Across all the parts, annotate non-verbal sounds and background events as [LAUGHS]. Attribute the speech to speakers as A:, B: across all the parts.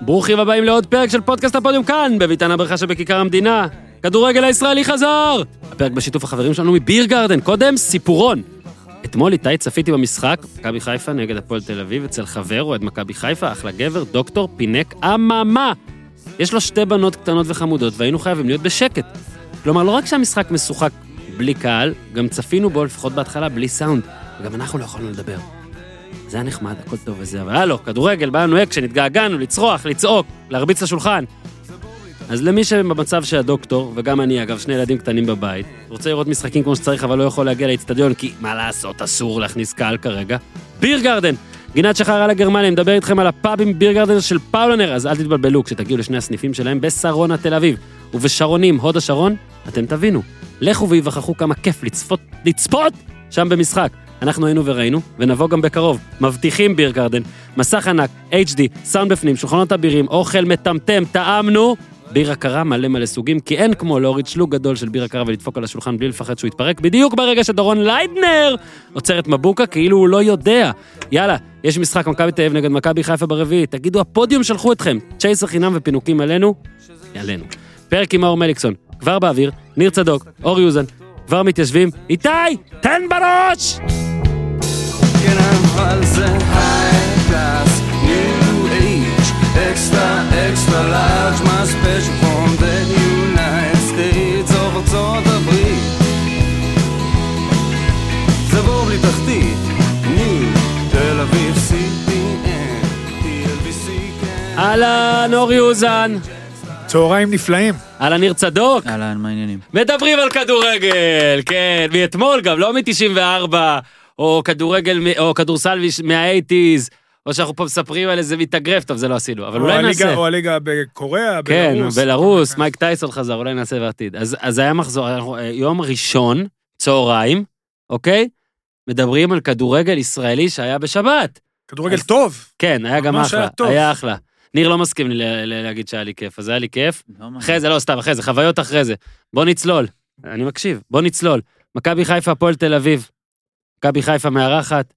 A: ברוכים הבאים לעוד פרק של פודקאסט הפודיום כאן, בביתן הבריכה שבכיכר המדינה. כדורגל הישראלי חזר! הפרק בשיתוף החברים שלנו מביר גרדן, קודם סיפורון. אתמול איתי צפיתי במשחק, מכבי חיפה נגד הפועל תל אביב, אצל חבר אוהד מכבי חיפה, אחלה גבר, דוקטור פינק אממה. יש לו שתי בנות קטנות וחמודות, והיינו חייבים להיות בשקט. כלומר, לא רק שהמשחק משוחק בלי קהל, גם צפינו בו, לפחות בהתחלה, בלי סאונד. וגם אנחנו לא יכולנו לדבר. זה היה נחמד, הכל טוב וזה, אבל הלו, כדורגל, באנו אקשן, התגעגענו, לצרוח, לצעוק, להרביץ לשולחן. אז למי שבמצב שהדוקטור, וגם אני, אגב, שני ילדים קטנים בבית, רוצה לראות משחקים כמו שצריך, אבל לא יכול להגיע לאצטדיון, כי מה לעשות, אסור להכניס קהל כרגע. ביר גרדן! גינת שחר על הגרמניה, מדבר איתכם על הפאבים ביר גרדן של פאולנר, אז אל תתבלבלו כשתגיעו לשני הסניפים שלהם בשרונה תל אביב, ובשרונים, הוד השרון, אתם תבינו. לכו וייווכחו כמה כיף לצפות, לצפות שם במשחק. אנחנו היינו וראינו, ונבוא גם בקרוב. מבטיחים ביר גרדן, מסך ענק, HD, סאונד בפנים, שולחנות אבירים, אוכל מטמטם, טעמנו. בירה קרה מלא מלא סוגים, כי אין כמו להוריד שלוג גדול של בירה קרה ולדפוק על השולחן בלי לפחד שהוא יתפרק, בדיוק ברגע שדורון ליידנר עוצר את מבוקה כאילו הוא לא יודע. יאללה, יש משחק מכבי תל אביב נגד מכבי חיפה ברביעי, תגידו, הפודיום שלחו אתכם, צ'ייסר חינם ופינוקים עלינו, עלינו. פרק עם מאור מליקסון, כבר באוויר, ניר צדוק, אור יוזן, כבר מתיישבים, איתי, תן בראש!
B: כן, אבל זה high class, new age, extra, extra large, my special from the United States of ארצות הברית. זה בור בלי תחתית, ניו, תל אביב, CPN, TLBC, כן.
A: אהלן, אור יוזן,
C: צהריים נפלאים.
A: אהלן ניר צדוק,
D: אהלן, מה העניינים?
A: מדברים על כדורגל, כן, מאתמול גם, לא מ-94, או כדורגל, מ- או כדורסל מש- מהאייטיז, או שאנחנו פה מספרים על איזה מתאגרף, טוב, זה לא עשינו, אבל אולי
C: הליגה-
A: נעשה.
C: או הליגה בקוריאה,
A: כן,
C: בלרוס.
A: בלרוס, מייק טייסון חזר, אולי נעשה בעתיד. אז אז היה מחזור, אנחנו, אה, יום ראשון, צהריים, אוקיי? מדברים על כדורגל ישראלי שהיה בשבת.
C: כדורגל
A: אז-
C: טוב.
A: כן, היה גם
C: ממש
A: אחלה,
C: היה טוב.
A: היה אחלה. ניר לא מסכים לי ל- ל- להגיד שהיה לי כיף, אז היה לי כיף.
D: לא מה-
A: אחרי זה, לא, סתם, אחרי זה, חוויות אחרי זה. בוא נצלול. אני מקשיב, בוא נצלול. מכבי חיפה, הפועל תל אביב. מכבי חיפה מארחת.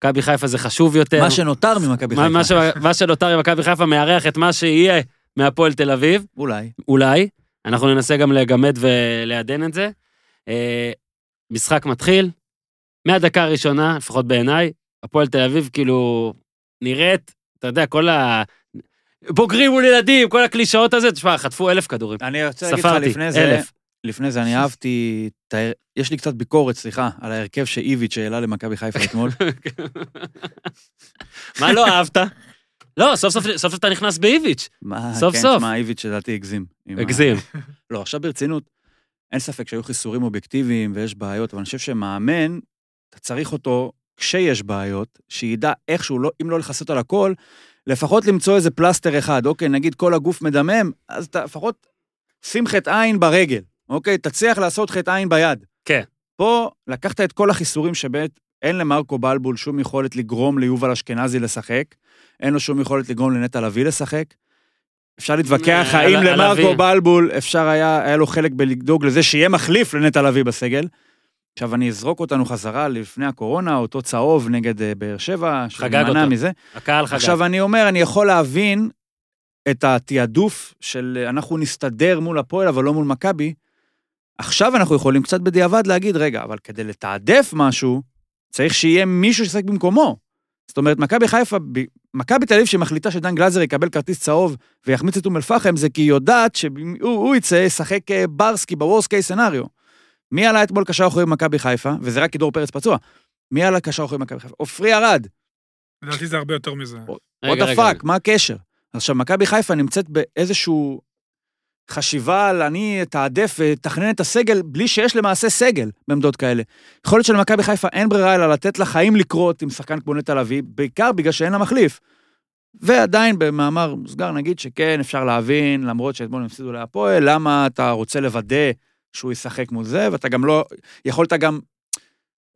A: מכבי חיפה זה חשוב יותר.
D: מה שנותר ממכבי
A: מה- מה
D: חיפה,
A: ש- מה שנותר עם מכבי חיפה מארח את מה שיהיה מהפועל תל אביב,
D: אולי.
A: אולי. אנחנו ננסה גם לגמד ולעדן את זה. אה, משחק מתחיל. מהדקה הראשונה, לפחות בעיניי, הפועל תל אביב כאילו נראית, אתה יודע, כל ה... בוגרים מול ילדים, כל הקלישאות הזה, תשמע, חטפו אלף כדורים.
D: אני רוצה להגיד לך
A: ספרתי,
D: לפני זה,
A: אלף.
D: לפני זה אני אהבתי, את ה- יש לי קצת ביקורת, סליחה, על ההרכב שאיביץ' העלה למכבי
A: [LAUGHS]
D: חיפה אתמול.
A: מה לא אהבת? לא, סוף סוף סוף אתה נכנס באיביץ'.
D: מה-
A: סוף
D: כן,
A: סוף.
D: שמע, איביץ' לדעתי הגזים. עם ה-
A: הגזים.
D: לא, עכשיו ברצינות, אין ספק שהיו חיסורים אובייקטיביים ויש בעיות, אבל אני חושב שמאמן, אתה צריך אותו כשיש בעיות, שידע איכשהו, לא, אם לא לכסות על הכל, לפחות למצוא איזה פלסטר אחד. אוקיי, נגיד כל הגוף מדמם, אז אתה לפחות שים חטא עין ברגל, אוקיי? תצליח לעשות חטא עין ביד.
A: כן.
D: פה לקחת את כל החיסורים שבאמת אין למרקו בלבול שום יכולת לגרום ליובל אשכנזי לשחק, אין לו שום יכולת לגרום לנטע לביא לשחק. אפשר להתווכח
A: אה,
D: האם
A: על- על
D: למרקו
A: לביא.
D: בלבול אפשר היה, היה לו חלק בלדאוג לזה שיהיה מחליף לנטע לביא בסגל. עכשיו אני אזרוק אותנו חזרה לפני הקורונה, אותו צהוב נגד אה, באר שבע,
A: חגג
D: שמנע
A: אותו.
D: מזה.
A: הקהל חגג.
D: עכשיו, אני אומר, אני יכול להבין את התעדוף של אה, אנחנו נסתדר מול הפועל, אבל לא מול מכבי. עכשיו אנחנו יכולים קצת בדיעבד להגיד, רגע, אבל כדי לתעדף משהו, צריך שיהיה מישהו שישחק במקומו. זאת אומרת, מכבי חיפה, ב- מכבי תל אביב שמחליטה שדן גלזר יקבל כרטיס צהוב ויחמיץ את אום אל-פחם, זה כי היא יודעת שאם הוא הוא יצא, ישחק אה, ברסקי ב-Worst case scenario. מי עלה אתמול קשר אחורי במכבי חיפה, וזה רק כי דור פרץ פצוע, מי עלה קשר אחורי במכבי חיפה? עופרי ארד,
C: לדעתי זה הרבה יותר מזה.
A: רגע,
D: וואט
A: רגע,
D: הפאק, מה הקשר? עכשיו, מכבי חיפה נמצאת באיזשהו חשיבה על אני אתעדף ואתכנן את הסגל בלי שיש למעשה סגל בעמדות כאלה. יכול להיות שלמכבי חיפה אין ברירה אלא לתת לחיים לקרות עם שחקן כמו נטע לביא, בעיקר בגלל שאין לה מחליף. ועדיין במאמר מוסגר נגיד שכן, אפשר להבין, למרות שאתמול הם הפסידו להפועל, למה אתה רוצה לוודא שהוא ישחק מול זה, ואתה גם לא... יכולת גם,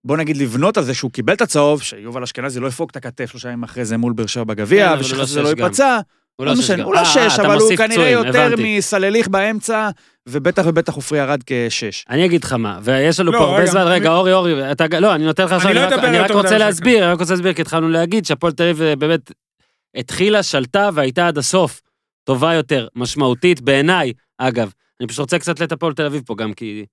D: בוא נגיד, לבנות על זה שהוא קיבל את הצהוב, שיובל אשכנזי לא יפוג את הכתף שלושה ימים אחרי זה מול באר שבע
A: כן,
D: בגביע,
A: אבל הוא לא
D: ושחס זה לא
A: שש גם.
D: ייפצע.
A: הוא
D: לא
A: שש
D: משנה,
A: גם.
D: הוא לא
A: אה,
D: שש,
A: אתה
D: אבל הוא
A: מוסיף
D: כנראה
A: פצועים,
D: יותר
A: הבנתי.
D: מסלליך באמצע, ובטח ובטח עופרי ירד כשש.
A: אני אגיד לך מה, ויש לנו
C: לא,
A: פה הרבה
C: רגע,
A: זמן,
C: אני-
A: רגע, אורי, אורי, אתה, לא, אני נותן לך עכשיו,
C: לא
A: רק-
C: אדבר
A: אני רק
C: יותר מדי
A: רוצה
C: על זה.
A: להסביר, אני רק רוצה להסביר, כי התחלנו להגיד שהפועל תל אביב אה, באמת התחילה, שלטה והייתה עד הסוף. טובה יותר, משמעותית, בעיניי, אגב. אני פשוט רוצה קצת לתת הפועל תל אביב פה גם, כי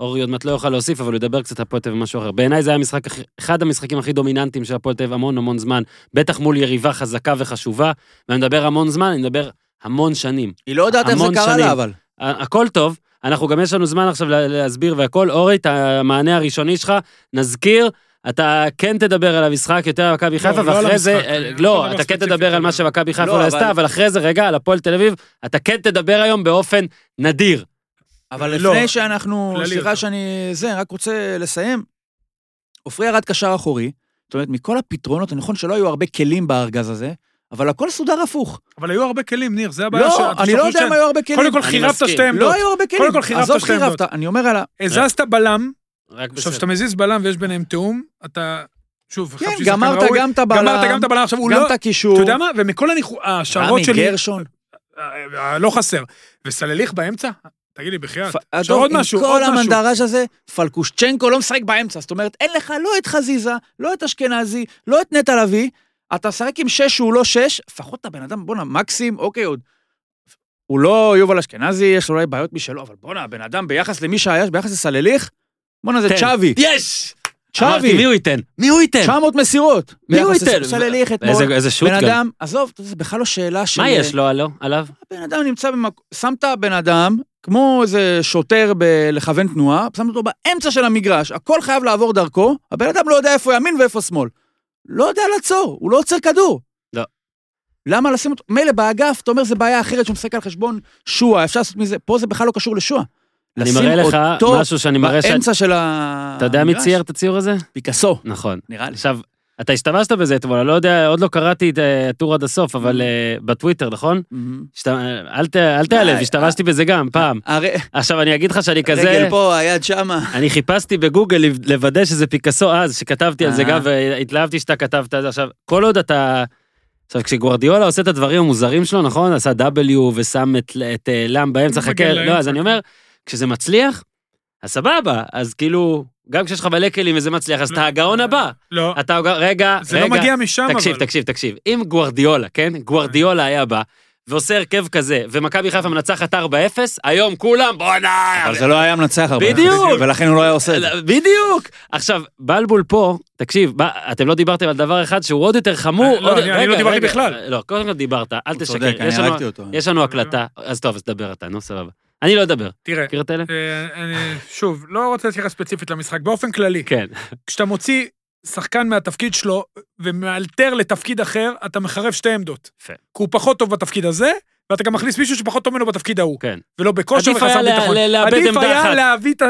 A: אורי עוד מעט לא יוכל להוסיף, אבל הוא ידבר קצת הפועל תל אביב ומשהו אחר. בעיניי זה היה המשחק, הכי- אחד המשחקים הכי דומיננטיים של הפועל תל אביב המון המון זמן, בטח מול יריבה חזקה וחשובה, ואני מדבר המון זמן, אני מדבר המון שנים.
D: היא לא יודעת איך זה
A: המון
D: קרה
A: שנים.
D: לה, אבל.
A: ה- הכל טוב, אנחנו גם יש לנו זמן עכשיו לה- להסביר והכל. אורי, את המענה הראשוני שלך, נזכיר, אתה כן תדבר על המשחק יותר על מכבי חיפה,
C: לא על
A: ואחרי זה,
C: המשחק,
A: אה,
C: אני לא
A: לא,
C: מדבר
A: אתה כן
C: ספציפית
A: תדבר על מה
C: על-
A: שמכבי חיפה
D: לא,
A: לא
D: אבל-
A: עשתה, אבל אחרי זה, רגע, על הפועל תל אביב, אתה כן תדבר היום באופן נדיר.
D: אבל
C: לא.
D: לפני שאנחנו,
C: כללי
D: סליחה
C: יותר.
D: שאני... זה, רק רוצה לסיים. עופרי ירד קשר אחורי, זאת אומרת, מכל הפתרונות, נכון שלא היו הרבה כלים בארגז הזה, אבל הכל סודר הפוך.
C: אבל היו הרבה כלים, ניר, זה הבעיה
D: לא,
C: שאתה
D: אני לא
C: שוכח
D: יודע אם
C: שאין.
D: היו הרבה כלים.
C: קודם כל
A: אני
C: חירבת
A: מסכים.
C: שתי עמדות.
D: לא היו הרבה כלים.
C: כל חירבת
D: עזוב
C: שתי עמדות.
D: חירבת, אני אומר על ה...
C: הזזת בלם,
A: רק
C: עכשיו
A: בסדר.
C: כשאתה מזיז בלם ויש ביניהם תיאום, אתה... שוב,
D: כן,
C: חשבתי שזה
D: גמרת
C: כאן ראוי.
D: גם את הבלם,
C: גמרת גם את הבלם, עכשיו הוא
D: גם
C: לא...
D: את הקישור,
C: אתה יודע מה? ומכל הניחו- השערות
D: רמי
C: שלי...
D: גרשון.
C: אה, אה, לא חסר. וסלליך באמצע? תגיד לי,
A: כן.
C: בחייאת.
D: פ-
C: עכשיו
D: אדום,
C: עוד משהו,
D: עם
C: עוד
D: כל
C: משהו.
D: המנדרז' הזה, פלקושצ'נקו לא משחק באמצע. זאת אומרת, אין לך לא את חזיזה, לא את אשכנזי, לא את נטע לביא, אתה משחק עם שש שהוא לא שש, לפחות הבן אדם, בואנה, מקסים, אוקיי, עוד. הוא לא יובל אשכנזי, יש לו אולי בעיות משלו, אבל בואנה, הבן אדם ביחס למי שהיה, ביחס לסלליך, בואנה, זה
A: תן.
D: צ'אבי.
A: יש! אמרתי, כן. מי
D: צ'אבי,
A: הוא ייתן? מי הוא ייתן?
D: 900 מסירות.
A: מי הוא
D: ביחס
A: ייתן?
D: לסלליך אתמול.
A: איזה- איזה שוט
D: בן
A: גם.
D: אדם, עזוב, זה בכלל לא שאלה של...
A: מה יש לו עלו- עליו?
D: הבן אדם נמצא במקום, שמת בן אדם, כמו איזה שוטר בלכוון תנועה, שמת אותו באמצע של המגרש, הכל חייב לעבור דרכו, הבן אדם לא יודע איפה ימין ואיפה שמאל. לא יודע לעצור, הוא לא עוצר כדור.
A: לא.
D: למה לשים אותו, מילא באגף, אתה אומר זה בעיה אחרת שהוא משחק על חשבון שועה, אפשר לעשות מזה, פה זה בכלל לא קשור לשועה.
A: אני
D: לשים
A: מראה לך
D: אותו
A: משהו שאני מראה ש...
D: באמצע של ה...
A: אתה יודע מי
D: המגרש?
A: צייר את הציור הזה?
D: פיקאסו,
A: נכון.
D: נראה לי.
A: עכשיו, אתה השתמשת בזה אתמול, אני לא יודע, עוד לא קראתי את אה, הטור עד הסוף, אבל אה, בטוויטר, נכון?
D: מהמם.
A: השת- אל ת- אל תיעלב,
D: די,
A: השתמשתי בזה גם, פעם.
D: הרי-
A: עכשיו, אני אגיד לך שאני כזה...
D: אה, רגל פה, היד שמה.
A: אני חיפשתי בגוגל לב- לוודא שזה פיקאסו אז, שכתבתי על זה
D: אה.
A: גם, והתלהבתי שאתה כתבת על זה. עכשיו, כל עוד אתה... עכשיו, כשגוורדיאלה עושה את הדברים המוזרים שלו, נכון? עשה W ושם את, את אה, לאם באמצע,
C: מגן
A: חכה, לא,
C: לאמצע.
A: אז אני אומר, כשזה מצליח, אז סבבה, אז כאילו, גם כשיש לך מלא כלים וזה מצליח, אז
C: לא.
A: אתה הגאון הבא.
C: לא,
A: אתה, הגאון- רגע,
C: זה לא
A: רגע,
C: מגיע משם, אבל.
A: תקשיב, תקשיב, תקשיב. אם גוורדיאלה, כן? גוורדיאלה היה בא, ועושה הרכב כזה, ומכבי חיפה מנצחת 4-0, היום כולם, בואנה...
D: אבל זה לא היה מנצח הרבה.
A: בדיוק.
D: ולכן הוא לא היה עושה את זה.
A: בדיוק. עכשיו, בלבול פה, תקשיב, ב- אתם לא דיברתם על דבר אחד שהוא עוד יותר חמור.
C: אה, לא,
A: עוד-
C: אני- אני
A: רגע,
C: לא דיברתי
A: רגע,
C: בכלל.
A: אה, לא, קודם כל דיברת, אל
D: הוא
A: תשקר.
D: צודק, אני
A: יש לנו-
D: הרגתי אותו.
A: יש לנו הקלטה, אז טוב, אז דבר אתה, נו, סבבה. אני לא אדבר.
C: תראה.
A: מכיר את אלה?
C: אה, אני, שוב, לא רוצה להתייחס ספציפית למשחק, באופן כללי,
A: כן.
C: כשאתה מוציא שחקן מהתפקיד שלו ומאלתר לתפקיד אחר, אתה מחרב שתי עמדות.
A: יפה.
C: כי הוא פחות טוב בתפקיד הזה, ואתה גם מכניס מישהו שפחות טוב ממנו בתפקיד ההוא.
A: כן.
C: ולא בכושר
A: עדיף היה
C: וחסר
A: לה-
C: ביטחון.
A: לה- לאבד
C: עדיף
A: עמדה
C: היה
A: אחת.
C: להביא את ה...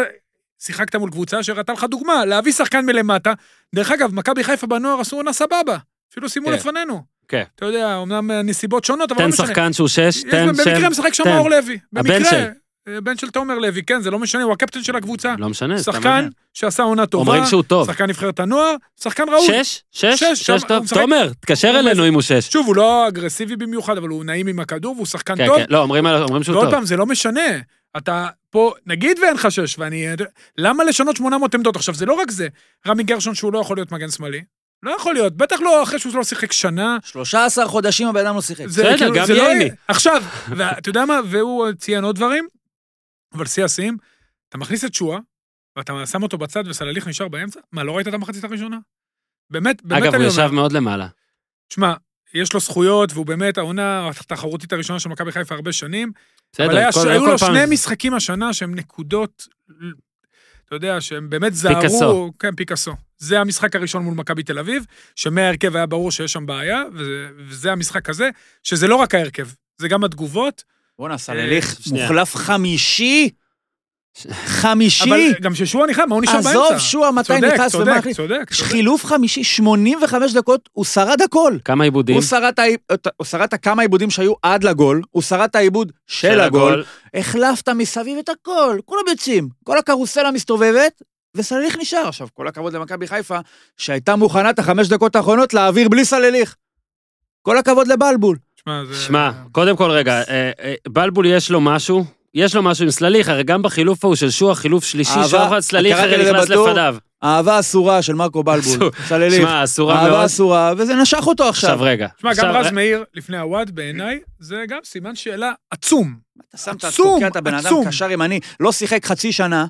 C: שיחקת מול קבוצה שהראתה לך דוגמה, להביא שחקן מלמטה. דרך אגב, מכבי חיפה בנוער עשו עונה סבבה. אפילו סיימו
A: כן.
C: לפנינו.
A: כן.
C: אתה יודע, אמנם אה, נסיבות שונות, אבל לא
A: תן
C: משנה.
A: שחקן שהוא שש,
C: יש-
A: תן
C: במקרה
A: שם.
C: משחק שם
A: תן.
C: מאור לוי.
A: הבן
C: במקרה.
A: של.
C: אה, בן של תומר לוי, כן, זה לא משנה, הוא הקפטן של הקבוצה.
A: לא משנה, סתם
C: שחקן
A: מעניין.
C: שעשה עונה טובה,
A: אומרים שהוא טוב.
C: שחקן נבחרת הנוער, שחקן ראוי.
A: שש? שש?
C: שש, שם-
A: שש
C: הוא
A: טוב.
C: משחק-
A: תומר, תתקשר
C: הוא
A: אלינו אם הוא שש.
C: שוב, הוא לא אגרסיבי במיוחד, אבל הוא נעים עם הכדור והוא שחקן
A: כן,
C: טוב.
A: כן. לא, אומרים עליו- אומרים שהוא
C: ועוד
A: טוב.
C: פעם, זה לא משנה. אתה פה, נגיד ואין לך שש, ואני... למה לשנות 800 עמדות? עכשיו, זה לא רק זה. רמי גרשון, שהוא לא יכול להיות מגן שמאלי. לא יכול להיות, בטח לא אחרי שהוא לא שיחק שנה.
D: 13 חודשים הבן אדם לא שיחק.
C: זה
A: בסדר,
C: כאילו,
A: גם
C: זה לא-
A: ייני.
C: עכשיו, ואתה יודע מה, והוא ציין עוד דברים, אבל שיא השיאים, אתה מכניס את שואה, ואתה שם אותו בצד וסלליך נשאר באמצע? מה, לא ראית את המחצית הראשונה? באמת, באמת
A: אגב,
C: אני
A: הוא
C: אומר.
A: ישב מאוד למעלה.
C: שמע, יש לו זכויות, והוא באמת העונה התחרותית הראשונה של מכבי חיפה הרבה שנים. אבל
A: בסדר,
C: היה,
A: כל-
C: היו
A: כל
C: לו
A: פעם-
C: שני משחקים השנה שהם נקודות, אתה יודע, שהם באמת זהרו...
A: פיקאסו.
C: כן, פיקאסו. זה המשחק הראשון מול מכבי תל אביב, שמההרכב היה ברור שיש שם בעיה, וזה, וזה המשחק הזה, שזה לא רק ההרכב, זה גם התגובות,
D: בואנה, סלליך
A: שנייה.
D: מוחלף חמישי?
A: ש-
D: חמישי?
C: אבל גם ששועה נכנס, מה הוא נשאר באמצע?
D: עזוב, שועה מתי
C: צודק,
D: נכנס
C: צודק,
D: ומה החליף?
C: צודק, צודק.
D: חילוף חמישי, 85 דקות, הוא שרד הכל.
A: כמה עיבודים?
D: הוא שרד ה- את- הוא שרד את הכמה עיבודים שהיו עד לגול, הוא שרד את העיבוד של הגול, החלפת מסביב את הכל, כולם יוצאים, כל הקרוסלה מסתובבת, וסלליך נשאר. עכשיו, כל הכבוד למכבי חיפה, שהייתה מוכנה את החמש דקות האחרונות להעביר בלי סלליך. כל הכבוד לבלבול.
C: שמע, זה...
A: שמע, קודם כל רגע, אה, אה, בלבול יש לו משהו יש לו משהו עם סלליך, הרי גם בחילוף ההוא של שועה, חילוף שלישי,
D: אהבה,
A: שוחד סלליך
D: קראתי
A: הרי
D: לזה
A: נכנס
D: בטור.
A: לפניו.
D: אהבה אסורה של מרקו בלבול, סלליך.
A: שמע, אסורה
D: אהבה
A: מאוד.
D: אסורה, וזה נשך אותו עכשיו.
A: עכשיו רגע.
C: תשמע, גם
A: עכשיו, אה-
C: רז
A: ר-
C: מאיר לפני הוואד, בעיניי, זה גם סימן שאלה עצום.
D: אתה שמת,
C: עצום,
D: תוקע את הבן אדם
C: עצום.
D: קשר ימני, לא שיחק חצי שנה.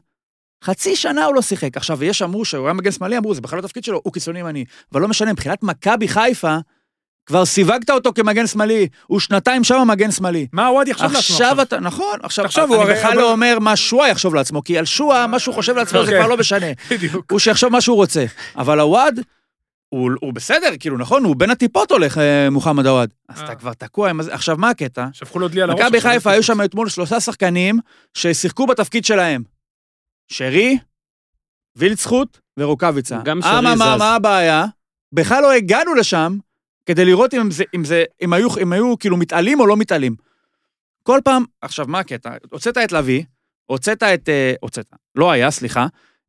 D: חצי שנה הוא לא שיחק. עכשיו, יש אמרו שהוא היה מגן שמאלי, אמרו, זה בכלל לא תפקיד שלו, הוא קיצוני ימני. אבל לא משנה, מבחינת מכבי חיפה, כבר סיווגת אותו כמגן שמאלי, הוא שנתיים שם מגן שמאלי.
C: מה הוואד יחשוב לעצמו עכשיו?
D: עכשיו אתה, נכון, עכשיו,
C: תחשוב, הוא
D: אני
C: הרי-
D: בכלל
C: אבל-
D: לא אומר מה שואה יחשוב לעצמו, כי על שואה, מה שהוא חושב לעצמו זה
C: אוקיי.
D: כבר לא משנה.
C: בדיוק.
D: הוא שיחשוב מה שהוא רוצה. אבל הוואד, הוא, הוא בסדר, כאילו, נכון, הוא בין הטיפות הולך, אה, מוחמד הוואד. אז אתה
C: אה.
D: כבר תקוע עם... הזה. עכשיו, מה הקטע?
C: שפכו לו דלי על הראש.
D: מכבי
C: עכשיו.
D: חיפה היו שם אתמול שלושה שחקנים ששיחקו בתפקיד שלהם. שרי, וילצחוט ורוקאביצה.
A: גם שרי
D: אממה,
A: זז.
D: מה הבעיה? בכלל לא הגענו לשם כדי לראות אם זה, אם זה, אם היו, אם היו כאילו מתעלים או לא מתעלים. כל פעם, עכשיו, מה הקטע? הוצאת את לביא, הוצאת את... אה, הוצאת, לא היה, סליחה.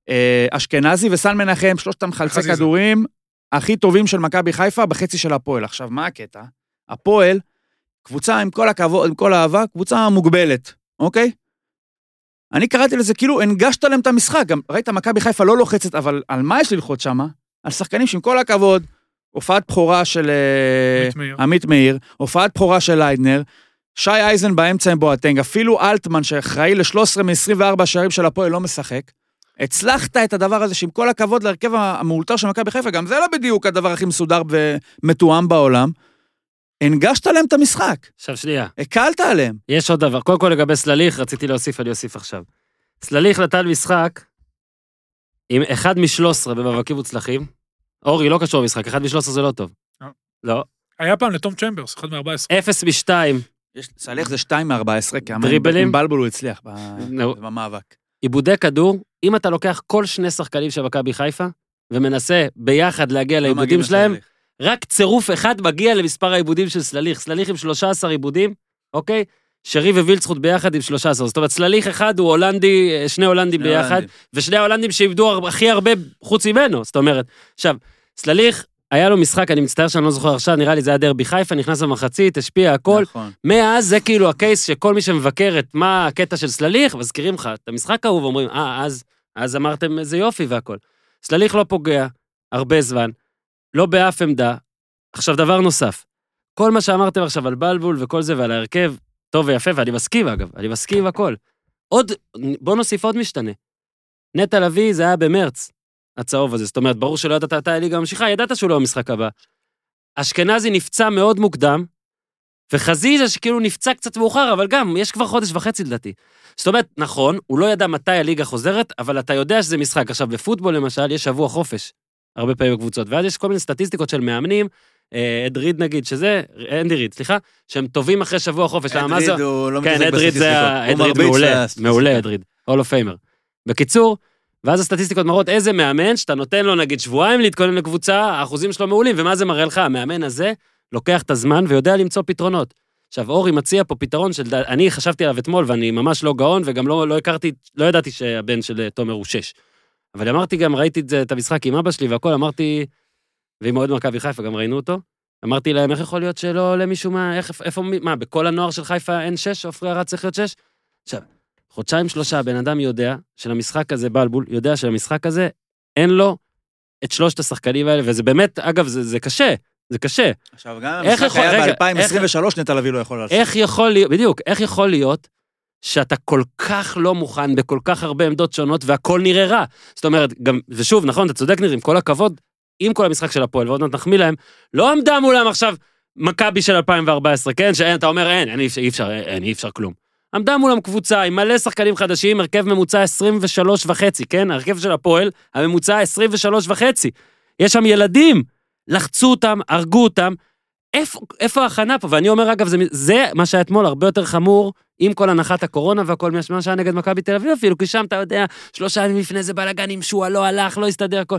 D: אה, אשכנזי וסן מנחם, שלושת המחלצי
C: חזיזה.
D: כדורים הכי טובים של מכבי חיפה בחצי של הפועל. עכשיו, מה הקטע? הפועל, קבוצה עם כל הכבוד, עם כל האהבה, קבוצה מוגבלת, אוקיי? אני קראתי לזה כאילו הנגשת להם את המשחק, גם ראית מכבי חיפה לא לוחצת, אבל על מה יש ללחוץ שמה? על שחקנים שעם כל הכבוד, הופעת בכורה של אה,
C: עמית מאיר.
D: עמית מאיר, הופעת בכורה של ליידנר, שי אייזן באמצע עם בואטנג, אפילו אלטמן שאחראי ל-13 מ-24 השערים של הפועל לא משחק. הצלחת את הדבר הזה שעם כל הכבוד להרכב המאולתר של מכבי חיפה, גם זה לא בדיוק הדבר הכי מסודר ומתואם בעולם. הנגשת להם את המשחק,
A: עכשיו שנייה,
D: הקלת עליהם.
A: יש עוד דבר. קודם כל לגבי סלליך, רציתי להוסיף, אני אוסיף עכשיו. סלליך נתן משחק עם אחד מ-13 במאבקים מוצלחים. אורי, לא קשור למשחק, אחד מ-13 זה לא טוב.
C: לא.
A: לא.
C: היה פעם לתום צ'מברס, אחד מ-14.
A: אפס משתיים,
D: סליח זה 2 מ-14, כי אמר,
A: דריבלים?
D: עם בלבול הוא הצליח ב-
A: נו.
D: במאבק.
A: עיבודי כדור, אם אתה לוקח כל שני שחקנים של מכבי חיפה, ומנסה ביחד להגיע
D: לא
A: לעיבודים
D: מגיעים
A: שלהם,
D: לסלליך.
A: רק צירוף אחד מגיע למספר העיבודים של סלליך. סלליך עם 13 עיבודים, אוקיי? שרי ווילצחוט ביחד עם 13. זאת אומרת, סלליך אחד הוא הולנדי, אה, שני הולנדים
D: שני
A: ביחד,
D: הולנדים.
A: ושני ההולנדים שאיבדו הר- הכי הרבה חוץ ממנו, זאת אומרת. עכשיו, סלליך, היה לו משחק, אני מצטער שאני לא זוכר עכשיו, נראה לי זה היה דרבי חיפה, נכנס למחצית, השפיע הכל.
D: נכון.
A: מאז זה כאילו הקייס שכל מי שמבקר את מה הקטע של סלליך, מזכירים לך את המשחק ההוא ואומרים, אה, אז, אז אמרתם איזה יופי והכל. סלליך לא פוגע הרבה זמן, לא באף עמדה. עכשיו, דבר נוסף, כל מה שאמרתם עכשיו על בלבול וכל זה ועל ההרכב, טוב ויפה, ואני מסכים אגב, אני מסכים עם הכל. עוד, בוא נוסיף עוד משתנה. נטע לביא זה היה במרץ, הצהוב הזה, זאת אומרת, ברור שלא ידעת מתי הליגה ממשיכה, ידעת שהוא לא במשחק הבא. אשכנזי נפצע מאוד מוקדם, וחזיזה שכאילו נפצע קצת מאוחר, אבל גם, יש כבר חודש וחצי לדעתי. זאת אומרת, נכון, הוא לא ידע מתי הליגה חוזרת, אבל אתה יודע שזה משחק. עכשיו, בפוטבול למשל, יש שבוע חופש, הרבה פעמים בקבוצות, ואז יש כל מיני סטטיסטיקות של מאמנים, אה, אד ריד נגיד, שזה, אנדי ריד, סליחה, שהם טובים אחרי שבוע חופש. למה, מה זה-
D: אדריד הוא לא
A: כן,
D: מתעסק
A: אדריד זה ה-
D: בסטטיסטיקות. הוא
A: אדריד
D: מרביץ
A: מעולה,
D: לסטטיסטיקה.
A: מעולה אדריד, הול אוף פיימר. בקיצור, ואז הסטטיסטיקות מראות איזה מאמן שאתה נותן לו נגיד שבועיים להתכונן לקבוצה, האחוזים שלו מעולים, ומה זה מראה לך? המאמן הזה לוקח את הזמן ויודע למצוא פתרונות. עכשיו, אורי מציע פה פתרון של... אני חשבתי עליו אתמול, ואני ממש לא גאון, וגם לא, לא הכרתי, לא ידעתי שהבן של אה, תומר הוא שש. אבל אמרתי גם, ראיתי את, זה, את המשחק עם אבא שלי והכל, אמרתי, ועם אוהד מכבי חיפה, גם ראינו אותו. אמרתי להם, איך יכול להיות שלא עולה מישהו מה... איך, איפה... מי- מה, בכל הנוער של חיפה אין שש? עופרי ארד צריך להיות שש? עכשיו, חודשיים שלושה הבן אדם יודע שלמשחק הזה, בלבול, יודע שלמשחק הזה אין לו את שלושת השחקנים האלה, וזה באמת, אגב, זה, זה קשה, זה קשה.
D: עכשיו, גם אם
A: איך
D: המשחק
A: יכול-
D: היה
A: רגע,
D: ב-2023, נטע לביא לא יכול לעשות.
A: איך יכול להיות, בדיוק, איך יכול להיות שאתה כל כך לא מוכן בכל כך הרבה עמדות שונות והכל נראה רע? זאת אומרת, גם, ושוב, נכון, אתה צודק, ניר, עם כל הכבוד, עם כל המשחק של הפועל, ועוד מעט נחמיא להם, לא עמדה מולם עכשיו מכבי של 2014, כן? שאין, אתה אומר, אין, אין, אי אפשר, אי אפשר, אין, אי אפשר כלום. עמדה מולם קבוצה עם מלא שחקנים חדשים, הרכב ממוצע 23 וחצי, כן? הרכב של הפועל, הממוצע 23 וחצי. יש שם ילדים, לחצו אותם, הרגו אותם. איפה, איפה ההכנה פה? ואני אומר, אגב, זה, זה מה שהיה אתמול הרבה יותר חמור, עם כל הנחת הקורונה והכל, מה שהיה נגד מכבי תל אביב אפילו, כי שם אתה יודע, שלושה ימים לפני זה בלאגן עם שועה, לא הלך, לא הסתדר הכל.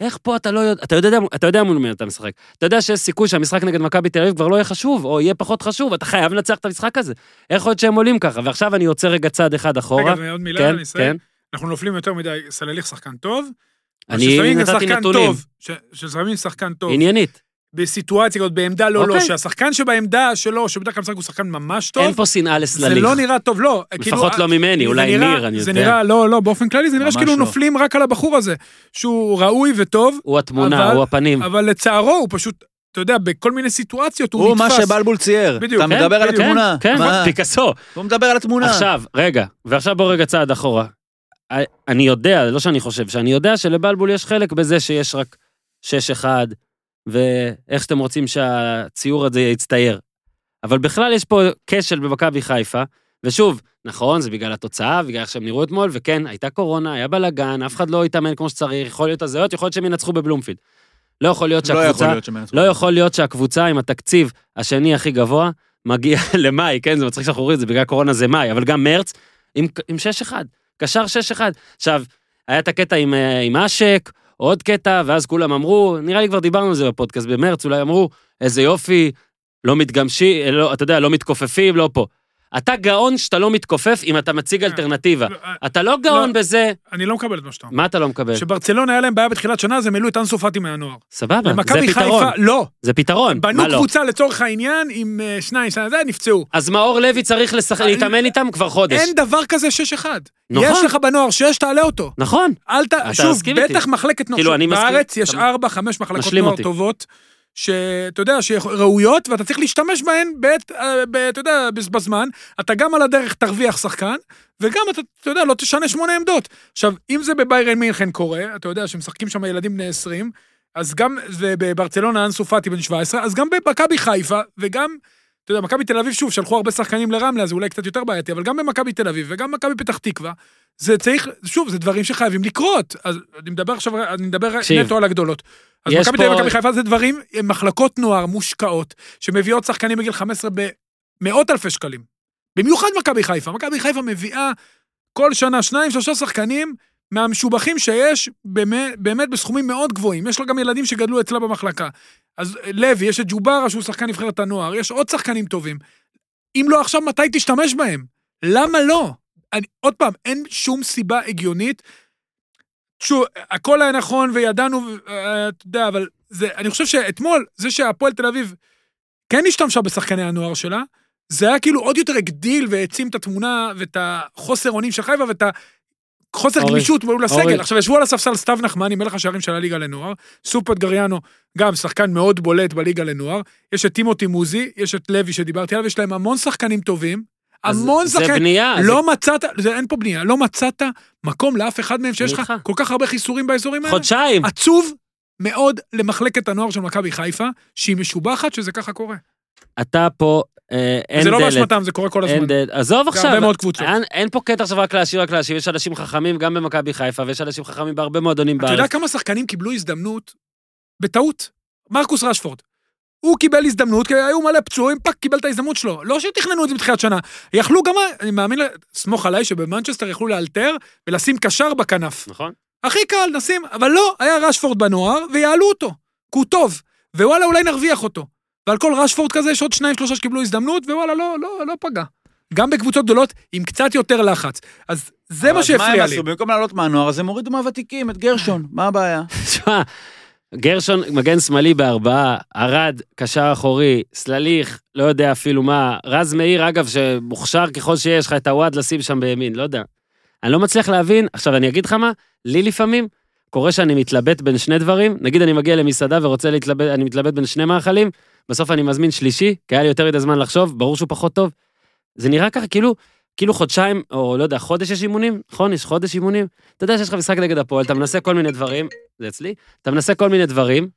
A: איך פה אתה לא יודע, אתה יודע, אתה יודע מול מי אתה משחק. אתה יודע שיש סיכוי שהמשחק נגד מכבי תל אביב כבר לא יהיה חשוב, או יהיה פחות חשוב, אתה חייב לנצח את המשחק הזה. איך יכול להיות שהם עולים ככה? ועכשיו אני יוצא רגע צעד אחד אחורה.
C: רגע, עוד מילה,
A: כן,
C: אני אסיים.
A: כן.
C: אנחנו נופלים יותר מדי, סלליך שחקן טוב.
A: אני
C: ששמים גם
A: נתתי
C: שחקן
A: נתונים,
C: טוב, ש- ששמים שחקן טוב
A: עניינית.
C: בסיטואציה כזאת, בעמדה לא לא,
A: אוקיי.
C: שהשחקן שבעמדה שלו, שבדרך כלל משחק הוא שחקן ממש טוב,
A: אין פה שנאה
C: זה
A: לסלליך.
C: לא נראה טוב, לא.
A: לפחות
C: כאילו,
A: לא ממני,
C: זה
A: אולי
C: נראה-
A: ניר, אני
C: זה
A: יודע.
C: נראה, לא, לא, באופן כללי זה נראה
D: ממש
C: שכאילו
D: לא.
C: נופלים רק על הבחור הזה, שהוא ראוי וטוב,
A: הוא התמונה,
C: אבל-
A: הוא הפנים.
C: אבל לצערו הוא פשוט, אתה יודע, בכל מיני סיטואציות הוא
D: הוא
C: נתפס.
D: מה שבלבול צייר.
C: בדיוק.
D: אתה
C: כן,
D: מדבר על
C: בדיוק.
D: התמונה.
A: כן,
D: מה?
A: פיקאסו.
D: הוא מדבר על התמונה.
A: עכשיו, רגע, ועכשיו בוא רגע צעד אחורה. אני יודע, לא שאני חושב, שאני יודע שלבלבול יש חלק בזה שיש רק 6-1, ואיך שאתם רוצים שהציור הזה יצטייר. אבל בכלל יש פה כשל במכבי חיפה, ושוב, נכון, זה בגלל התוצאה, בגלל איך שהם נראו אתמול, וכן, הייתה קורונה, היה בלאגן, אף אחד לא התאמן כמו שצריך, יכול להיות הזיות, יכול להיות שהם ינצחו בבלומפילד. לא יכול להיות
D: לא
A: שהקבוצה...
D: יכול להיות שמנצחו.
A: לא יכול להיות שהקבוצה עם התקציב השני הכי גבוה מגיע [LAUGHS] למאי, כן, זה מצחיק שאנחנו רואים את זה, בגלל קורונה זה מאי, אבל גם מרץ, עם, עם 6-1, קשר 6-1. עכשיו, היה את הקטע עם, אה, עם אשק, עוד קטע, ואז כולם אמרו, נראה לי כבר דיברנו על זה בפודקאסט במרץ, אולי אמרו, איזה יופי, לא מתגמשי, לא, אתה יודע, לא מתכופפים, לא פה. אתה גאון שאתה לא מתכופף אם אתה מציג אלטרנטיבה.
C: לא,
A: אתה לא גאון בזה,
C: אני לא מקבל את מה שאתה אומר.
A: מה אתה לא מקבל?
C: שברצלונה היה להם בעיה בתחילת שנה, אז הם העלו את אנסו פאטי מהנוער.
A: סבבה, זה
C: למכבי
A: פתרון.
C: חיפה, לא.
A: זה פתרון,
C: בנו
A: מה לא?
C: קבוצה לצורך העניין עם אה, שניים, שניים, זה, נפצעו.
A: אז מאור לוי צריך לשח... להתאמן איתם כבר חודש.
C: אה, אין דבר כזה 6-1.
A: נכון.
C: יש לך בנוער 6, תעלה אותו.
A: נכון.
C: אל ת...
A: אתה
C: שוב,
A: מסכים
C: בטח
A: איתי.
C: מחלקת נוער.
A: כאילו,
C: שוב,
A: אני מסכים.
C: בארץ יש
A: אתה-
C: 4, 5 מחלקות
A: משלים
C: נוער
A: אותי.
C: טובות, שאתה יודע, שראויות, ואתה צריך להשתמש בהן, בעת, אה, ב- אתה יודע, בז- בזמן. אתה גם על הדרך תרוויח שחקן, וגם אתה, אתה יודע, לא תשנה שמונה עמדות. עכשיו, אם זה בביירן מינכן קורה, אתה יודע שמשחקים שם ילדים בני 20, אז גם, ובברצלונה אנסו פאטי בן 17, אז גם במכבי חיפה, וגם, אתה יודע, מכבי תל אביב, שוב, שלחו הרבה שחקנים לרמלה, אז אולי קצת יותר בעייתי, אבל גם במכבי תל אביב וגם במכבי פתח תקווה, זה צריך, שוב, זה דברים שחייבים לקרות. אז אני מדבר עכשיו, אני מדבר
A: תקשיב.
C: נטו על הגדולות. אז
A: יש
C: מכבי תל אביב
A: פה-
C: ומכבי חיפה זה דברים, הם מחלקות נוער מושקעות, שמביאות שחקנים בגיל 15 במאות אלפי שקלים. במיוחד מכבי חיפה. מכבי חיפה מביאה כל שנה שניים, שלושה שחקנים מהמשובחים שיש באמת, באמת בסכומים מאוד גבוהים. יש לה גם ילדים שגדלו אצלה במחלקה. אז אה, לוי, יש את ג'ובארה שהוא שחקן נבחרת הנוער, יש עוד שחקנים טובים. אם לא עכשיו, מתי תשתמש בהם? למה לא? אני, עוד פעם, אין שום סיבה הגיונית. שוב, הכל היה נכון וידענו, אה, אתה יודע, אבל זה, אני חושב שאתמול, זה שהפועל תל אביב כן השתמשה בשחקני הנוער שלה, זה היה כאילו עוד יותר הגדיל והעצים את התמונה ואת החוסר אונים של חיפה ואת החוסר
A: אורי,
C: גמישות מול
A: אורי.
C: הסגל. עכשיו, ישבו על הספסל סתיו נחמני, מלך השערים של הליגה לנוער, סופת גריאנו, גם שחקן מאוד בולט בליגה לנוער, יש את טימותי מוזי, יש את לוי שדיברתי עליו, יש להם המון שחקנים טובים,
A: אז
C: המון
A: זה
C: שחקנים.
A: בנייה.
C: לא מצאת, זה, אין פה בנייה, לא מצאת מקום לאף אחד מהם שיש
A: אני
C: לך
A: איתך.
C: כל כך הרבה חיסורים באזורים
A: זה
C: האלה.
A: חודשיים.
C: עצוב מאוד למחלקת הנוער של מכבי חיפה, שהיא משובחת שזה ככה קורה.
A: אתה פה, אה, אין
C: זה לא
A: דלת.
C: באשמתם, זה קורה כל הזמן.
A: אין דלת. עזוב
C: זה
A: עכשיו.
C: הרבה מאוד קבוצות.
A: אין- אין פה קטע עכשיו רק להשאיר, רק להשאיר. יש אנשים חכמים גם במכבי חיפה, ויש אנשים חכמים בהרבה מועדונים
C: אתה יודע
A: בארץ.
C: כמה שחקנים קיבלו הזדמנות בטעות? מרקוס רשפורד. הוא קיבל הזדמנות, כי היו מלא פצועים, פאק, קיבל את ההזדמנות שלו. לא שתכננו את זה בתחילת שנה. יכלו גם, אני מאמין, סמוך עליי שבמנצ'סטר יכלו לאלתר ולשים קשר בכנף.
A: נכון? [LAUGHS]
C: הכי קל, נשים, אבל לא, היה רשפורד בנוער, ויעלו אותו, כי הוא טוב, ווואלה, אולי נרוויח אותו. ועל כל רשפורד כזה יש עוד שניים, שלושה שקיבלו הזדמנות, ווואלה, לא, לא, לא פגע. גם בקבוצות גדולות, עם קצת יותר לחץ. אז זה מה
D: אז מה
C: שהפריע
D: הם
C: לי.
D: עשו? במקום לעלות מהנוער, אז הם הורידו מהוותיקים את
A: אה.
D: גרשון, מה הבעיה?
A: תשמע, גרשון מגן שמאלי בארבעה, ארד, קשר אחורי, סלליך, לא יודע אפילו מה. רז מאיר, אגב, שמוכשר ככל שיש לך את הוואד לשים שם בימין, לא יודע. אני לא מצליח להבין, עכשיו אני אגיד לך מה, לי לפעמים קורה שאני מתלבט בין שני דברים, נגיד אני מגיע למסעדה ורוצה להתלבט, אני מתלבט בין שני מאכלים, בסוף אני מזמין שלישי, כי היה לי יותר מדי זמן לחשוב, ברור שהוא פחות טוב. זה נראה ככה כאילו, כאילו חודשיים, או לא יודע, חודש יש אימונים, נכון? יש חודש אימונים? אתה יודע שיש לך משחק נגד הפועל, אתה מנסה כל מיני דברים, זה אצלי, אתה מנסה כל מיני דברים,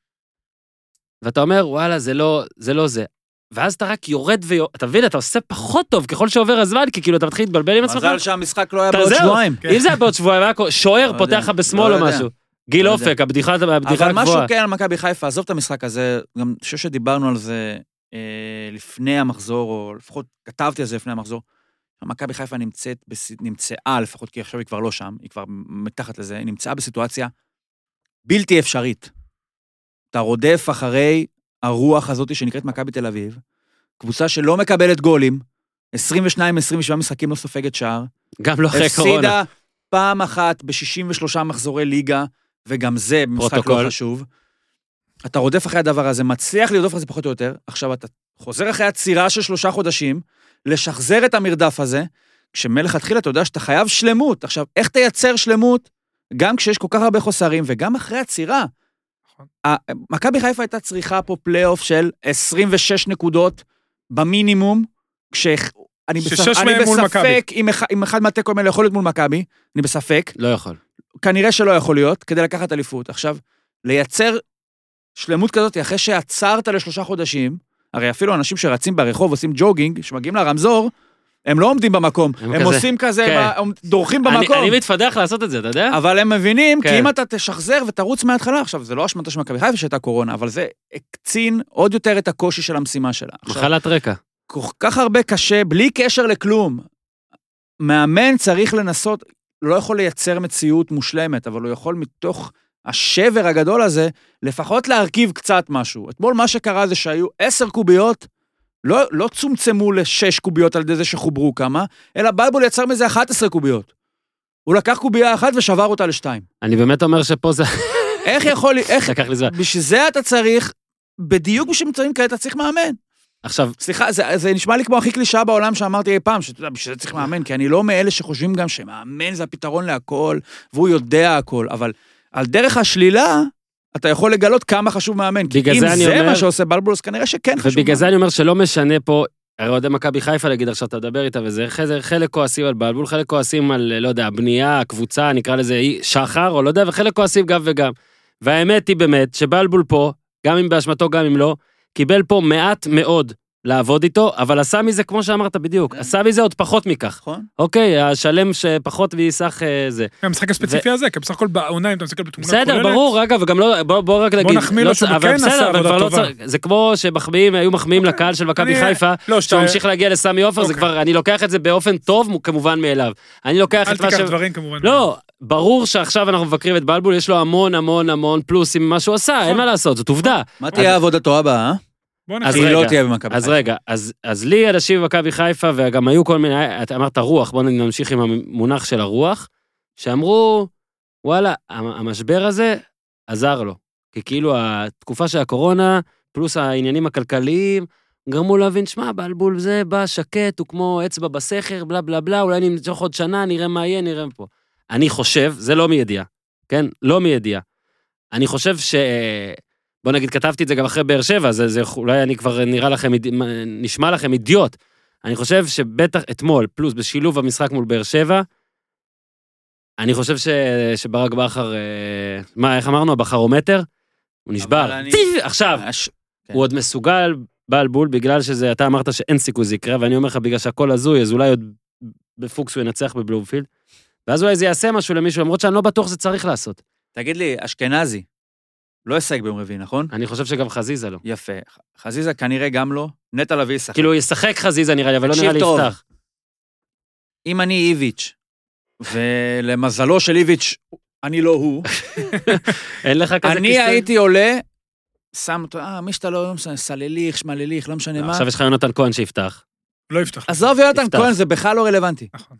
A: ואתה אומר, וואלה, זה לא זה. לא זה. ואז אתה רק יורד ויורד, אתה מבין, אתה עושה פחות טוב ככל שעובר הזמן, כי כאילו אתה מתחיל להתבלבל עם עצמך.
D: מזל שהמשחק לא היה
A: אתה
D: בעוד
A: זהו.
D: שבועיים.
C: כן.
A: אם זה היה בעוד שבועיים, היה כל- שוער
D: לא
A: פותח
D: יודע,
A: לך בשמאל
D: לא
A: או
D: יודע.
A: משהו. גיל
D: לא יודע.
A: אופק, הבדיחה הבדיחה
D: אבל משהו
A: הגבוהה.
D: כן על מכבי חיפה, עזוב את המשחק הזה, גם אני חושב שדיברנו על זה אה, לפני המחזור, או לפחות כתבתי על זה לפני המחזור. מכבי חיפה נמצאת, בס- נמצאה לפחות, כי עכשיו היא כבר לא שם, היא כבר מתחת לזה, היא נמצאה בסיטואציה בלתי אפשרית. אתה רודף אחרי הרוח הזאת שנקראת מכבי תל אביב, קבוצה שלא מקבלת גולים, 22-27 משחקים לא סופגת שער,
A: גם לא אחרי קורונה.
D: הפסידה פעם אחת ב-63 מחזורי ליגה, וגם זה משחק
A: פרוטוקול.
D: לא חשוב. אתה רודף אחרי הדבר הזה, מצליח לרדוף אחרי זה פחות או יותר, עכשיו אתה חוזר אחרי עצירה של שלושה חודשים, לשחזר את המרדף הזה, כשמלכתחילה אתה יודע שאתה חייב שלמות. עכשיו, איך תייצר שלמות גם כשיש כל כך הרבה חוסרים וגם אחרי עצירה?
C: נכון.
D: ה- מכבי חיפה הייתה צריכה פה פלייאוף של 26 נקודות במינימום, כש... אני
C: ששש
D: בספ- אני
C: מהם מול מכבי.
D: בספק אם אח- אם אחד מהתיקו האלה יכול להיות מול מכבי, אני בספק.
A: לא יכול.
D: כנראה שלא יכול להיות, כדי לקחת אליפות. עכשיו, לייצר שלמות כזאת אחרי שעצרת לשלושה חודשים, הרי אפילו אנשים שרצים ברחוב, עושים ג'וגינג, שמגיעים לרמזור, הם לא עומדים במקום,
A: הם
D: הם,
A: כזה,
D: עושים כזה,
A: כן.
D: הם עומד- דורכים
A: אני-
D: במקום.
A: אני מתפדח לעשות את זה, אתה יודע?
D: אבל הם מבינים,
A: כן.
D: כי אם אתה תשחזר ותרוץ מההתחלה, עכשיו, זה לא אשמתה של מכבי חיפה שהייתה קורונה, אבל זה הקצין עוד יותר את הקושי של המשימה שלה. עכשיו,
A: מחלת רקע.
D: כל כך הרבה קשה, בלי קשר לכלום. מאמן צריך לנסות, לא יכול לייצר מציאות מושלמת, אבל הוא יכול מתוך השבר הגדול הזה, לפחות להרכיב קצת משהו. אתמול מה שקרה זה שהיו עשר קוביות, לא, לא צומצמו לשש קוביות על ידי זה שחוברו כמה, אלא בלבול יצר מזה 11 קוביות. הוא לקח קובייה אחת ושבר אותה לשתיים.
A: אני באמת אומר שפה זה... [LAUGHS]
D: איך יכול, איך,
A: לקח לי זמן.
D: בשביל זה אתה צריך, בדיוק בשביל מצבים כאלה אתה צריך מאמן.
A: עכשיו,
D: סליחה, זה, זה נשמע לי כמו הכי קלישאה בעולם שאמרתי אי פעם, שאתה יודע, בשביל זה צריך מאמן, כי אני לא מאלה שחושבים גם שמאמן זה הפתרון להכל, והוא יודע הכל, אבל על דרך השלילה, אתה יכול לגלות כמה חשוב מאמן. כי
A: בגלל
D: אם
A: זה אני
D: זה
A: אומר-
D: מה שעושה בלבולוס, כנראה שכן חשוב
A: ובגלל
D: מאמן.
A: זה אני אומר שלא משנה פה, הרי אוהדי מכבי חיפה, נגיד, עכשיו אתה מדבר איתה וזה, חלק- חלק כועסים על בלבול, חלק כועסים על, לא יודע, הבנייה, הקבוצה, נקרא לזה אי- שחר, או לא יודע, וחלק כועסים גם וגם. והאמת היא באמת שבלבול פה, גם אם באשמתו, גם אם לא, קיבל פה מעט מאוד לעבוד איתו, אבל עשה מזה, כמו שאמרת בדיוק,
C: כן.
A: עשה מזה עוד פחות מכך.
D: נכון?
A: אוקיי, השלם שפחות מסך אה, זה.
C: המשחק הספציפי הזה, כי בסך הכל בעונה, אם אתה מסתכל בתמונה כוללת...
A: בסדר, ברור, אגב, וגם לא, בוא, בוא רק נגיד,
C: נחמיא
A: לא
C: לו
A: צ-
C: שהוא
A: אבל
C: כן
A: בסדר,
C: עשה
A: אבל
C: עבודה
A: כבר לא
C: טובה.
A: צריך- זה כמו שמחמיאים, היו מחמיאים לקהל של מכבי
C: אני-
A: חיפה, שהוא
C: לא, שאתה...
A: המשיך להגיע לסמי עופר, זה
C: אוקיי.
A: כבר, אני לוקח את זה באופן טוב, מ- כמובן מאליו. אני לוקח
C: אל
A: את מה ש...
C: תיקח דברים כמובן.
A: לא, ברור שעכשיו אנחנו מבקרים את בלבול, יש לו המון המון המון פלוסים ממה שהוא עשה,
C: נכון.
A: אין מה לעשות, זאת עובדה.
D: מה תהיה עבודתו הבאה?
C: בוא
A: אז
D: אז היא
A: רגע,
D: לא תהיה במכבי.
A: אז רגע, אז, אז לי אנשים במכבי חיפה, וגם היו כל מיני, את אמרת רוח, בואו נמשיך עם המונח של הרוח, שאמרו, וואלה, המ- המשבר הזה עזר לו. כי כאילו התקופה של הקורונה, פלוס העניינים הכלכליים, גרמו להבין, שמע, בלבול זה בא שקט, הוא כמו אצבע בסכר, בלה בלה בלה, אולי נמשוך עוד שנה, נראה מה יהיה, נראה פה. אני חושב, זה לא מידיעה, כן? לא מידיעה. אני חושב ש... אה, בוא נגיד, כתבתי את זה גם אחרי באר שבע, זה, זה אולי אני כבר נראה לכם, איד- נשמע לכם אידיוט. אני חושב שבטח אתמול, פלוס בשילוב המשחק מול באר שבע, אני חושב ש, שברק בכר, אה, מה, איך אמרנו, הבכרומטר? הוא
D: אבל
A: נשבר.
D: אני-
A: טיב, עכשיו,
D: הש- כן.
A: הוא עוד מסוגל, בעל בול, בגלל שזה, אתה אמרת שאין סיכוי זה יקרה, ואני אומר לך, בגלל שהכל הזוי, אז אולי עוד בפוקס הוא ינצח בבלומפילד, ואז אולי זה יעשה משהו למישהו, למרות שאני לא בטוח שזה צריך לעשות.
D: תגיד לי, אשכנזי, לא הישג ביום רביעי, נכון?
A: אני חושב שגם חזיזה לא.
D: יפה. ח- חזיזה כנראה גם לא, נטע לביא ישחק.
A: כאילו, ישחק חזיזה נראה לי, אבל לא
D: תקשיב
A: נראה לי
D: טוב.
A: יפתח.
D: אם אני איביץ', ולמזלו של איביץ', אני לא
A: [LAUGHS]
D: הוא,
A: אין לך כזה
D: אני הייתי עולה, שם אותו, אה, מי שאתה לא, לא משנה, סלליך, שמלליך, לא משנה מה.
A: עכשיו יש לך יונתן כהן שיפתח.
C: לא יפתח.
D: עזוב יונתן
A: תפתח.
D: כהן, זה בכלל לא רלוונטי.
C: נכון.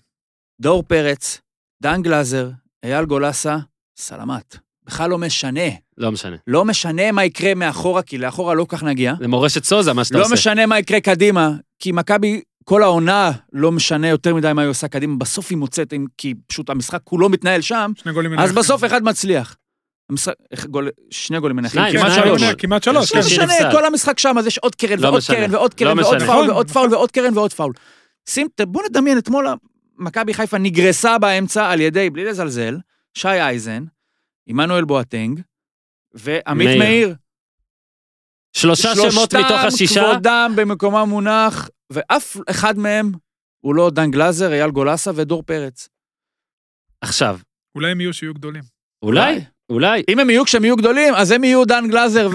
D: דור פרץ, דן גלאזר, אייל גולסה, סלמת. בכלל לא משנה.
A: לא משנה.
D: לא משנה מה יקרה מאחורה, כי לאחורה לא כל כך נגיע.
A: זה מורשת סוזה, מה שאתה
D: לא
A: עושה.
D: משנה מה יקרה קדימה, כי מכבי, כל העונה לא משנה יותר מדי מה היא עושה קדימה, בסוף היא מוצאת, אם- כי פשוט המשחק כולו מתנהל שם,
C: שני גולים
D: אז
C: מנחים.
D: בסוף אחד מצליח. המשחק- איך גול- שני גולים מנחים,
A: שניים,
D: כמעט
C: כן,
A: שניים.
D: שלוש.
C: כן, כמעט שלוש.
D: לא
A: שלישי
C: כן.
D: משנה,
A: נפסל.
D: כל המשחק שם, אז יש עוד קרן
A: לא
D: ועוד
A: משנה.
D: קרן ועוד
A: לא
D: קרן ועוד
A: משנה.
D: פאול
C: נכון.
D: ועוד פאול ועוד קרן ועוד פאול. שים, ת- בוא נדמיין, אתמול מכבי חיפה נגרסה באמצע על ידי, בלי לזלזל, שי אייזן, עמנואל בואטנג, ועמית
A: מאיר.
D: מאיר.
A: שלושה שמות מתוך השישה.
D: שלושתם כבודם במקומם מונח, ואף אחד מהם הוא לא דן גלאזר, אייל גולסה ודור פרץ.
A: עכשיו,
C: אולי הם יהיו שיהיו גדולים.
A: אולי, אולי.
D: אם הם יהיו כשהם יהיו גדולים, אז הם יהיו דן גלאזר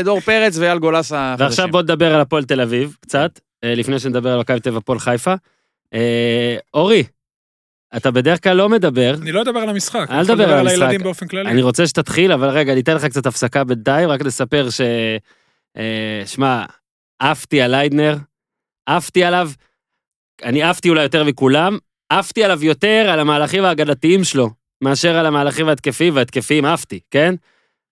D: ודור [LAUGHS] פרץ ואייל גולסה.
A: ועכשיו
D: חדשים.
A: בוא נדבר על הפועל תל אביב קצת, אה, לפני שנדבר על מכבי טבע הפועל חיפה. אה, אורי, אתה בדרך כלל לא מדבר,
C: אני לא אדבר על המשחק.
A: אל
C: אני יכול
A: תדבר על
C: לדבר על
A: המשחק.
C: הילדים באופן כללי.
A: אני רוצה שתתחיל, אבל רגע, אני אתן לך קצת הפסקה בינתיים, רק לספר ש... אה, שמע, עפתי על ליידנר, עפתי עליו, אני עפתי אולי יותר מכולם, עפתי עליו יותר על המהלכים ההגנתיים שלו, מאשר על המהלכים ההתקפיים, וההתקפיים עפתי, כן?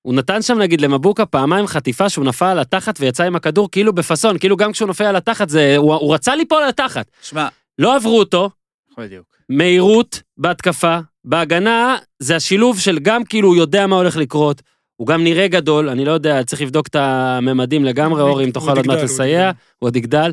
A: הוא נתן שם נגיד למבוקה פעמיים חטיפה שהוא נפל על התחת ויצא עם הכדור כאילו בפאסון, כאילו גם כשהוא נופל על התחת זה, הוא, הוא רצה ליפול על התחת.
D: שמע,
A: לא עברו אותו,
D: נכון, בדיוק.
A: מהירות בהתקפה, בהגנה זה השילוב של גם כאילו הוא יודע מה הולך לקרות, הוא גם נראה גדול, אני לא יודע, צריך לבדוק את הממדים לגמרי,
C: הוא
A: אורי, אם
C: יג-
A: תוכל
C: הוא
A: עוד מעט
C: יגדל, הוא
A: לסייע,
C: יגדל.
A: הוא עוד יגדל.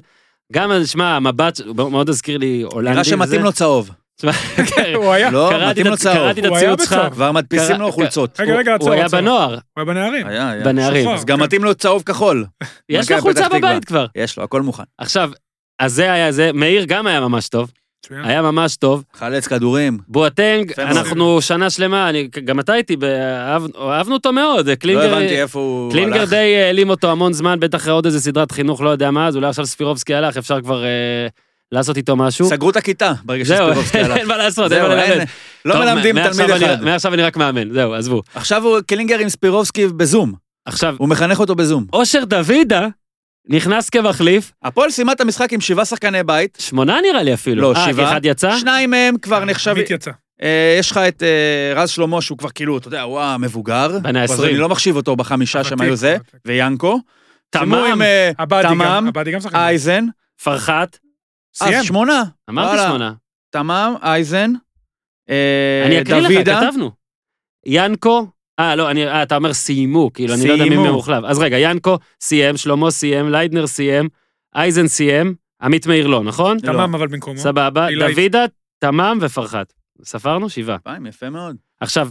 A: גם, שמע, המבט, הוא מאוד הזכיר לי הולנדי.
D: נראה
A: וזה.
D: שמתאים לו צהוב.
A: שמע, [LAUGHS] כן,
C: הוא היה,
D: [LAUGHS] לא,
A: קראתי
D: מתאים
A: את
D: לו
A: הצ- קראתי את
D: צהוב.
C: הוא היה
A: הציוץ שלך.
C: בצהוב.
D: כבר מדפיסים
A: קרא-
D: לו חולצות.
C: רגע, רגע,
A: הוא
C: עצור,
A: היה
C: עצור.
A: בנוער,
C: הוא היה בנערים.
D: היה, היה.
A: בנערים.
C: שחור.
D: אז גם מתאים לו צהוב כחול.
A: יש
D: מכבי
A: לו חולצה
D: פתח תקווה.
A: בבית כבר.
D: יש לו, הכל מוכן.
A: עכשיו, אז זה היה זה, מאיר גם היה ממש טוב,
C: מצוין.
A: היה ממש טוב.
D: חלץ כדורים. לא
A: בואטנג,
D: יפה מאוד.
A: אנחנו שנה שלמה, אני- גם אתה איתי, באהב- אהבנו אותו מאוד,
D: לא
A: קלינגר...
D: הבנתי איפה הוא
A: קלינגר
D: הלך.
A: די אה, העלים אותו המון זמן, בטח עוד איזה סדרת חינוך, לא יודע מה, אז אולי עכשיו ספירובסקי הלך, אפשר כבר אה, לעשות איתו משהו.
D: סגרו את הכיתה ברגע
A: זהו,
D: שספירובסקי
A: [LAUGHS]
D: הלך.
A: אין מה לעשות, אין
D: זהו,
A: מה ללמד.
D: אין- לא
A: טוב,
D: מלמדים
A: מעכשיו
D: תלמיד
A: אני-
D: אחד.
A: מעכשיו אני רק מאמן, זהו, עזבו.
D: עכשיו הוא קלינגר עם ספירובסקי בזום.
A: עכשיו,
D: הוא מחנך אותו בזום.
A: אושר דוידה נכנס כמחליף,
D: הפועל סיימה את המשחק עם שבעה שחקני בית.
A: שמונה נראה לי אפילו.
D: לא,
A: אה, כי
D: שבעה.
A: אחד יצא?
D: שניים מהם כבר נחשבים...
C: עמית יצא.
D: אה, יש לך את אה, רז שלמה, שהוא כבר כאילו, אתה יודע, הוא המבוגר.
A: בן ה-
D: כבר
A: 20.
D: אני לא מחשיב אותו בחמישה שהם
C: ותיק,
D: היו זה,
C: ותיק.
D: ויאנקו. סיימו
A: תמם,
D: עם, אה,
C: עבדי
D: תמם,
C: גם, עבדי גם שחקן.
D: אייזן.
A: פרחת,
D: אז
C: סיים.
D: אה, שמונה.
A: אמרתי
D: וואלה.
A: שמונה.
D: תמם, אייזן. אה,
A: אני אקריא לך,
D: דוידה.
A: כתבנו. ינקו, אה, לא, אני, אה, אתה אומר סיימו, כאילו, אני לא יודע מי
D: סיימו.
A: מהם הוחלף. אז רגע, ינקו סיים, שלמה סיים, ליידנר סיים, אייזן סיים, עמית מאיר לא, נכון?
D: לא.
C: תמם אבל במקומו.
A: סבבה,
C: אילי.
A: דוידה, תמם ופרחת. ספרנו שבעה.
D: פעם, יפה מאוד.
A: עכשיו,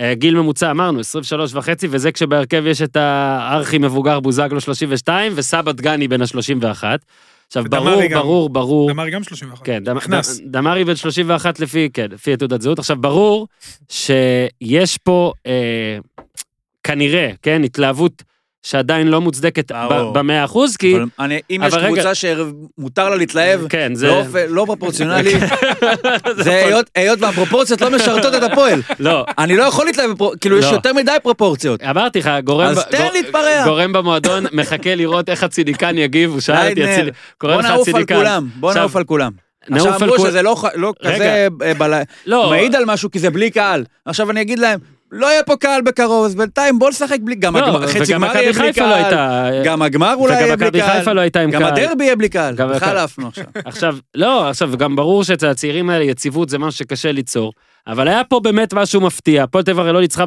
A: אה, גיל ממוצע אמרנו, 23 וחצי, וזה כשבהרכב יש את הארכי מבוגר בוזגלו 32, וסבא דגני בין ה-31. עכשיו,
C: ודמרי
A: ברור,
C: גם.
A: ברור, ברור,
C: דמר גם 31.
D: אוקיי,
A: כן, דמ-
C: נכנס.
A: ד- דמרי בן 31 לפי, כן, לפי תעודת זהות. עכשיו, ברור שיש פה אה, כנראה, כן, התלהבות שעדיין לא מוצדקת
D: ברור.
A: ב- במאה אחוז, כי...
D: אבל אני- אם
A: אבל
D: יש
A: רגע.
D: קבוצה שמותר לה להתלהב,
A: כן, זה... כן,
D: באופן לא
A: [LAUGHS]
D: פרופורציונלי, זה היות- היות והפרופורציות לא משרתות את
A: [LAUGHS]
D: הפועל.
A: לא,
D: אני לא יכול להתלהב, בפרו- כאילו יש
A: לא.
D: יותר מדי פרופורציות.
A: אמרתי לך, גורם...
D: אז
A: ב-
D: תן
A: גור-
D: להתפרע.
A: גורם במועדון [LAUGHS] מחכה לראות איך הציניקן יגיב, הוא שאל אותי,
D: ליידנר,
A: הצינ- קורא
D: בוא
A: לך
D: נעוף על
A: הציניקן.
D: כולם, בוא
A: עכשיו,
D: נעוף על כולם.
A: נעוף
D: עכשיו
A: על
D: אמרו
A: כול-
D: שזה לא ח- לא
A: רגע.
D: כזה אה, בל-
A: לא,
D: מעיד על משהו, כי זה בלי קהל. עכשיו אני אגיד להם, לא יהיה פה קהל בקרוב, אז בינתיים בוא נשחק בלי... גם
A: לא,
D: הגמר- חצי
A: וגם
D: גמר יהיה
A: מכבי
D: בלי
A: חיפה לא
D: קהל,
A: הייתה...
D: גם הגמר אולי
A: וגם
D: יהיה בלי
A: מכבי חיפה
D: קהל,
A: לא הייתה עם
D: גם
A: קהל.
D: הדרבי יהיה בלי קהל,
A: גם
D: בכלל
A: הקהל.
D: עפנו עכשיו.
A: עכשיו, לא, עכשיו, גם ברור שאצל הצעירים האלה יציבות זה משהו שקשה ליצור, אבל היה פה באמת משהו מפתיע. הפועל טבע הרי לא ניצחה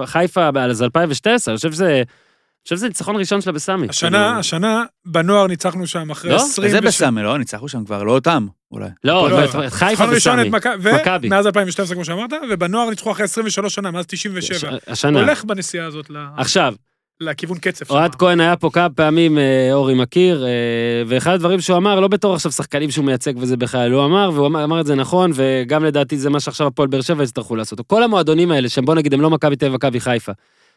A: בחיפה אז 2012, אני חושב שזה... אני חושב שזה ניצחון ראשון שלה בסמי.
D: לא.
A: כאילו.
C: השנה, השנה, בנוער ניצחנו שם אחרי
A: לא?
C: 20...
D: זה
C: וש-
D: בסמי, לא? ניצחנו שם כבר, לא אותם, אולי.
A: לא,
C: לא,
A: אבל את חיפה
C: ניצחנו ראשון
A: בסמי.
C: את מכבי,
A: מכבי.
C: ומאז 2012 כמו שאמרת, ובנוער ניצחו אחרי 23 שנה, מאז 97.
A: הש- השנה.
C: הולך בנסיעה הזאת ל-
A: עכשיו,
C: לכיוון קצב. שם.
A: אוהד כהן היה פה כמה פעמים, אה, אורי מכיר, אה, ואחד הדברים שהוא אמר, לא בתור עכשיו שחקנים שהוא מייצג וזה בכלל, הוא אמר, והוא אמר, אמר את זה נכון, וגם לדעתי זה מה שעכשיו הפועל באר שבע יצטרכו לעשות. כל המועדונים האלה, שהם בוא נגיד, הם לא מכבי תל אביב, מכבי חיפה,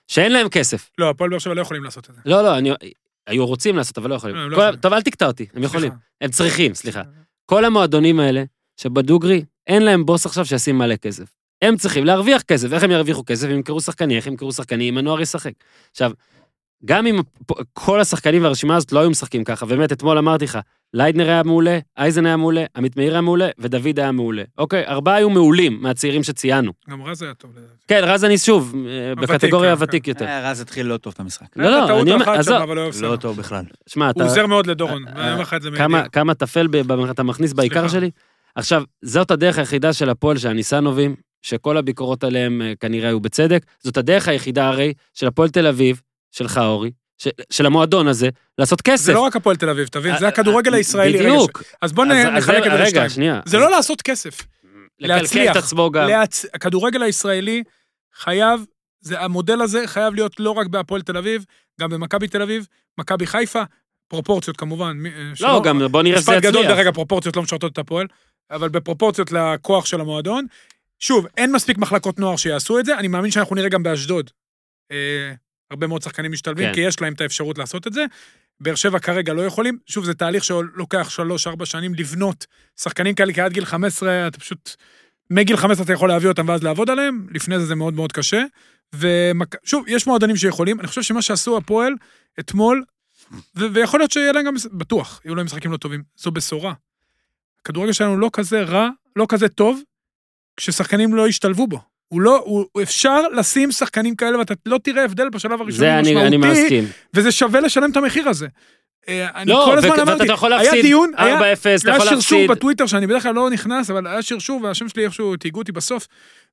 A: שאין להם כסף.
C: לא, הפועל באר שבע לא יכולים לעשות את זה.
A: לא, לא, אני... היו רוצים לעשות, אבל לא יכולים.
C: לא, הם לא
A: כל-
C: יכולים.
A: טוב, אל תקטע אותי, הם יכולים.
C: סליחה.
A: הם צריכים, סליחה. כל המועדונים האלה, שבדוגרי, אין להם בוס עכשיו שישים מלא כסף. הם צריכים להרוויח כסף. איך הם ירוויחו כסף? הם ימכרו שחקנים, איך הם ימכרו שחקנים, אם הנוער ישחק. עכשיו, גם אם הפ- כל השחקנים והרשימה הזאת לא היו משחקים ככה, באמת, אתמול אמרתי לך, ליידנר היה מעולה, אייזן היה מעולה, עמית מאיר היה מעולה, ודוד היה מעולה. אוקיי, ארבעה היו מעולים מהצעירים שציינו.
C: גם רז היה טוב לדעתי.
A: כן, רז אני שוב, אה,
C: הוותיק,
A: בקטגוריה
C: כן,
A: הוותיק יותר.
D: אה, רז התחיל לא טוב את המשחק.
A: לא, לא, אני אומר, עזוב,
D: לא
C: עזוב.
D: טוב בכלל.
A: שמע, אתה...
C: הוא עוזר מאוד לדורון,
A: אה,
C: אני אומר לך את זה
A: כמה,
C: מידיעה.
A: כמה טפל ב- ב- אתה מכניס בעיקר
C: סליחה.
A: שלי? עכשיו, זאת הדרך היחידה של הפועל של הניסנובים, שכל הביקורות עליהם אה, כנראה היו בצדק, זאת הדרך היחידה הרי של הפועל תל אביב, שלך אורי, ש- של המועדון הזה, לעשות כסף.
C: זה לא רק הפועל תל אביב, תבין, זה
A: אה,
C: הכדורגל
A: אה,
C: הישראלי. רגע,
A: בדיוק.
C: ש- אז בוא
A: אז- אז
C: נחלק את זה
A: רגע,
C: לשתיים.
A: שנייה.
C: זה לא לעשות כסף.
A: לקלקל את
C: להצליח.
A: עצמו גם.
C: להצ... הכדורגל הישראלי חייב, זה, המודל הזה חייב להיות לא רק בהפועל תל אביב, גם במכבי תל אביב, מכבי חיפה, פרופורציות כמובן. מי- אה,
A: לא,
C: שלא-
A: גם בוא נראה שזה
C: משפט גדול, דרך
A: יצליח.
C: אגב, פרופורציות לא משרתות את הפועל, אבל בפרופורציות לכוח של המועדון. שוב, אין מספיק מחלקות נוער שיעשו את זה, אני מאמין שאנחנו נראה גם באשדוד. אה, הרבה מאוד שחקנים משתלבים,
A: כן.
C: כי יש להם את האפשרות לעשות את זה. באר שבע כרגע לא יכולים. שוב, זה תהליך שלוקח שלוש-ארבע שנים לבנות שחקנים כאלה, כי עד גיל 15 אתה פשוט... מגיל 15 אתה יכול להביא אותם ואז לעבוד עליהם, לפני זה זה מאוד מאוד קשה. ושוב, יש מועדונים שיכולים, אני חושב שמה שעשו הפועל אתמול, ו- ויכול להיות שיהיה להם גם, בטוח, יהיו להם משחקים לא טובים, זו בשורה. הכדורגל שלנו לא כזה רע, לא כזה טוב, כששחקנים לא ישתלבו בו. הוא לא, הוא, הוא אפשר לשים שחקנים כאלה ואתה לא תראה הבדל בשלב הראשון.
A: זה אני, אני מסכים.
C: וזה שווה לשלם את המחיר הזה. אה, אני
A: לא,
C: כל
A: ו-
C: הזמן
A: ואתה
C: אמרתי,
A: יכול
C: היה
A: להפסיד
C: דיון,
A: 4-0,
C: היה,
A: אתה
C: היה
A: יכול
C: שרשור
A: להפסיד.
C: בטוויטר שאני בדרך כלל לא נכנס, אבל היה שרשור והשם שלי איכשהו תהיגו אותי בסוף.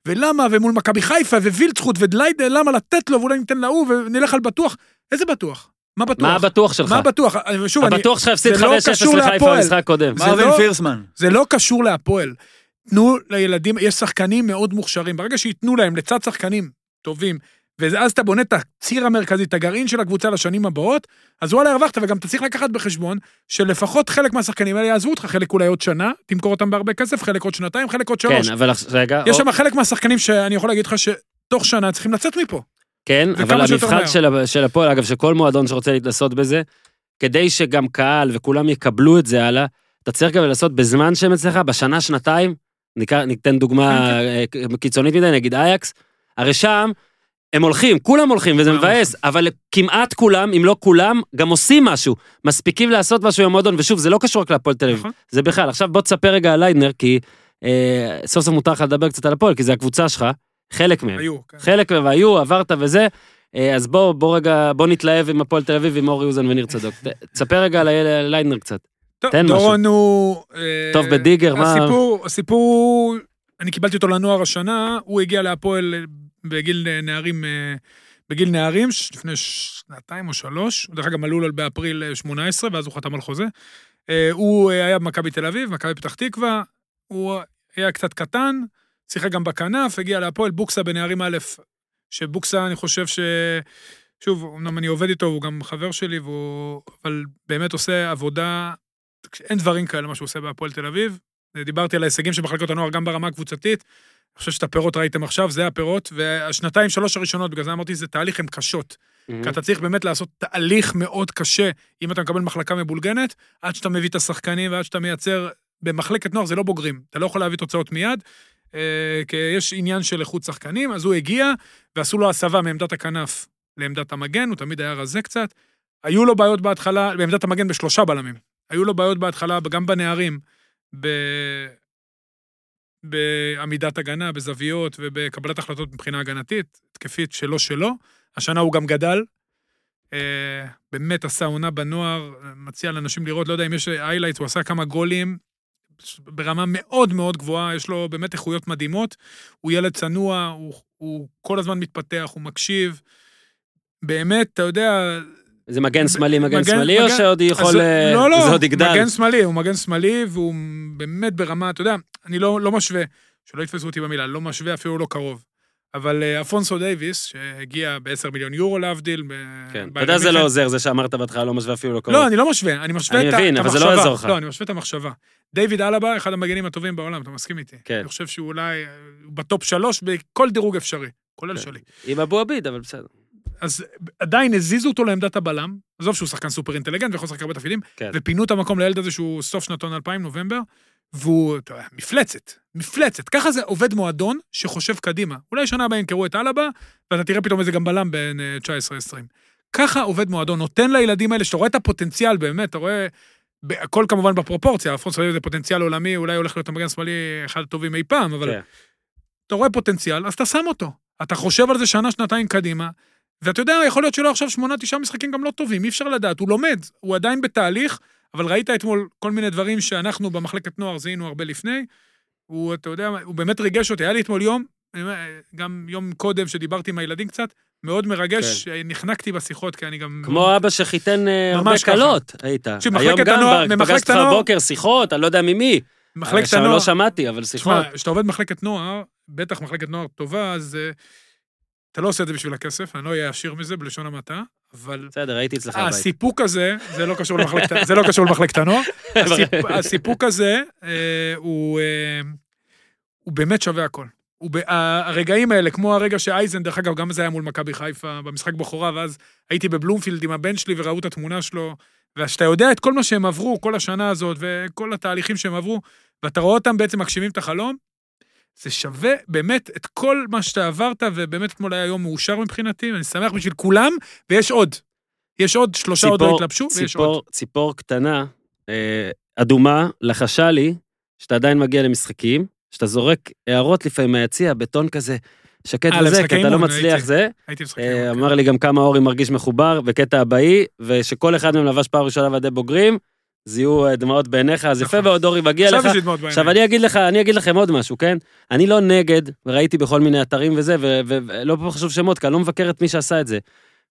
C: ולמה, ומול מכבי חיפה, ווילצחוט, ודליידר, למה לתת לו, ואולי ניתן להוא, ונלך על בטוח. איזה בטוח? מה בטוח?
A: מה הבטוח שלך?
C: מה בטוח? אני- שוב, אני,
A: הבטוח שלך הפסיד 5-0
C: זה לא קשור
A: לחיפה
C: להפועל.
A: במשחק הקודם.
C: זה
D: מרווין
C: לא-
D: פירסמן.
C: זה לא קשור להפועל. תנו לילדים, יש שחקנים מאוד מוכשרים. ברגע שייתנו להם לצד שחקנים טובים, ואז אתה בונה את הציר המרכזי, את הגרעין של הקבוצה לשנים הבאות, אז וואלה הרווחת, וגם אתה צריך לקחת בחשבון שלפחות חלק מהשחקנים האלה יעזבו אותך, חלק אולי עוד שנה, תמכור אותם בהרבה כסף, חלק עוד שנתיים, חלק עוד
A: כן,
C: שלוש.
A: אבל עכשיו- רגע, אוקיי,
C: יש
A: או-
C: שם חלק מהשחקנים שאני יכול להגיד לך שתוך שנה צריכים לצאת מפה.
A: כן,
C: וכמה
A: אבל
C: שיותר
A: המבחן
C: מהר.
A: של ה- של הפועל, אגב, שכל מועדון שרוצה להתנסות בזה, כדי שגם קהל וכולם יקבלו את זה הלאה, אתה צריך גם לעשות בזמן שהם אצלך, בשנה, שנתיים, ניקח- ניתן דוגמה
C: כן,
A: אה, קיצונית מדי, נגיד אייקס, הרי שם הם הולכים, כולם הולכים, וזה
C: כולם
A: מבאס, אבל כמעט כולם, אם לא כולם, גם עושים משהו, מספיקים לעשות משהו עם המועדון, ושוב, זה לא קשור רק להפועל תל אביב,
C: נכון.
A: זה בכלל. עכשיו בוא תספר רגע על ליידנר, כי אה, סוף סוף מותר לך לדבר קצת על הפועל, כי זה הקבוצה שלך, חלק מהם.
C: היו, כן.
A: חלק מהם היו, עברת וזה. אה, אז בוא, בוא רגע, בוא נתלהב עם הפועל תל אביב, עם אורי אוזן וניר צדוק. ת- תספר רגע על היל- ליידנר קצת.
C: טוב,
A: תן משהו.
C: דורון הוא... אה,
A: טוב, בדיגר, מה-
C: הסיפור, הסיפור, אני קיבלתי אותו לנוער השנה, הוא הגיע להפועל אה, בגיל אה, נערים, אה, בגיל נערים, ש- לפני שנתיים או שלוש, דרך אגב, מלול באפריל אה, 18, ואז הוא חתם על חוזה. אה, הוא אה, היה במכבי תל אביב, מכבי פתח תקווה, הוא היה קצת קטן, שיחק גם בכנף, הגיע להפועל בוקסה בנערים א', שבוקסה, אני חושב ש... שוב, אמנם אני עובד איתו, הוא גם חבר שלי, והוא... אבל באמת עושה עבודה, אין דברים כאלה, מה שהוא עושה בהפועל תל אביב. דיברתי על ההישגים של מחלקות הנוער גם ברמה הקבוצתית. אני חושב שאת הפירות ראיתם עכשיו, זה הפירות, והשנתיים, שלוש הראשונות, בגלל זה אמרתי, זה תהליך, הן קשות.
A: Mm-hmm.
C: כי אתה צריך באמת לעשות תהליך מאוד קשה, אם אתה מקבל מחלקה מבולגנת, עד שאתה מביא את השחקנים ועד שאתה מייצר... במחלקת נוער זה לא בוגרים, אתה לא יכול להביא תוצאות מיד, אה, כי יש עניין של איכות שחקנים, אז הוא הגיע, ועשו לו הסבה מעמדת הכנף לעמדת המגן, הוא תמיד היה רזה קצת. היו לו בעיות בהתחלה, בעמדת המגן בשלושה בלמים. היו לו בעיות בהתחלה, גם בנערים, ב... בעמידת הגנה, בזוויות ובקבלת החלטות מבחינה הגנתית, התקפית שלא שלו. השנה הוא גם גדל. אה, באמת עשה עונה בנוער, מציע לאנשים לראות, לא יודע אם יש איילייטס, הוא עשה כמה גולים ברמה מאוד מאוד גבוהה, יש לו באמת איכויות מדהימות. הוא ילד צנוע, הוא, הוא כל הזמן מתפתח, הוא מקשיב. באמת, אתה יודע,
A: זה מגן שמאלי, מגן
C: מגן-
A: שמאלי, או
C: מגן-
A: שעוד
C: אז
A: יכול... אה,
C: לא, לא,
A: זה עוד יגדל.
C: מגן שמאלי, הוא מגן שמאלי, והוא באמת ברמה, אתה יודע, אני לא, לא משווה, שלא יתפסו אותי במילה, לא משווה, אפילו לא קרוב. אבל אה, אפונסו דייוויס, שהגיע ב-10 מיליון יורו להבדיל, ב-
A: כן, אתה
C: בביירן
A: יודע זה
C: מינכן.
A: לא עוזר, זה שאמרת בהתחלה לא משווה אפילו לא קרוב.
C: לא, אני לא משווה, אני משווה
A: אני
C: את ה-
A: מבין,
C: את
A: אבל זה
C: המחשבה.
A: לא יעזור לך.
C: לא, אני משווה את המחשבה. דיוויד אלבה, אחד המגנים הטובים בעולם, אתה מסכים איתי?
A: כן.
C: אני חושב שהוא אולי אה, הוא בטופ שלוש בכל דירוג אפשרי, כולל
A: כן.
C: שלי.
A: עם אבו עביד, אבל בסדר.
C: אז עדיין הזיזו אותו לעמדת הבלם, עזוב שהוא שחקן סופר אינטליגנט ויכול לשחק הרבה תפקידים,
A: כן.
C: ופינו את המקום לילד הזה שהוא סוף שנתון 2000, נובמבר, והוא, אתה יודע, מפלצת, מפלצת. ככה זה עובד מועדון שחושב קדימה. אולי שנה הבאה ימכרו את אלבה, ואתה תראה פתאום איזה גם בלם בין אה, 19-20. ככה עובד מועדון, נותן לילדים האלה, שאתה רואה את הפוטנציאל באמת, אתה רואה... הכל כמובן בפרופורציה, אלפונסו דייוויד זה פוטנציאל עולמי, אולי הולך להיות המגן השמאלי אחד הטובים אי פעם, אבל
A: כן.
C: אתה רואה פוטנציאל, אז אתה שם אותו. אתה חושב על זה שנה, שנתיים קדימה, ואתה יודע, יכול להיות שלא עכשיו שמונה, תשעה משחקים גם לא טובים, אי אפשר לדעת, הוא לומד, הוא עדיין בתהליך, אבל ראית אתמול כל מיני דברים שאנחנו במחלקת נוער זיהינו הרבה לפני. הוא, אתה יודע, הוא באמת ריגש אותי, היה לי אתמול יום, אני אומר, גם יום קודם שדיברתי עם הילדים קצת, מאוד מרגש, אה, נחנקתי בשיחות, כי אני גם...
A: כן. כמו אבא שחיתן אה, הרבה
C: ממש ככה.
A: קלות, היית.
C: תקשיב,
A: היום
C: מחלקת
A: גם,
C: הנוער-
A: בר-
C: במחלקת
A: פגשתי אותך
C: הנוער-
A: בבוקר, שיחות, אני לא יודע ממי.
C: מחלקת
A: עכשיו
C: הנוער...
A: לא שמעתי, אבל שיחות.
C: תשמע, כשאתה עובד במחלקת נוער, בטח מחלקת נוער טובה, אז אה, אתה לא עושה את זה בשביל הכסף, אני לא אהיה עשיר מזה, בלשון המעטה, אבל
A: בסדר, הייתי אצלך
C: אה,
A: בבית.
C: הסיפוק הזה, זה לא קשור למחלקת- זה לא קשור למחלקת הנוער,
A: [LAUGHS]
C: הסיפ- הסיפוק הזה אה, הוא אה, הוא באמת שווה הכל. הוא ב- ה- הרגעים האלה, כמו הרגע שאייזן, דרך אגב, גם זה היה מול מכבי חיפה, במשחק בכורה, ואז הייתי בבלומפילד עם הבן שלי וראו את התמונה שלו, ושאתה יודע את כל מה שהם עברו, כל השנה הזאת, וכל התהליכים שהם עברו, ואתה רואה אותם בעצם מגשימים את החלום, זה שווה באמת את כל מה שאתה עברת, ובאמת אתמול היה יום מאושר מבחינתי, ואני שמח בשביל כולם, ויש עוד. יש עוד, שלושה עוד לא
A: ציפור-
C: התלבשו, ויש עוד.
A: ציפור, ציפור קטנה, אה, אדומה, לחשה לי שאתה עדיין מגיע למשחקים, שאתה זורק הערות לפעמים מהיציע, בטון כזה, שקט
C: אה,
A: וזה,
C: למשחקי
A: כי אתה לא
C: אימון,
A: מצליח
C: ראיתי. אוקיי,
A: זה.
C: הייתי משחק. כן.
A: אה, אמר לי גם כמה אורי מרגיש מחובר, וקטע הבאי, ושכל אחד מהם לבש פעם ראשונה ועדי בוגרים, זיהו אה, דמעות בעיניך, אז יפה
C: נכון.
A: מאוד, אורי, מגיע
C: עכשיו
A: לך.
C: יש לי דמעות
A: עכשיו
C: בעיניים.
A: אני אגיד לך, אני אגיד לכם עוד משהו, כן? אני לא נגד, וראיתי בכל מיני אתרים וזה, ו- ו- ולא פה חשוב שמות, כי אני לא מבקר את מי שעשה את זה.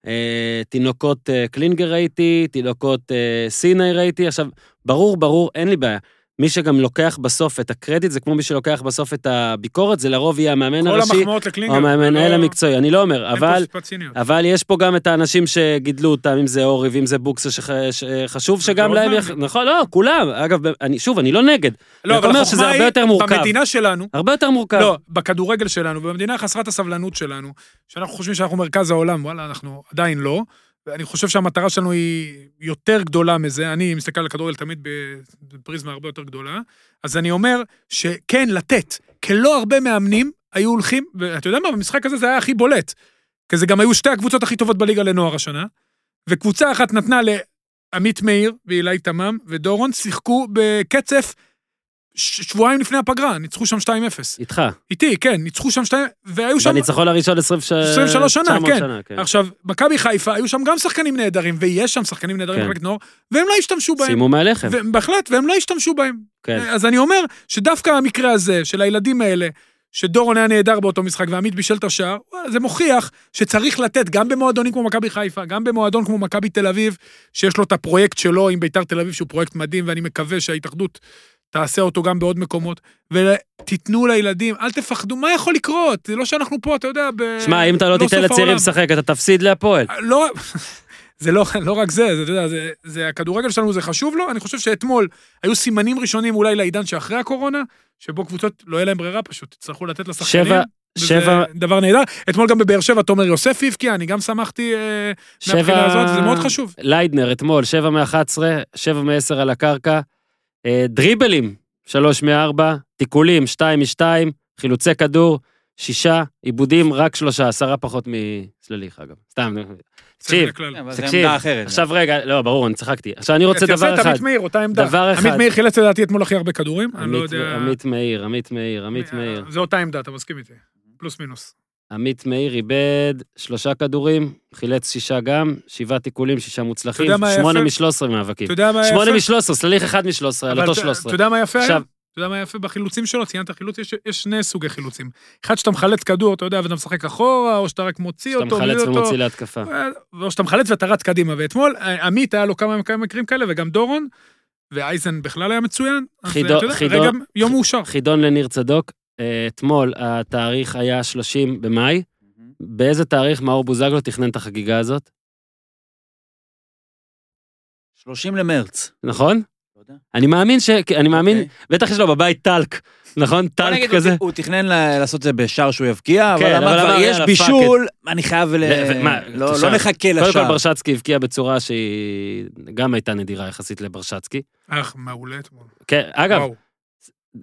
A: אה, תינוקות אה, קלינגר ראיתי, תינוקות אה, סיני ראיתי, עכשיו, ברור, ברור, אין לי בעיה. מי שגם לוקח בסוף את הקרדיט, זה כמו מי שלוקח בסוף את הביקורת, זה לרוב יהיה המאמן
C: כל
A: הראשי,
C: המחמאות לקלינגר.
A: או המנהל
C: לא-
A: המקצועי, אני לא אומר,
C: אין פה
A: אבל...
C: סיפת ציניות.
A: אבל יש פה גם את האנשים שגידלו אותם, אם זה אורי ואם זה בוקסה, שחשוב שגם
C: ועוד
A: להם...
C: מאמנים.
A: יח- נכון, לא, כולם. אגב, אני, שוב, אני לא נגד.
C: לא,
A: רק
C: אבל
A: אומר שזה
C: החוכמה
A: הרבה
C: היא,
A: יותר מורכב.
C: במדינה שלנו,
A: הרבה יותר מורכב.
C: לא, בכדורגל שלנו, במדינה חסרת הסבלנות שלנו, שאנחנו חושבים שאנחנו מרכז העולם, וואלה, אנחנו עדיין לא. ואני חושב שהמטרה שלנו היא יותר גדולה מזה, אני מסתכל על הכדורגל תמיד בפריזמה הרבה יותר גדולה, אז אני אומר שכן, לתת, כי לא הרבה מאמנים היו הולכים, ואתה יודע מה, במשחק הזה זה היה הכי בולט, כי זה גם היו שתי הקבוצות הכי טובות בליגה לנוער השנה, וקבוצה אחת נתנה לעמית מאיר ואילי תמם ודורון, שיחקו בקצף ש- שבועיים לפני הפגרה, ניצחו שם 2-0.
A: איתך.
C: איתי, כן, ניצחו שם שתיים, והיו שם...
A: בניצחון הראשון
C: 23
A: 23
C: שנה, כן. עכשיו, מכבי חיפה, היו שם גם שחקנים נהדרים, ויש שם שחקנים נהדרים
A: כן.
C: במחלקת נוער, והם לא השתמשו בהם.
A: סיימו מהלחם,
C: ו- אה, בהחלט, והם לא השתמשו בהם.
A: כן.
C: אז אני אומר שדווקא המקרה הזה של הילדים האלה, שדורון היה נהדר באותו משחק ועמית בישל את השער, וואלה, זה מוכיח שצריך לתת גם במועדונים כמו מכבי חיפה, גם במועדון כמו מכבי תל אביב, שיש לו את הפרויקט שלו עם ביתר תל אביב, שהוא פרויקט מדהים, ואני מקווה שההתאחדות תעשה אותו גם בעוד מקומות, ותיתנו לילדים, אל תפחדו, מה יכול לקרות? זה לא שאנחנו פה, אתה יודע, ב...
A: שמע, אם אתה לא תיתן
C: סוף
A: לצעירים
C: העולם.
A: לשחק, אתה תפסיד להפועל.
C: לא, זה לא, לא רק זה, זה, אתה יודע, זה, זה הכדורגל שלנו, זה חשוב לו. אני חושב שאתמול היו סימנים ראשונים אולי לעידן שאחרי הקורונה, שבו קבוצות, לא יהיה להם ברירה פשוט, יצטרכו לתת לשחקנים.
A: שבע,
C: וזה
A: שבע,
C: דבר נהדר. אתמול גם בבאר שבע תומר יוסף הבקיע, אני גם שמחתי אה, מהבחינה
A: שבע...
C: הזאת, זה מאוד חשוב.
A: ליידנר אתמול, 7 מ-11, 7 מ-10 על הקרקע. אה, דריבלים, 3 מ-4, תיקולים, 2 מ-2, חילוצי כדור, 6, עיבודים, רק 3, 10 פחות מסלליך אגב. סתם,
C: כן.
A: תקשיב,
C: זה בכלל.
D: אבל זה
A: תקשיב.
D: עמדה אחרת.
A: עכשיו רגע, לא, ברור, אני צחקתי. עכשיו אני רוצה
C: תעשה
A: דבר
C: את
A: אחד.
C: עמית מאיר, אותה עמדה.
A: דבר אחד.
C: עמית מאיר חילץ לדעתי אתמול הכי הרבה כדורים, אני לא
A: עמית-
C: יודע... אה,
A: עמית מאיר, עמית מאיר, עמית מאיר.
C: זה אותה עמדה, אתה מסכים איתי. פלוס מינוס.
A: עמית מאיר איבד שלושה כדורים, חילץ שישה גם, שבעה תיקולים, שישה מוצלחים,
C: יודע מה היה
A: שמונה
C: יפה?
A: מ-13 מאבקים.
C: אתה יודע מה היה
A: שמונה
C: יפה?
A: מ-13, סליח אחד מ-13, על
C: אבל
A: אותו
C: אתה-
A: 13.
C: אתה יודע מה יפה היה?
A: עכשיו-
C: אתה יודע מה יפה בחילוצים שלו? ציינת חילוץ, יש, יש שני סוגי חילוצים. אחד שאתה מחלץ כדור, אתה יודע, ואתה משחק אחורה, או שאתה רק מוציא
A: שאתה
C: אותו, מביא
A: מחלץ
C: אותו,
A: ומוציא להתקפה.
C: אה, או שאתה מחלץ ואתה רץ קדימה. ואתמול, אה, עמית, היה לו כמה כמה מקרים כאלה, וגם דורון, ואייזן בכלל היה מצוין. אז, אה,
A: חידו-
C: אתה יודע,
A: חידו-
C: רגע, יום מאושר.
A: חידון לניר צדוק, אה, אתמול התאריך היה 30 במאי. באיזה תאריך מאור בוזגלו תכנן את החגיגה הזאת?
D: 30 למרץ.
A: נכון?
D: לא יודע.
A: אני מאמין ש... כי אני מאמין,
D: אוקיי.
A: בטח יש לו בבית טלק, נכון?
D: בוא
A: טלק
D: נגיד, אוקיי.
A: כזה.
D: הוא- הוא תכנן ל- לעשות את זה בשער שהוא יבקיע,
A: כן,
D: אבל
A: אבל
D: אמר
A: אמר,
D: כבר, יש
A: יאללה,
D: בישול, אני חייב ל...
A: ו- ו- מה,
D: לא
A: תשאל.
D: לא נחכה
A: קודם כל
D: לשער.
A: ברשצקי הבקיע בצורה שהיא גם הייתה נדירה יחסית לברשצקי.
C: אך, מעולה אתמול.
A: כן, אגב,
C: וואו.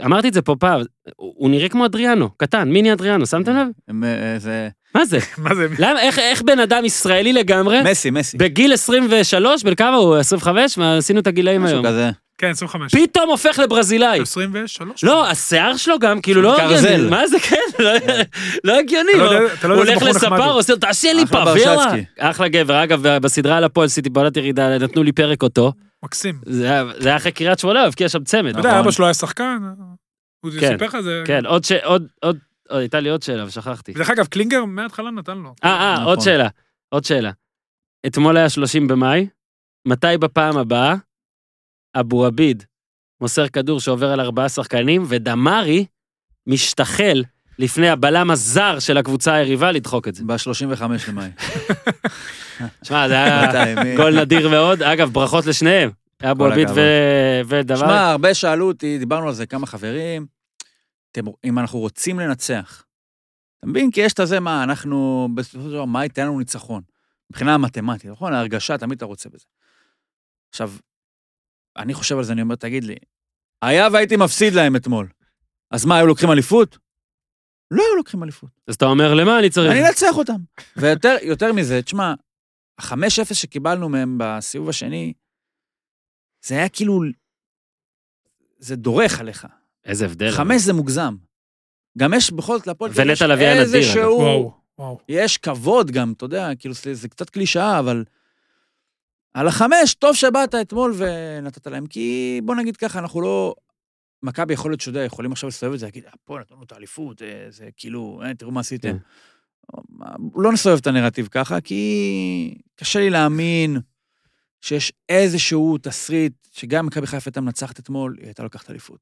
A: אמרתי את זה פה פעם, הוא הוא נראה כמו אדריאנו, קטן, מיני אדריאנו, שמתם לב?
D: הם, אה, זה-
A: מה זה?
C: מה זה?
A: למה, איך, איך בן אדם ישראלי לגמרי,
D: מסי, מסי.
A: בגיל 23, בן כמה הוא? 25? מה, עשינו את הגילאים
D: משהו
A: היום.
D: כזה.
C: כן, 25.
A: פתאום הופך לברזילאי.
C: 23.
A: לא, השיער שלו גם, כאילו, לא
D: גרזל.
A: הגיוני. מה זה, כן? לא- לא הגיוני.
C: אתה לא
A: הוא-
C: יודע- אתה לא
A: הוא
C: יודע איזה
A: הולך
C: בחור נחמד
A: לספר,
C: הוא.
A: עושה, תעשה לי
D: אחלה
A: פאבלה.
D: ברשצקי.
A: אחלה גבר. אגב, בסדרה על הפועל סיטי, בעונת ירידה, נתנו לי פרק אותו.
C: מקסים.
A: זה היה- זה היה אחרי קריית שמונה, הוא הבקיע שם צמד.
C: אתה יודע,
A: נכון?
C: אבא שלו היה שחקן, אה, הוא
A: כן.
C: סיפר לך זה.
A: כן, עוד ש... עוד... עוד... עוד- הייתה לי עוד שאלה ושכחתי.
C: דרך אגב, קלינגר מההתחלה נתן לו.
A: אה, אה,
D: נכון.
A: עוד שאלה. עוד שאלה. אתמול היה 30 במאי, מתי בפעם הבאה אבו עביד מוסר כדור שעובר על ארבעה שחקנים, ודמרי משתחל לפני הבלם הזר של הקבוצה היריבה לדחוק את זה.
D: ב-35 למאי.
A: שמע, זה היה
D: מתי, מי-
A: גול נדיר מאוד. אגב, ברכות לשניהם, אבו
D: כל
A: עביד
D: הכבוד.
A: ו- ודמרי.
D: שמע, הרבה שאלו אותי, דיברנו על זה כמה חברים, אתם, אם אנחנו רוצים לנצח. אתה מבין? כי יש את הזה, מה, אנחנו, בסופו של דבר, מה ייתן לנו ניצחון? מבחינה מתמטית, נכון? ההרגשה, תמיד אתה רוצה בזה. עכשיו, אני חושב על זה, אני אומר, תגיד לי, היה והייתי מפסיד להם אתמול, אז מה, היו לוקחים אליפות? לא היו לוקחים אליפות.
A: אז אתה אומר, למה אני צריך?
D: אני לא- אנצח אותם. ויותר יותר מזה, תשמע, ה-5-0 שקיבלנו מהם בסיבוב השני, זה היה כאילו... זה דורך עליך.
A: איזה הבדל.
D: חמש זה מוגזם. גם יש בכל זאת להפועל תל אביב, יש
A: כן. ונטע לביא היה נדיר, אגב.
D: איזשהו...
C: וואו, וואו.
D: יש כבוד גם, אתה יודע, כאילו זה, זה קצת קלישאה, אבל... על החמש, טוב שבאת אתמול ונתת להם, כי בוא נגיד ככה, אנחנו לא... מכבי יכול להיות שאתה יודע, יכולים עכשיו לסובב את זה, להגיד, "אה, פה נתנו את האליפות, אה, זה כאילו, אה, תראו מה עשיתם. לא נסובב את הנרטיב ככה, כי קשה לי להאמין שיש איזשהו תסריט, שגם אם מכבי חיפה הייתה מנצחת אתמול, היא הייתה לוקחת אליפות.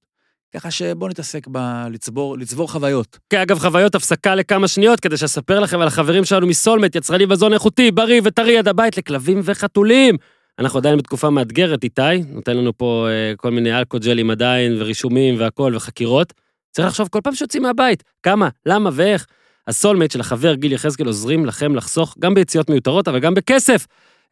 D: ככה שבוא נתעסק בלצבור לצבור חוויות.
A: אוקיי, אגב, חוויות הפסקה לכמה שניות, כדי שאספר לכם על החברים שלנו מסולמט, יצרני מזון איכותי, בריא וטרי עד הבית לכלבים וחתולים. אנחנו עדיין בתקופה מאתגרת, איתי, נותן לנו פה אה, כל מיני אלכוג'לים עדיין, ורישומים והכול, וחקירות. צריך לחשוב כל פעם שיוצאים מהבית, כמה, למה ואיך. הסולמט של החבר גיל יחזקאל עוזרים לכם לחסוך גם ביציאות מיותרות, אבל גם בכסף.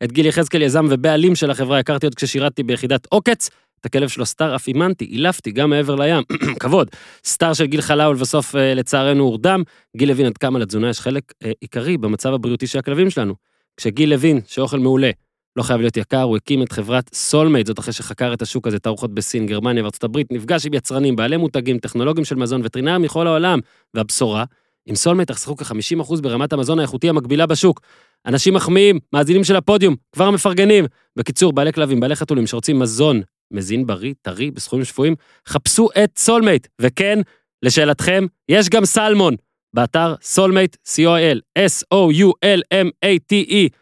A: את גיל יחזקאל, יזם ובעלים של החברה, הכרתי עוד כששירתתי ביחידת עוקץ. את הכלב שלו סטאר אף אימנתי, אילפתי גם מעבר לים, [CLEARS THROAT] כבוד. סטאר של גיל חלאול ובסוף אה, לצערנו הורדם. גיל הבין עד כמה לתזונה יש חלק אה, עיקרי במצב הבריאותי של הכלבים שלנו. כשגיל הבין שאוכל מעולה לא חייב להיות יקר, הוא הקים את חברת סולמייט, זאת אחרי שחקר את השוק הזה, תערוכות בסין, גרמניה וארצות הברית, נפגש עם יצרנים, בעלי מותגים, טכנולוגים של מזון, וטרינרים מכל העולם. והבשורה, עם סולמייט תחסכו כ-50% ברמת המזון האיכותי המקבילה בשוק. אנשים מחמיאים, מאזינים של הפודיום, כבר מפרגנים. בקיצור, בעלי כלבים, בעלי חתולים שרוצים מזון מזין בריא, טרי, בסכומים שפויים, חפשו את סולמייט. וכן, לשאלתכם, יש גם סלמון, באתר סולמייט, co.il, s-o-u-l-m-a-t-e,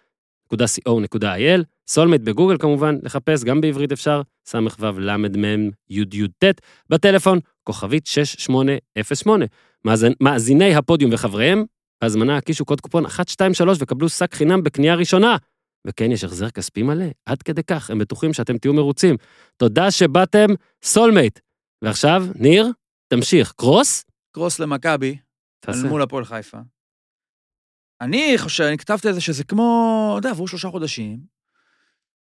A: .co.il, סולמייט בגוגל כמובן, לחפש, גם בעברית אפשר, סמ"ו למ"מ י"ט, בטלפון, כוכבית 6808. מאזין- מאזיני הפודיום וחבריהם, בהזמנה הקישו קוד קופון 123 וקבלו שק חינם בקנייה ראשונה. וכן, יש החזר כספי מלא, עד כדי כך, הם בטוחים שאתם תהיו מרוצים. תודה שבאתם, סולמייט. ועכשיו, ניר, תמשיך. קרוס?
D: קרוס למכבי,
A: תעשה.
D: אל מול הפועל חיפה. אני חושב, אני כתבתי את זה שזה כמו, אתה יודע, עברו שלושה חודשים.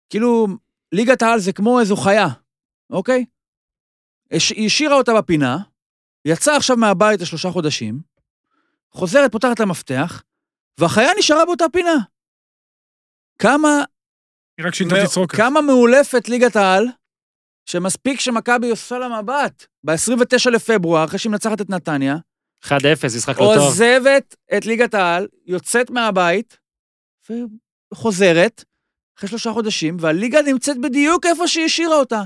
D: כאילו, ליגת העל זה כמו איזו חיה, אוקיי? הש- היא השאירה אותה בפינה, יצאה עכשיו מהבית לשלושה חודשים, חוזרת, פותחת את המפתח, והחיה נשארה באותה פינה. כמה
C: היא רק שינתה
D: מא-
C: תצרוקת.
D: לא, כמה מאולפת ליגת העל, שמספיק שמכבי עושה לה מבט ב-29 לפברואר, אחרי שהיא מנצחת את נתניה,
A: 1-0, משחק לא טוב.
D: עוזבת את ליגת העל, יוצאת מהבית, וחוזרת, אחרי שלושה חודשים, והליגה נמצאת בדיוק איפה שהיא השאירה אותה.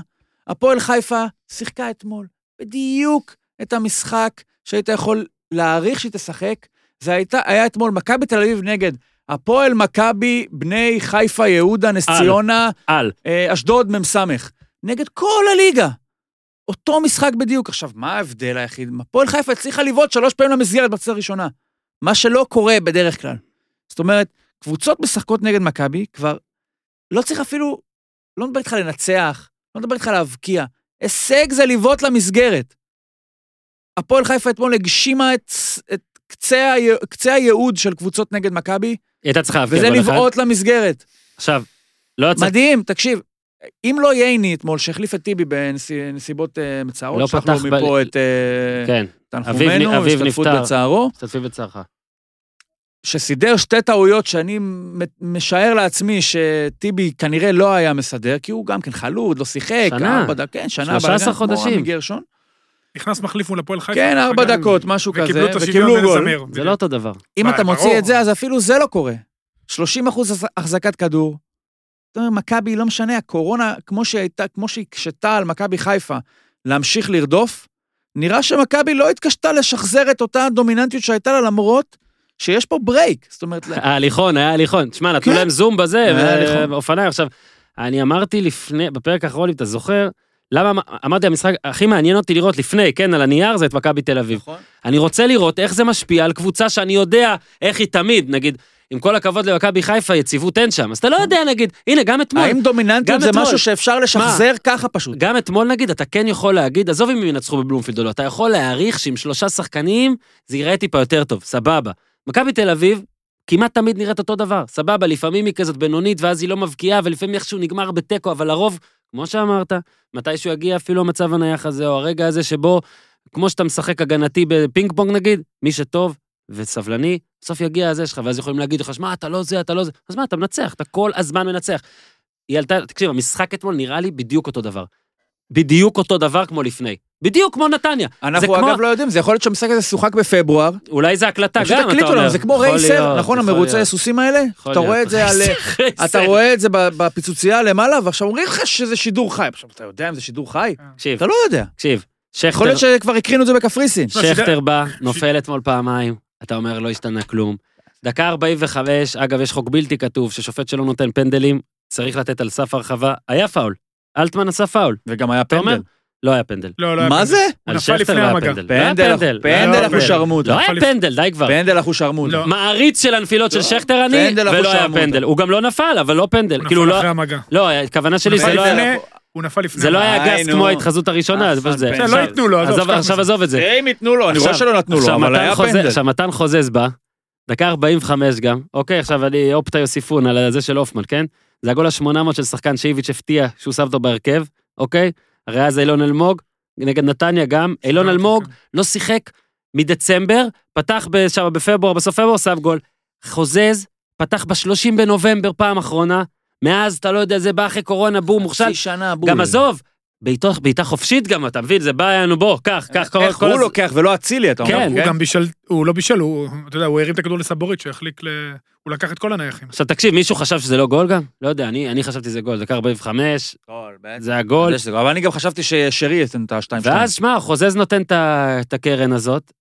D: הפועל חיפה שיחקה אתמול בדיוק את המשחק שהיית יכול להעריך שהיא תשחק. זה הייתה, היה אתמול מכבי תל אביב נגד הפועל מכבי, בני חיפה, יהודה, נס
A: על.
D: ציונה,
A: על.
D: אה, אשדוד מ"ס, נגד כל הליגה. אותו משחק בדיוק. עכשיו, מה ההבדל היחיד? הפועל חיפה הצליחה לבעוט שלוש פעמים למסגרת בצד הראשונה. מה שלא קורה בדרך כלל. זאת אומרת, קבוצות משחקות נגד מכבי כבר לא צריך אפילו, לא מדבר איתך לנצח, לא מדבר איתך להבקיע. הישג זה לבעוט למסגרת. הפועל חיפה אתמול הגשימה את, את קצה, הי- קצה הייעוד של קבוצות נגד מכבי,
A: היא הייתה צריכה להבקיע
D: וזה
A: גול כן, אחד.
D: לבעוט למסגרת.
A: עכשיו, לא יצא...
D: מדהים, תקשיב. אם לא ייני אתמול, שהחליף את טיבי בנסיבות אה, מצערות,
A: לא
D: שלחנו
A: פתח ב-
D: מפה את אה,
A: כן, אביב נ-
D: תנחומינו,
A: אביב
D: השתתפות
A: נפטר.
D: בצערו,
A: משתתפים בצערך.
D: שסידר שתי טעויות שאני מ- משער לעצמי שטיבי כנראה לא היה מסדר, כי הוא גם כן חלוד, לא שיחק,
A: שנה.
D: ארבע דקות, כן, שנה,
A: 13
D: בלגן,
A: חודשים.
D: כמו רמי גרשון,
C: נכנס מחליף מול הפועל חיפה.
D: כן, ארבע
C: חגג.
D: דקות, משהו כזה,
C: וקיבלו את
D: וקיבלו
C: השוויון
D: גול.
C: ולזמר.
A: זה לא אותו דבר.
D: אם
C: מה,
D: אתה מוציא
C: ברור.
D: את זה, אז אפילו זה לא קורה. 30 אחוז החזקת כדור. זאת אומרת, מכבי, לא משנה, הקורונה, כמו שהייתה, כמו שהקשתה על מכבי חיפה להמשיך לרדוף, נראה שמכבי לא התקשתה לשחזר את אותה הדומיננטיות שהייתה לה, למרות שיש פה ברייק. זאת אומרת, לה-
A: ההליכון, היה הליכון. תשמע, נתנו
D: כן.
A: להם זום בזה,
D: היה הליכון.
A: ואופניים. עכשיו, אני אמרתי לפני, בפרק האחרון, אם אתה זוכר, למה אמ- אמרתי, המשחק הכי מעניין אותי לראות לפני, כן, על הנייר, זה את מכבי תל אביב.
D: נכון?
A: אני רוצה לראות איך זה משפיע על קבוצה שאני יודע איך היא תמיד, נגיד, עם כל הכבוד למכבי חיפה, יציבות אין שם, אז אתה לא יודע, נגיד, הנה, גם אתמול,
D: נכון. האם דומיננטיות
A: גם
D: זה
A: אתמול.
D: משהו שאפשר לשחזר ככה פשוט?
A: גם אתמול נגיד, אתה כן יכול להגיד, עזוב אם הם ינצחו בבלומפילד או לא, אתה יכול להעריך שעם שלושה שחקנים זה ייראה טיפה יותר טוב, סבבה. מכבי תל אביב כמעט תמיד נראית אותו דבר, סבבה, לפעמים היא כזאת בינונית ואז היא לא מבקיעה, ולפעמים איכשהו נגמר בתיקו, אבל לרוב, כמו שאמרת, מתישהו יגיע אפילו המצב הנייח הזה, או הרגע הזה שבו, כמו שאתה משחק הגנתי בפינג פונג נגיד, מי שטוב וסבלני, בסוף יגיע הזה שלך, ואז יכולים להגיד לך, שמע, אתה לא זה, אתה לא זה, אז מה, אתה מנצח, אתה כל הזמן מנצח. היא עלתה, תקשיב, המשחק אתמול נראה לי בדיוק אותו דבר. בדיוק אותו דבר כמו לפני. בדיוק כמו נתניה. זה
D: אנחנו
A: כמו-
D: אגב לא יודעים, זה יכול להיות שהמשחק הזה שוחק בפלואר.
A: אולי זה הקלטה
D: פשוט
A: גם, אתה
D: הקליטו
A: אומר.
D: לנו, זה כמו
A: יכול
D: רייסר,
A: להיות,
D: נכון,
A: יכול
D: המרוצי
A: להיות.
D: הסוסים האלה?
A: יכול
D: אתה רואה
A: להיות.
D: את זה
A: [LAUGHS]
D: על... אה,
A: רייסר.
D: אתה רואה את זה ב- בפיצוצייה למעלה, ועכשיו אומרים לך שזה שידור חי. עכשיו, אתה יודע אם זה שידור חי? לא-
A: תקשיב,
D: אתה לא יודע.
A: תקשיב.
D: יכול
A: שכטר,
D: להיות שכבר הקרינו את זה בקפריסין.
A: שכטר בא, נופל אתמול פעמיים, אתה אומר לא השתנה כלום. דקה 45, אגב, יש חוק בלתי כתוב ששופט שלא נותן פנדלים, צריך לתת על סף הרחבה. היה פאול. אלטמן עשה פאול.
D: וגם היה
A: אתה אומר?
D: פנדל.
A: לא היה פנדל.
C: לא, לא היה
D: מה
C: פנדל.
D: זה?
C: הוא
A: על
C: נפל
A: שכטר
C: לפני
A: לא היה
C: המגע.
A: פנדל. לא היה
D: פנדל,
A: פנדל.
C: לא,
D: פנדל
C: לא,
D: אחו
C: פנדל.
D: שרמוטה.
A: לא היה
C: נפל
A: פנדל, די כבר.
D: פנדל אחו שרמוטה.
C: לא.
A: מעריץ של הנפילות של שכטר אני,
D: לא, פנדל אחוז
A: ולא היה
D: שרמוטה.
A: פנדל. הוא גם לא נפל, אבל לא
C: הוא
A: פנדל. כאילו,
C: נפל
A: לא-
C: אחרי המגע.
A: לא, הכוונה שלי,
C: נפל
A: זה לא היה-
C: לפני- הוא נפל לפני
A: זה לא
C: המגע.
A: היה
D: איי,
A: גס
D: נו.
A: כמו ההתחזות הראשונה,
D: אה,
A: זה פשוט זה.
D: פנדל.
A: עכשיו-
C: לא ייתנו לו, עזוב, שכח
A: עכשיו
C: מזה.
A: עזוב את זה.
D: אם ייתנו לו, אני רואה
A: עכשיו-
D: שלא נתנו לו,
A: עכשיו
D: אבל
A: מתן
D: היה
A: חוזז-
D: פנדל.
A: עכשיו מתן חוזז בא, דקה 45 גם, אוקיי, עכשיו אני אופטה יוסיפון על הזה של הופמן, כן? זה הגול ה-800 של שחקן שאיביץ' הפתיע שהוא שם אותו בהרכב, אוקיי? הרי אז אילון אלמוג, נגד נתניה גם, אילון אלמוג לא שיחק מדצמבר, פתח ב- שם בפברואר, בסוף פברואר שם גול. חוזז, פתח ב-30 בנובמבר פעם אחרונה, מאז אתה לא יודע, זה בא אחרי קורונה, בום, מוכשל.
D: חצי שנה בול.
A: גם עזוב, בעיטה בעיטה חופשית גם, אתה מבין? זה בא לנו, בוא, קח, קח כל
D: איך
A: כל
D: הוא
A: הז-
D: לוקח ולא אצילי, אתה אומר.
A: כן,
C: לא. הוא גם בישל, הוא לא בישל, הוא, אתה יודע, הוא הרים את הכדור לסבורית שהחליק ל... הוא לקח את כל הנייחים.
A: עכשיו תקשיב, מישהו חשב שזה לא גול גם? לא יודע, אני אני חשבתי שזה גול, דקה 45, זה הגול.
D: אבל אני גם חשבתי ששרי יתן את השתיים שלהם.
A: ואז, שמע, חוזז נותן את ה- את הקרן הזאת,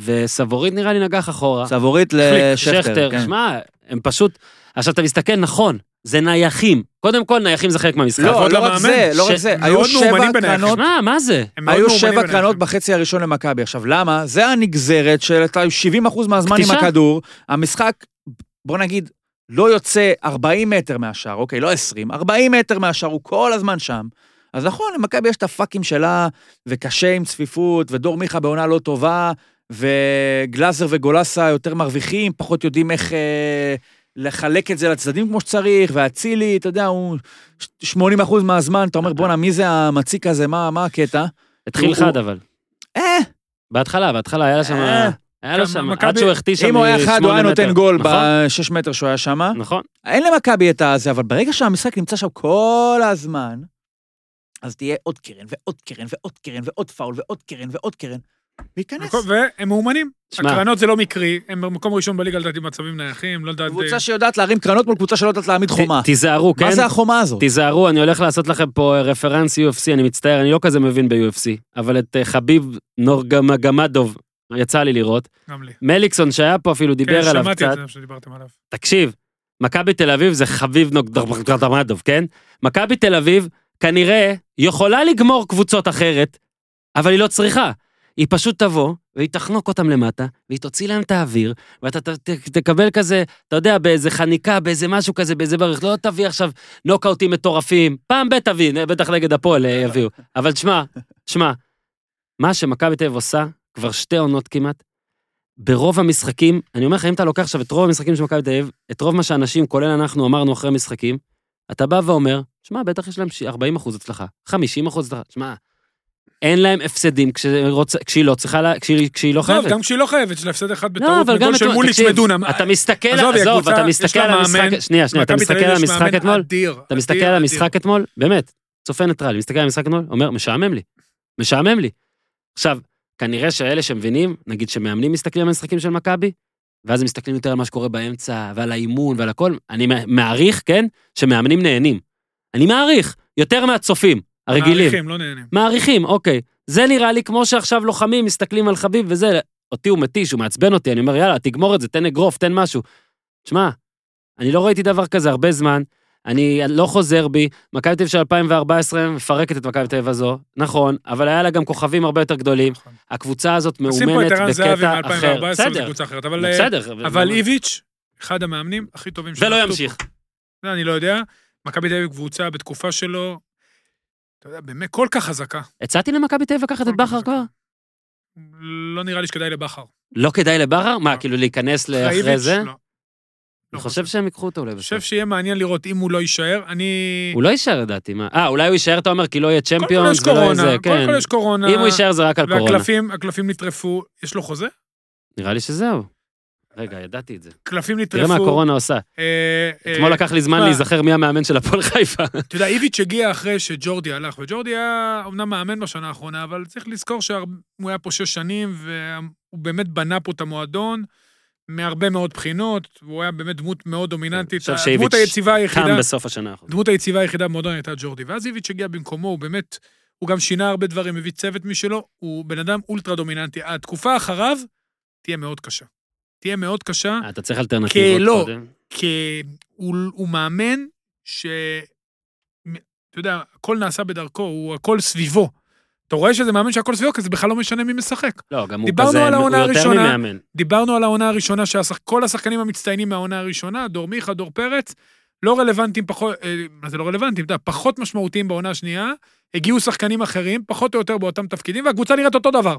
A: וסבורית נראה לי נגח אחורה.
D: סבורית לשכטר. כן.
A: שמע, הם פשוט... עכשיו, אתה מסתכל נכון, זה נייחים. קודם כל, נייחים זה חלק מהמשחק.
D: לא,
C: כבוד
D: לא רק
C: למאמן,
D: זה, לא רק
A: ש-
D: זה.
C: מאוד
D: היו שבע
C: מאומנים ביניהם.
D: קרנות,
A: שמע, מה זה?
C: הם מאוד
D: היו
C: מאומנים
D: שבע
C: ביניהם.
D: קרנות בחצי הראשון למכבי. עכשיו, למה? זה הנגזרת של אתה 70% מהזמן עם
A: קטישה?
D: הכדור. המשחק, בוא נגיד, לא יוצא 40 מטר מהשאר, אוקיי, לא 20, 40 מטר מהשאר, הוא כל הזמן שם. אז נכון, למכבי יש את הפאקים שלה, וקשה עם צפיפות, ודור מיכה בעונה לא טובה, וגלאזר וגולסה יותר מרוויחים, פחות יודעים איך אה, לחלק את זה לצדדים כמו שצריך, ואצילי, אתה יודע, הוא 80% מהזמן, אתה אומר, בואנה, מי זה המציק הזה, מה, מה הקטע?
A: התחיל
D: הוא-
A: חד, אבל.
D: אה,
A: בהתחלה, בהתחלה, היה שם...
D: אה.
A: היה לו
C: גם
A: שם,
C: מכבי-
A: עד שהוא החטיא שם
D: אם הוא היה
A: משמונה
D: חד, הוא היה
A: מטר.
D: נותן גול
A: נכון,
D: בשש מטר שהוא היה שם.
A: נכון.
D: אין למכבי את הזה, אבל ברגע שהמשחק נמצא שם כל הזמן, אז תהיה עוד קרן, ועוד קרן, ועוד קרן, ועוד פאול, ועוד קרן, ועוד קרן, וייכנס.
C: וכל- והם מאומנים.
A: שמע.
C: הקרנות זה לא מקרי, הם במקום ראשון בליגה לדעתי במצבים נייחים, לא לדעת...
D: קבוצה שיודעת להרים קרנות מול קבוצה שלא יודעת להעמיד
A: ת-
D: חומה.
A: תיזהרו, כן?
D: מה זה החומה הזאת?
A: תיזהרו, אני הולך לעשות לכם פה אה, רפרנס UFC, אני מצטער, אני לא כזה מבין ב-UFC, אבל את אה, חביב נורגמדוב, יצא לי לראות.
C: גם לי.
A: מליקסון שהיה פה אפילו דיבר
C: כן,
A: עליו
C: שמעתי
A: קצת.
C: את זה שדיברתם עליו.
A: תקשיב, מכבי תל אביב זה חביב נורגמדוב, כן? מכבי תל אביב כנראה יכולה לגמור קבוצות אחרת, אבל היא לא צריכה. היא פשוט תבוא, והיא תחנוק אותם למטה, והיא תוציא להם את האוויר, ואתה ת, ת, תקבל כזה, אתה יודע, באיזה חניקה, באיזה משהו כזה, באיזה ברך, לא תביא עכשיו נוקאוטים מטורפים, פעם ב' תביא, בטח נגד הפועל אה, יביאו. אבל שמע, שמע, מה שמכבי תל אביב עושה, כבר שתי עונות כמעט, ברוב המשחקים, אני אומר לך, אם אתה לוקח עכשיו את רוב המשחקים של מכבי תל אביב, את רוב מה שאנשים, כולל אנחנו, אמרנו אחרי משחקים, אתה בא ואומר, שמע, בטח יש להם ש- 40 אחוז הצלחה, 50 אחוז הצלחה, שמע, אין להם הפסדים כשרוצ... כשהיא לא צריכה, לה... כשהיא, כשהיא לא חייבת.
C: טוב, גם כשהיא לא חייבת, יש לה הפסד אחד
A: לא,
C: בטעות,
A: אבל גם...
C: בגול של אה,
A: נתון-
C: מוליץ'
A: תקשיב,
C: ודונם.
A: אתה מסתכל,
C: עזוב, היא
A: עזוב,
C: הקבוצה,
A: אתה
C: יש
A: מסתכל
C: לה
A: על
C: מאמן,
A: המשחק, שנייה, שנייה, אתה
C: מכבי
A: מסתכל
C: תל
A: על
C: אביב יש
A: המשחק
C: מאמן
A: אתמול,
C: אדיר,
A: אתה
C: אדיר,
A: מסתכל על
C: אדיר.
A: המשחק אתמול, באמת, צופה ניטרלי, מסתכל על המשחק אתמול, אומר, משעמם לי, משעמם לי. עכשיו, כנראה שאלה שמבינים, נגיד שמאמנים מסתכלים על המשחקים של מכבי, ואז הם מסתכלים יותר על מה שקורה באמצע, ועל האימון ועל הכל, אני מע- מעריך, כן, שמאמנים נהנים. אני מעריך, יותר מהצופים, הרגילים.
C: מעריכים, לא נהנים.
A: מעריכים, אוקיי. זה נראה לי כמו שעכשיו לוחמים מסתכלים על חביב וזה, אותי הוא מתיש, הוא מעצבן אותי, אני אומר, יאללה, תגמור את זה, תן אגרוף, תן משהו. שמע, אני לא ראיתי דבר כזה הרבה זמן, אני לא חוזר בי, מכבי תל אביב של 2014 מפרקת את מכבי תל אביב הזו, נכון, אבל היה לה גם כוכבים הרבה יותר גדולים.
C: נכון.
A: הקבוצה הזאת
C: נשים פה את
A: מאומנת
C: ערן זהבי
A: בקטע אחר.
C: מ-2014, זו
A: בסדר,
C: קבוצה אחרת, אבל... אה,
A: בסדר.
C: אבל איביץ', אחד המאמנים הכי טובים
A: זה לא
C: שנחתו
A: ימשיך.
C: זה אני לא יודע. מכבי תל אביב קבוצה בתקופה שלו, אתה יודע, באמת כל כך חזקה.
A: הצעתי למכבי תל אביב לקחת את בכר כבר?
C: לא נראה לי שכדאי לבכר.
A: לא כדאי לבכר? מה, כאילו להיכנס לאחרי
C: איביץ'?
A: זה?
C: לא.
A: אני
C: לא
A: חושב שהם ייקחו אותו אולי
C: אני
A: בסוף.
C: חושב שיהיה מעניין לראות אם הוא לא יישאר. אני...
A: הוא לא יישאר לדעתי, מה? אה, אולי הוא יישאר, אתה אומר, כי לא יהיה
C: קודם כל יש
A: צ'מפיונס ולא יהיה
C: קורונה,
A: זה,
C: קודם
A: כן.
C: כל יש קורונה.
A: אם הוא יישאר זה רק על קורונה.
C: והקלפים, הקלפים נטרפו, יש לו חוזה?
A: נראה לי שזהו. רגע, ידעתי את זה.
C: קלפים
A: תראה מה
C: נטרפו.
A: הקורונה עושה.
C: אה, אה,
A: אתמול לקח לי זמן
C: תשמע,
A: להיזכר מי המאמן של הפועל חיפה.
C: אתה יודע, איביץ' הגיע אחרי שג'ורדי הלך, וג'ורדי היה אומנם מאמן בשנה האחרונה, אבל צריך לזכור שהוא היה פה שש שנים, והוא באמת בנה פה את המועדון מהרבה מאוד בחינות, והוא היה באמת דמות מאוד דומיננטית.
A: עכשיו
C: הדמות
A: שאיביץ'
C: היציבה היחידה,
A: קם בסוף השנה האחרונה.
C: הדמות היציבה היחידה במועדון הייתה ג'ורדי, ואז איביץ' הגיע במקומו, הוא באמת, הוא גם שינה הרבה דברים, הביא צוות משלו, הוא בן אדם אולטרה דומיננטי. התקופה אחריו תהיה מאוד קשה. תהיה מאוד קשה.
A: אה, אתה צריך אלטרנטיבות
C: לא.
A: קודם.
C: כי הוא, הוא מאמן ש... אתה יודע, הכל נעשה בדרכו, הוא הכל סביבו. אתה רואה שזה מאמן שהכל סביבו, כי זה בכלל לא משנה מי משחק.
A: לא, גם הוא
C: דיברנו
A: כזה,
C: על
A: הוא
C: העונה
A: יותר
C: הראשונה.
A: ממאמן.
C: דיברנו על העונה הראשונה, שכל השחקנים המצטיינים מהעונה הראשונה, דור מיכה, דור פרץ, לא רלוונטיים פחות, אה, מה זה לא רלוונטיים, אתה יודע, פחות משמעותיים בעונה השנייה, הגיעו שחקנים אחרים, פחות או יותר באותם תפקידים, והקבוצה נראית אותו דבר.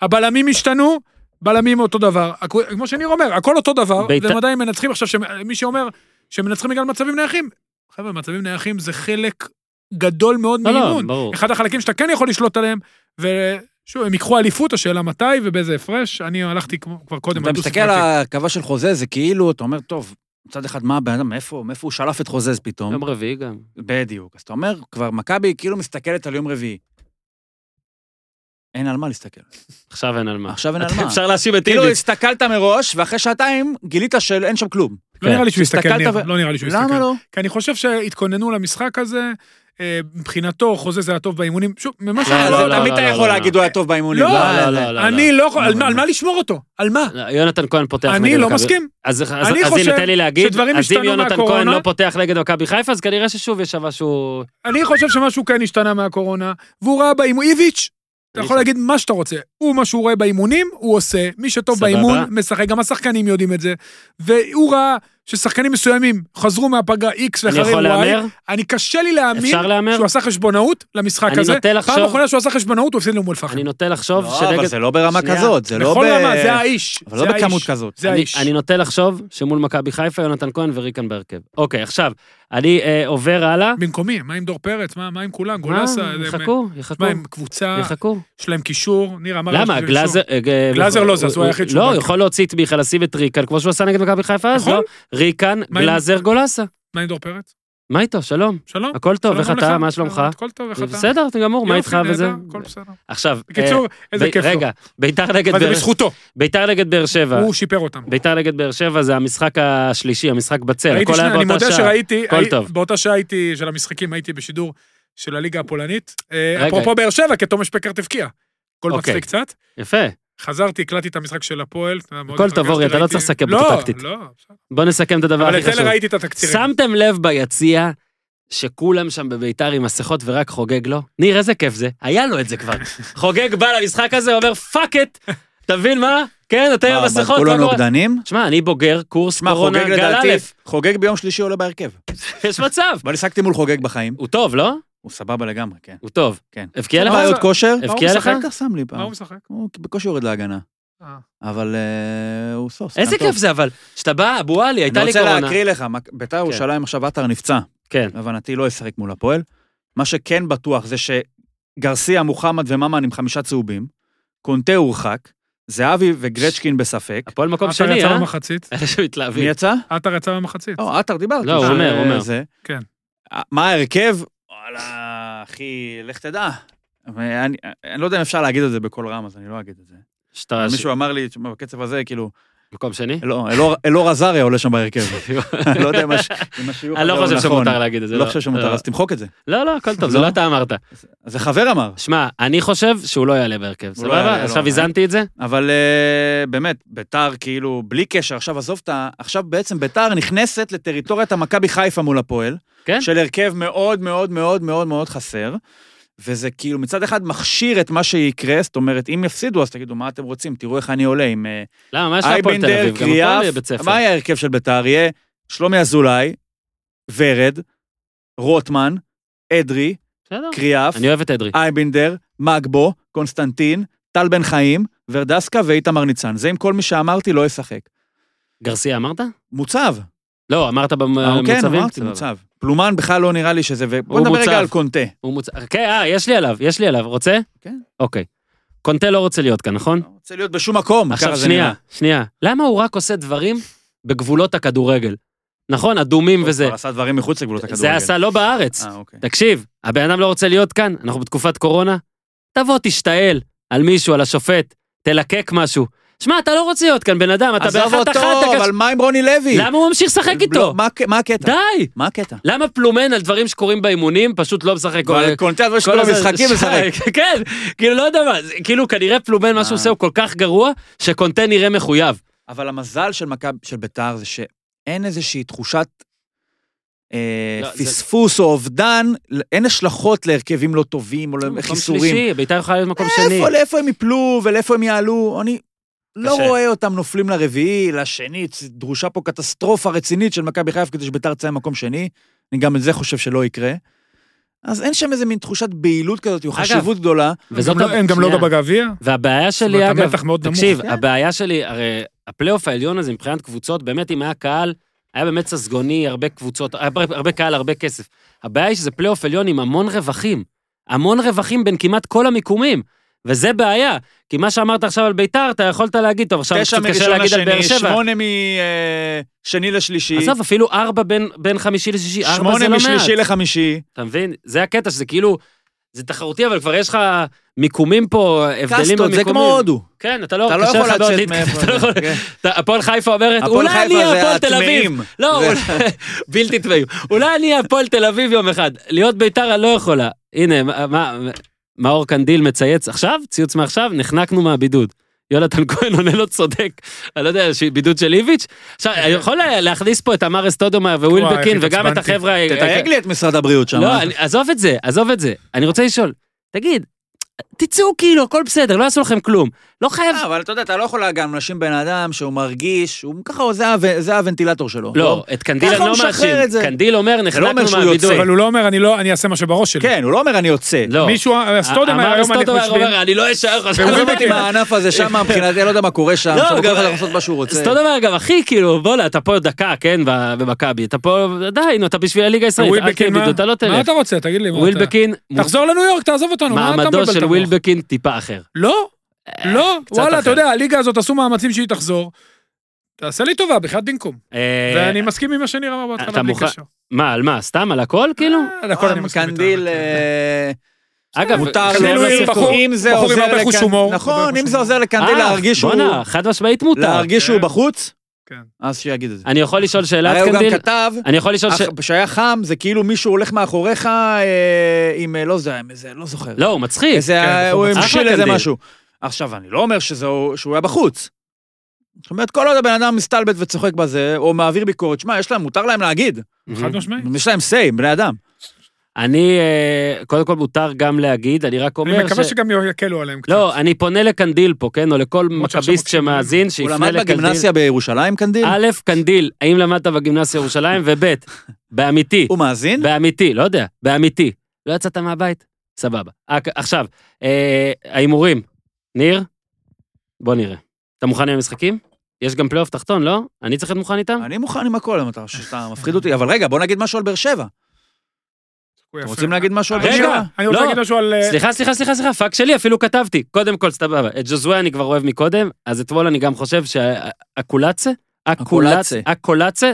C: הבלמים השתנו, בלמים אותו דבר. הקו- כמו שניר אומר, הכל אותו דבר,
A: בית"ר-
C: והם עדיין מנצחים. עכשיו, שמ- מי שאומר שמנצחים בגלל מצבים נייחים, חבר'ה, מצבים נייחים זה חלק גדול מאוד
A: לא, לא,
C: מאימון.
A: ברור.
C: אחד החלקים שאתה כן יכול לשלוט עליהם, ושוב, הם ייקחו אליפות, השאלה מתי ובאיזה הפרש. אני הלכתי כמו- כבר קודם.
D: אתה
C: על דו-ספרתי.
D: מסתכל על ההרכבה של חוזה, זה כאילו, אתה אומר, טוב, מצד אחד, מה הבן אדם, מאיפה מאיפה הוא שלף את חוזז פתאום?
A: יום רביעי גם.
D: בדיוק. אז אתה אומר, כבר מכבי כאילו מסתכלת על יום רביעי. אין על מה להסתכל.
A: עכשיו אין על מה.
D: עכשיו אין על מה.
A: אפשר להאשים את
D: כאילו
A: איביץ'.
D: הסתכלת מראש, ואחרי שעתיים גילית שאין שם כלום.
C: לא
A: כן.
C: נראה לי שהוא
D: הסתכלת
C: יסתכל, ניר.
D: ו-
C: לא נראה לי שהוא יסתכל.
D: למה לא?
C: כי אני חושב שהתכוננו למשחק הזה, אה, מבחינתו חוזה זה היה טוב באימונים. שוב, ממה ש...
A: לא, לא,
D: אה, זה
A: לא,
D: תמיד
A: לא,
D: אתה
A: לא,
D: יכול
A: לא.
D: להגיד, הוא היה טוב באימונים.
C: לא,
A: לא, לא, לא.
C: אני לא יכול, על
D: לא,
C: מה-
D: לא.
C: על מה לשמור אותו? על מה?
A: לא, יונתן כהן פותח נגד
C: אני לא
A: מכבי-
C: מסכים.
A: אז, אז,
C: אני
A: אז
C: חושב
A: הנה, תן לי להגיד,
C: שדברים
A: אז אם
C: השתנו
A: יונתן כהן
C: מהקורונה.
A: לא פותח נגד מכבי חיפה, אז כנראה ששוב יש משהו...
C: אני חושב שמשהו כן השתנה מהקורונה, והוא ראה באימון, איביץ', אתה יכול להגיד מה שאתה רוצה. הוא, מה שהוא רואה באימונים, הוא עושה. מי שטוב
A: סבבה.
C: באימון, משחק. גם השחקנים יודעים את זה. והוא ראה ששחקנים מסוימים חזרו מהפגרה X
A: אני
C: ואחרי
A: יכול
C: Y.
A: להמר?
C: אני קשה לי להאמין
A: אפשר להמר?
C: שהוא עשה חשבונאות למשחק
A: אני
C: הזה.
A: נוטה לחשוב-
C: פעם אחרונה שהוא עשה חשבונאות, הוא הפסיד לאום אל-פחם.
A: אני נוטה לחשוב
D: לא, אבל
A: שנגד...
D: זה לא ברמה
A: שנייה.
D: כזאת, זה לא ב...
C: בכל רמה, נכון, זה האיש.
D: אבל
C: זה
D: לא בכמות
C: האיש.
D: כזאת.
C: זה
A: אני-
C: האיש.
A: אני נוטה לחשוב שמול מכבי חיפה, יונתן כהן וריקן בהרכב. אוקיי, עכשיו, אני אה, עובר הלאה.
C: במקומי, מה עם דור פרץ? מה מה עם כולם?
A: מה?
C: גולסה? זה-
A: יחכו, יחכו.
C: מה, הם קבוצה,
A: יחכו.
C: יש להם קישור, ניר אמר... להם
A: למה?
C: שזה קישור.
A: גלאזר... אה, אה,
C: גלאזר לא זז, הוא היחיד שהוא
A: לא,
C: בא.
A: הוא יכול להוציא את מיכה, לשים את ריקן, כמו שהוא עשה נגד מכבי חיפה אז,
C: נכון.
A: לא? ריקן,
C: מה עם-
A: גלאזר, גולסה.
C: מה עם דור פרץ?
A: מה איתו? שלום.
C: שלום.
A: הכל טוב,
C: שלום
A: איך
C: גם
A: אתה?
C: לך.
A: מה שלומך?
C: הכל טוב, איך אתה?
A: בסדר, אתה גמור, מה
C: יופי,
A: איתך
C: נהדר,
A: וזה?
C: הכל בסדר.
A: עכשיו, אה,
C: בקיצור, איזה
A: ב-
C: כיף לו.
A: רגע, ביתר נגד
C: אבל זה
A: באר-
C: בזכותו,
A: ביתר נגד באר שבע.
C: הוא שיפר אותם.
A: ביתר נגד באר שבע זה המשחק השלישי, המשחק בצל.
C: ראיתי
A: הכל
C: שני-
A: היה
C: אני
A: באותה
C: מודה
A: שעה.
C: שראיתי,
A: הכל
C: הי-
A: טוב.
C: באותה שעה הייתי, של המשחקים, הייתי בשידור של הליגה הפולנית. אה,
A: רגע.
C: אפרופו באר שבע, כי תומש פקארט הבקיע. גול
A: אוקיי.
C: מצחיק קצת.
A: יפה.
C: חזרתי, הקלטתי את המשחק של הפועל. אתה יודע, מאוד
A: הכל טוב,
C: התרגשתי,
A: אורי, אתה לא
C: ראיתי-
A: צריך לסכם
C: לא,
A: פה טקטית.
C: לא, בסדר.
A: בוא נסכם את הדבר
C: אבל
A: הכי
C: את
A: חשוב.
C: אלה ראיתי את התקצירים.
A: שמתם לב ביציע שכולם שם בביתר עם מסכות ורק חוגג לו? ניר, איזה כיף זה. היה לו את זה
C: [LAUGHS]
A: כבר. חוגג בא למשחק הזה, אומר פאק את. אתה מבין מה? כן, אתה עם
D: מה,
A: המסכות.
D: כולם
A: מה קורה?"
D: נוגדנים?
A: שמע, אני בוגר קורס
D: שמע,
A: קורונה
D: חוגג
A: גל
D: לדעתי,
A: א',
D: חוגג ביום שלישי עולה בהרכב.
A: [LAUGHS] יש מצב.
D: אבל השחקתי מול חוגג בחיים,
A: הוא טוב, לא?
D: הוא סבבה לגמרי, כן.
A: הוא טוב.
D: כן.
A: הבקיע
D: אין
A: לך?
C: מה,
D: בעיות
C: הוא-
D: כושר?
C: הוא
A: הבקיע לך?
C: משחק?
D: אתה שם לי פעם.
C: מה הוא משחק?
D: הוא בקושי יורד להגנה,
C: אה.
D: אבל אה, הוא סוף.
A: איזה כיף זה אבל. שאתה בא, אבו עלי, הייתה לי
D: אני רוצה
A: קורונה.
D: להקריא לך, מק- בית"ר ירושלים עכשיו עטר נפצע.
A: כן.
D: להבנתי לא ישחק מול הפועל. מה שכן בטוח זה שגרסיה, מוחמד וממן עם חמישה צהובים, קונטה הורחק, זהבי וגרצ'קין בספק.
A: הפועל מקום
C: עטר
A: שני,
C: יצא
A: אה?
C: במחצית.
A: [LAUGHS] אלה
D: מי
A: שמתלהבים.
D: יצא?
C: עטר יצא במחצית.
D: לא, עטר דיברתי.
A: לא, הוא
D: ש-
A: אומר, הוא אומר.
D: זה.
C: כן.
D: מה ההרכב? וואלה, אחי, לך תדע. ואני- אני לא יודע אם אפשר להגיד את זה בקול רם, אז אני לא אגיד את זה.
A: שאתה...
D: מישהו אמר לי, "תשמע, בקצב הזה, כאילו,
A: מקום שני?
D: לא, אלאור- אלאור עזריה עולה שם בהרכב. [LAUGHS] אני לא יודע אם הש- אם השיוך
A: אני
D: הזה
A: לא
D: הוא
A: חושב
D: נכון.
A: שמותר להגיד את זה.
D: לא חושב שמותר,
A: לא.
D: אז תמחוק את זה.
A: לא, לא, הכל טוב, זה לא
D: לא?
A: אתה אמרת.
D: זה חבר אמר.
A: שמע, אני חושב שהוא לא יעלה בהרכב,
D: הוא לא יעלה,
A: סבבה?
D: לא.
A: עכשיו איזנתי את זה?
D: אבל אה, באמת, ביתר כאילו, בלי קשר, עכשיו עזוב את ה... עכשיו בעצם ביתר נכנסת לטריטוריית המכבי חיפה מול הפועל,
A: כן.
D: של הרכב מאוד מאוד מאוד מאוד מאוד חסר, וזה כאילו מצד אחד מכשיר את מה שיקרה, זאת אומרת, אם יפסידו אז תגידו, מה אתם רוצים? תראו איך אני עולה עם אה,
A: למה, מה יש להפועל תל
D: אייבנדר,
A: אביב? גם הפועל יהיה
D: קריאף,
A: בית ספר.
D: מה יהיה ההרכב של ביתר? יהיה שלומי אזולאי, ורד, רוטמן, אדרי,
A: בסדר.
D: קריאף,
A: אני אוהב את
D: אה.
A: אדרי.
D: אייבינדר, מגבו, קונסטנטין, טל בן חיים, ורדסקה ואיתמר ניצן. זה עם כל מי שאמרתי לא ישחק.
A: גרסיה אמרת?
D: מוצב.
A: לא, אמרת
D: אה,
A: במצבים?
D: כן, אמרתי,
A: סבבה.
D: מוצב. פלומן בכלל לא נראה לי שזה... ובוא
A: הוא
D: נדבר
A: מוצב. כן.
D: רגע על קונטה.
A: הוא מוצ... כן, אה, יש לי עליו, יש לי עליו. רוצה?
D: כן.
A: אוקיי. קונטה לא רוצה להיות כאן, נכון?
D: לא רוצה להיות בשום מקום.
A: עכשיו
D: ככה זה
A: שנייה,
D: נראה.
A: שנייה. למה הוא רק עושה דברים בגבולות הכדורגל? נכון, אדומים
D: הוא
A: וזה.
D: כבר עשה דברים מחוץ לגבולות הכדורגל.
A: זה עשה לא בארץ.
D: אה, אוקיי.
A: תקשיב, הבן אדם לא רוצה להיות כאן, אנחנו בתקופת קורונה. תבוא, תשתעל על מישהו, על השופט, תלקק משהו. שמע, אתה לא רוצה להיות כאן, בן אדם, אתה
D: עזוב
A: באחת
D: אותו,
A: אחת, אתה
D: אבל
A: קש-
D: מה עם רוני לוי?
A: למה הוא ממשיך לשחק איתו?
D: לא, מה הק- מה הקטע?
A: די!
D: מה הקטע?
A: למה פלומן על דברים שקורים באימונים, פשוט לא משחק?
D: אבל קונטה על כל
A: הזמן-
D: המשחקים משחק.
A: [LAUGHS] כן, כאילו, לא יודע מה, זה- כאילו, כנראה פלומן, מה שהוא
D: אה.
A: עושה הוא כל כך גרוע, שקונטה נראה מחויב.
D: אבל המזל של מכבי, של ביתר, זה שאין איזושהי תחושת אה,
A: לא, זה-
D: פספוס או אובדן, ל- אין השלכות להרכבים לא טובים או
A: מקום
D: לחיסורים.
A: שלישי, בית"ר יכולה להיות מקום שני.
D: איפה, לאיפה הם יפלו ולאיפה הם יעלו, אני לא
A: קשה.
D: רואה אותם נופלים לרביעי, לשני, צ- דרושה פה קטסטרופה רצינית של מכבי חיפה כדי שביתר תצא ממקום שני, אני גם את זה חושב שלא יקרה. אז אין שם איזה מין תשת בהילות כזאת, או
A: אגב,
D: חשיבות גדולה.
A: וזאת
C: גם לא-
A: הב-
C: הם גם לא
A: שנייה.
C: גם בגביע?
A: והבעיה
C: זאת אומרת,
A: שלי, אגב,
C: המתח מאוד נמוך.
A: תקשיב,
D: כן.
A: הבעיה שלי, הרי הפלייאוף העליון הזה מבחינת קבוצות, באמת אם היה קהל, היה באמת ססגוני, הרבה קבוצות, היה הרבה הרבה קהל, הרבה כסף. הבעיה היא שזה פלייאוף עליון עם המון רווחים. המון רווחים בין כמעט כל המיקומים. וזה בעיה, כי מה שאמרת עכשיו על ביתר, אתה יכולת להגיד, טוב, עכשיו
D: תשע
A: קצת קשה
D: מראשון
A: להגיד על באר שבע.
D: לשני, שמונה משני לשלישי,
A: עזוב, אפילו ארבע בין, בין חמישי לשישי, ארבע זה
D: שמונה
A: לא מעט.
D: משלישי לחמישי.
A: אתה מבין? זה הקטע, שזה כאילו, זה תחרותי, אבל כבר יש לך מיקומים פה, הבדלים
D: קסטות,
A: במיקומים.
D: זה כמו הודו.
A: כן, אתה לא,
D: אתה לא
A: קשה
D: יכול
A: לך מאוד
D: לצאת
A: להתקדם,
D: מאיפה.
A: [LAUGHS] אתה לא יכול-
D: כן.
A: אתה- הפועל חיפה אומרת,
D: הפועל
A: אולי אני
D: חיפה זה
A: הפועל תל אביב.
D: הטמאים.
A: לא,
D: זה-
A: אולי- [LAUGHS] בלתי טמאים. אולי אני הפועל תל אביב יום אחד. להיות ביתר אני לא יכולה. הנה, מה- מה- מאור קנדיל מצייץ עכשיו, ציוץ מעכשיו, נחנקנו מהבידוד. יונתן [LAUGHS] כהן עונה לו צודק, אני לא יודע, ש- בידוד של איביץ'. עכשיו, אני יכול לה- להכניס פה את אמר אסטודומה
C: וואי,
A: ווילבקין
C: איך
A: וגם את
C: התעצבנתי.
A: החבר'ה... אה,
D: תתייג לי את משרד הבריאות שם.
A: לא, אני- עזוב את זה, עזוב את זה. אני רוצה לשאול, תגיד, תצאו כאילו, הכל בסדר, לא יעשו לכם כלום. לא חייב
D: אבל אתה יודע, אתה לא יכול גם להאשים בן אדם שהוא מרגיש, הוא ככה, הוא- זה ה- זה הוונטילטור שלו.
A: לא, את קנדיל
D: ככה
A: אני לא
D: נכון? הוא משחרר
A: מאשים.
D: את זה.
A: קנדיל אומר, נחנקנו
D: אומר שהוא
A: מהבידוד.
D: יוצא.
C: אבל הוא לא אומר, אני לא, אני אעשה מה שבראש שלי.
D: כן, הוא לא אומר אני יוצא.
A: לא.
C: מישהו, סטודמר
A: אמר
C: היום אנחנו
A: סטודומר,
C: יושבים.
A: אומר, אני לא אשאר לך.
D: עזוב אותי מהענף הזה [LAUGHS] שם, מבחינתי, אני לא יודע מה קורה שם,
A: לא,
D: שם הוא
A: גם-
D: כל אחד לעשות מה שהוא רוצה.
A: סטודומר גם, אחי, כאילו, בוא'נה, אתה פה דקה, כן, ב- במכבי. אתה פה, די, נו, אתה בשביל הליגה הישראלית. אל תהיה
C: ווילבקין,
A: בידוד, אתה לא
C: מה
A: תלך.
C: אתה רוצה? תגיד לי, מה אתה...
A: ווילבקין,
C: תחזור לניו יורק, תעזוב אותנו, מה אתה מבלבל את
A: מעמדו
C: המוח?
A: של ווילבקין טיפה אחר.
C: לא, לא,
A: קצת
C: וואלה,
A: אחר.
C: אתה יודע, הליגה הזאת עשו מאמצים שהיא תחזור. תעשה לי טובה, בחייאת דינקום.
A: אה,
C: ואני מסכים עם מה שניר אמר
A: אתה
C: בהתחלה, בלי
A: מוכן-
C: קשר.
A: מה, על מה, סתם, על הכל, כאילו?
C: אה, על הכל אני מסכים איתך.
D: קנדיל, אה,
A: אגב, לא
D: מותר
A: חשוב
C: כאילו
D: לו,
A: להגיד-
C: אם בחור-
D: אם זה
C: בחור עם
D: עוזר
C: הרבה חוש
D: לקנ-
C: הומור, הרבה
D: נכון,
C: חוש
D: אם זה
C: הומור.
D: עוזר לקנדיל
A: אה,
D: להרגיש שהוא-
A: בואנה, חד משמעית מותר.
D: להרגיש שהוא בחוץ,
C: כן.
D: אז שיגיד את זה.
A: אני יכול לשאול שאלה
D: הרי
A: את
D: אה, הוא
A: קנדיל?
D: גם כתב,
A: אני יכול לשאול ש...
D: אך- שהיה חם, זה כאילו מישהו הולך מאחוריך אה, עם, אה, לא יודע, עם איזה, לא זוכר.
A: לא, הוא מצחיק.
D: איזה,
C: כן,
D: אה,
C: בחור
D: הוא
A: מצחיק.
D: המשיל
A: אחלה
D: איזה
A: קנדיל.
D: משהו. עכשיו, אני לא אומר שזה הוא- שהוא היה בחוץ. זאת אומרת, כל עוד הבן אדם מסתלבט וצוחק בזה, או מעביר ביקורת, שמע, יש להם, מותר להם להגיד.
C: חד משמעית.
D: יש להם say, בני אדם.
A: אני, אה, קודם כל מותר גם להגיד, אני רק אומר
C: אני מקווה
A: ש-
C: שגם יקלו עליהם קצת.
A: לא, אני פונה לקנדיל פה, כן? או לכל
C: שעכשיו
A: מכביסט
C: מקשיבים לנו.
A: שמאזין,
D: הוא
A: שיפנה
D: למד
A: לקנדיל.
D: בגימנסיה בירושלים, קנדיל?
A: א', קנדיל, האם למדת בגימנסיה ירושלים? וב', באמיתי,
D: הוא מאזין?
A: באמיתי, לא יודע, באמיתי. לא יצאת מהבית? סבבה. אה, עכשיו, אה, ההימורים. ניר? בוא נראה. אתה מוכן עם המשחקים? יש גם פלייאוף תחתון, לא? אני צריך להיות מוכן איתם?
D: אני מוכן עם הכל, אם אתה חושב שאתה מפחיד אותי. אבל רגע, בוא נגיד משהו על באר שבע.
C: הוא
D: אתם
C: יפה.
D: רוצים להגיד משהו על
C: רגע,
D: באר שבע?
C: אני רוצה
A: לא.
C: להגיד משהו על... אה,
A: סליחה, סליחה, סליחה, סליחה, פאק שלי, אפילו כתבתי. קודם כל, סבבה, את ג'וזווה אני כבר אוהב מקודם, אז אתמול אני גם חושב שהקולצה, הקולצה,
D: הקולצה.
A: הקולצה,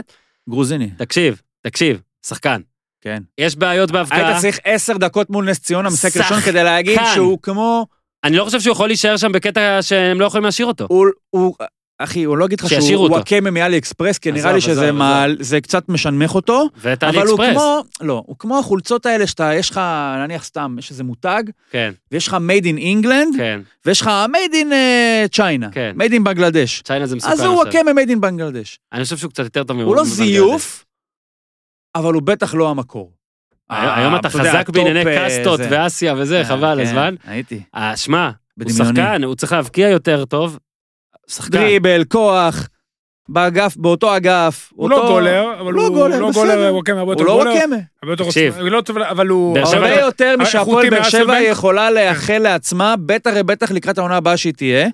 D: גרוזיני.
A: תקשיב, תקשיב, שחקן.
D: כן.
A: יש בעיות בהבקעה,
D: היית צריך עשר דקות מול נס ציונה, משחק ראשון,
A: שחקן.
D: כדי להגיד שהוא כמו...
A: אני לא חושב שהוא יכול להישאר שם בקטע שהם לא יכולים להשאיר אותו.
D: הוא, הוא, אחי, הוא לא אגיד לך
A: שישאירו
D: שהוא
A: אותו.
D: וואקמה מאלי אקספרס, כי
A: עזוב,
D: נראה לי
A: עזוב,
D: שזה
A: עזוב.
D: מעל, זה קצת משנמך אותו.
A: ואת
D: אבל
A: אלי
D: הוא
A: אקספרס.
D: כמו, לא, הוא כמו החולצות האלה שאתה, יש לך, נניח סתם, יש איזה מותג,
A: כן,
D: ויש לך made in England,
A: כן.
D: ויש לך made in uh, China,
A: כן.
D: made in בנגלדש.
A: צ'יינה זה מסוכן
D: אז הוא
A: עכשיו.
D: וואקמה made in בנגלדש.
A: אני חושב שהוא קצת יותר טוב
D: הוא לא
A: מבנגלדש.
D: זיוף, אבל הוא בטח לא המקור. אה,
A: הי- היום אתה
D: יודע,
A: חזק
D: הטופ,
A: בענייני
D: אה,
A: קאסטות
D: זה.
A: ואסיה וזה,
D: אה,
A: חבל
D: כן,
A: הזמן.
D: הייתי.
A: אה, שמע, הוא
D: בדמיוני.
A: שחקן, הוא צריך להבקיע יותר טוב. שחקן.
D: דריבל, כוח, באגף, באותו אגף.
C: הוא לא
D: אותו-
C: גולר, אבל
D: לא
C: הוא
D: גולר,
C: לא
D: בסדר.
C: גולר, הוא וואקמה הרבה יותר
D: הוא לא
C: גולר. אה,
D: וואקמה.
C: הרבה יותר
A: תקשיב.
C: עוצמה- הוא לא טוב, אבל הוא...
A: באר שבע-
C: הרבה
D: הרבה
A: אבל-
C: יותר-
D: יותר משהפועל
C: איכותי
D: באר
C: מאסל
D: שבע
C: בנק.
D: יכולה לאחל לעצמה, בטח ובטח לקראת העונה הבאה שהיא תהיה.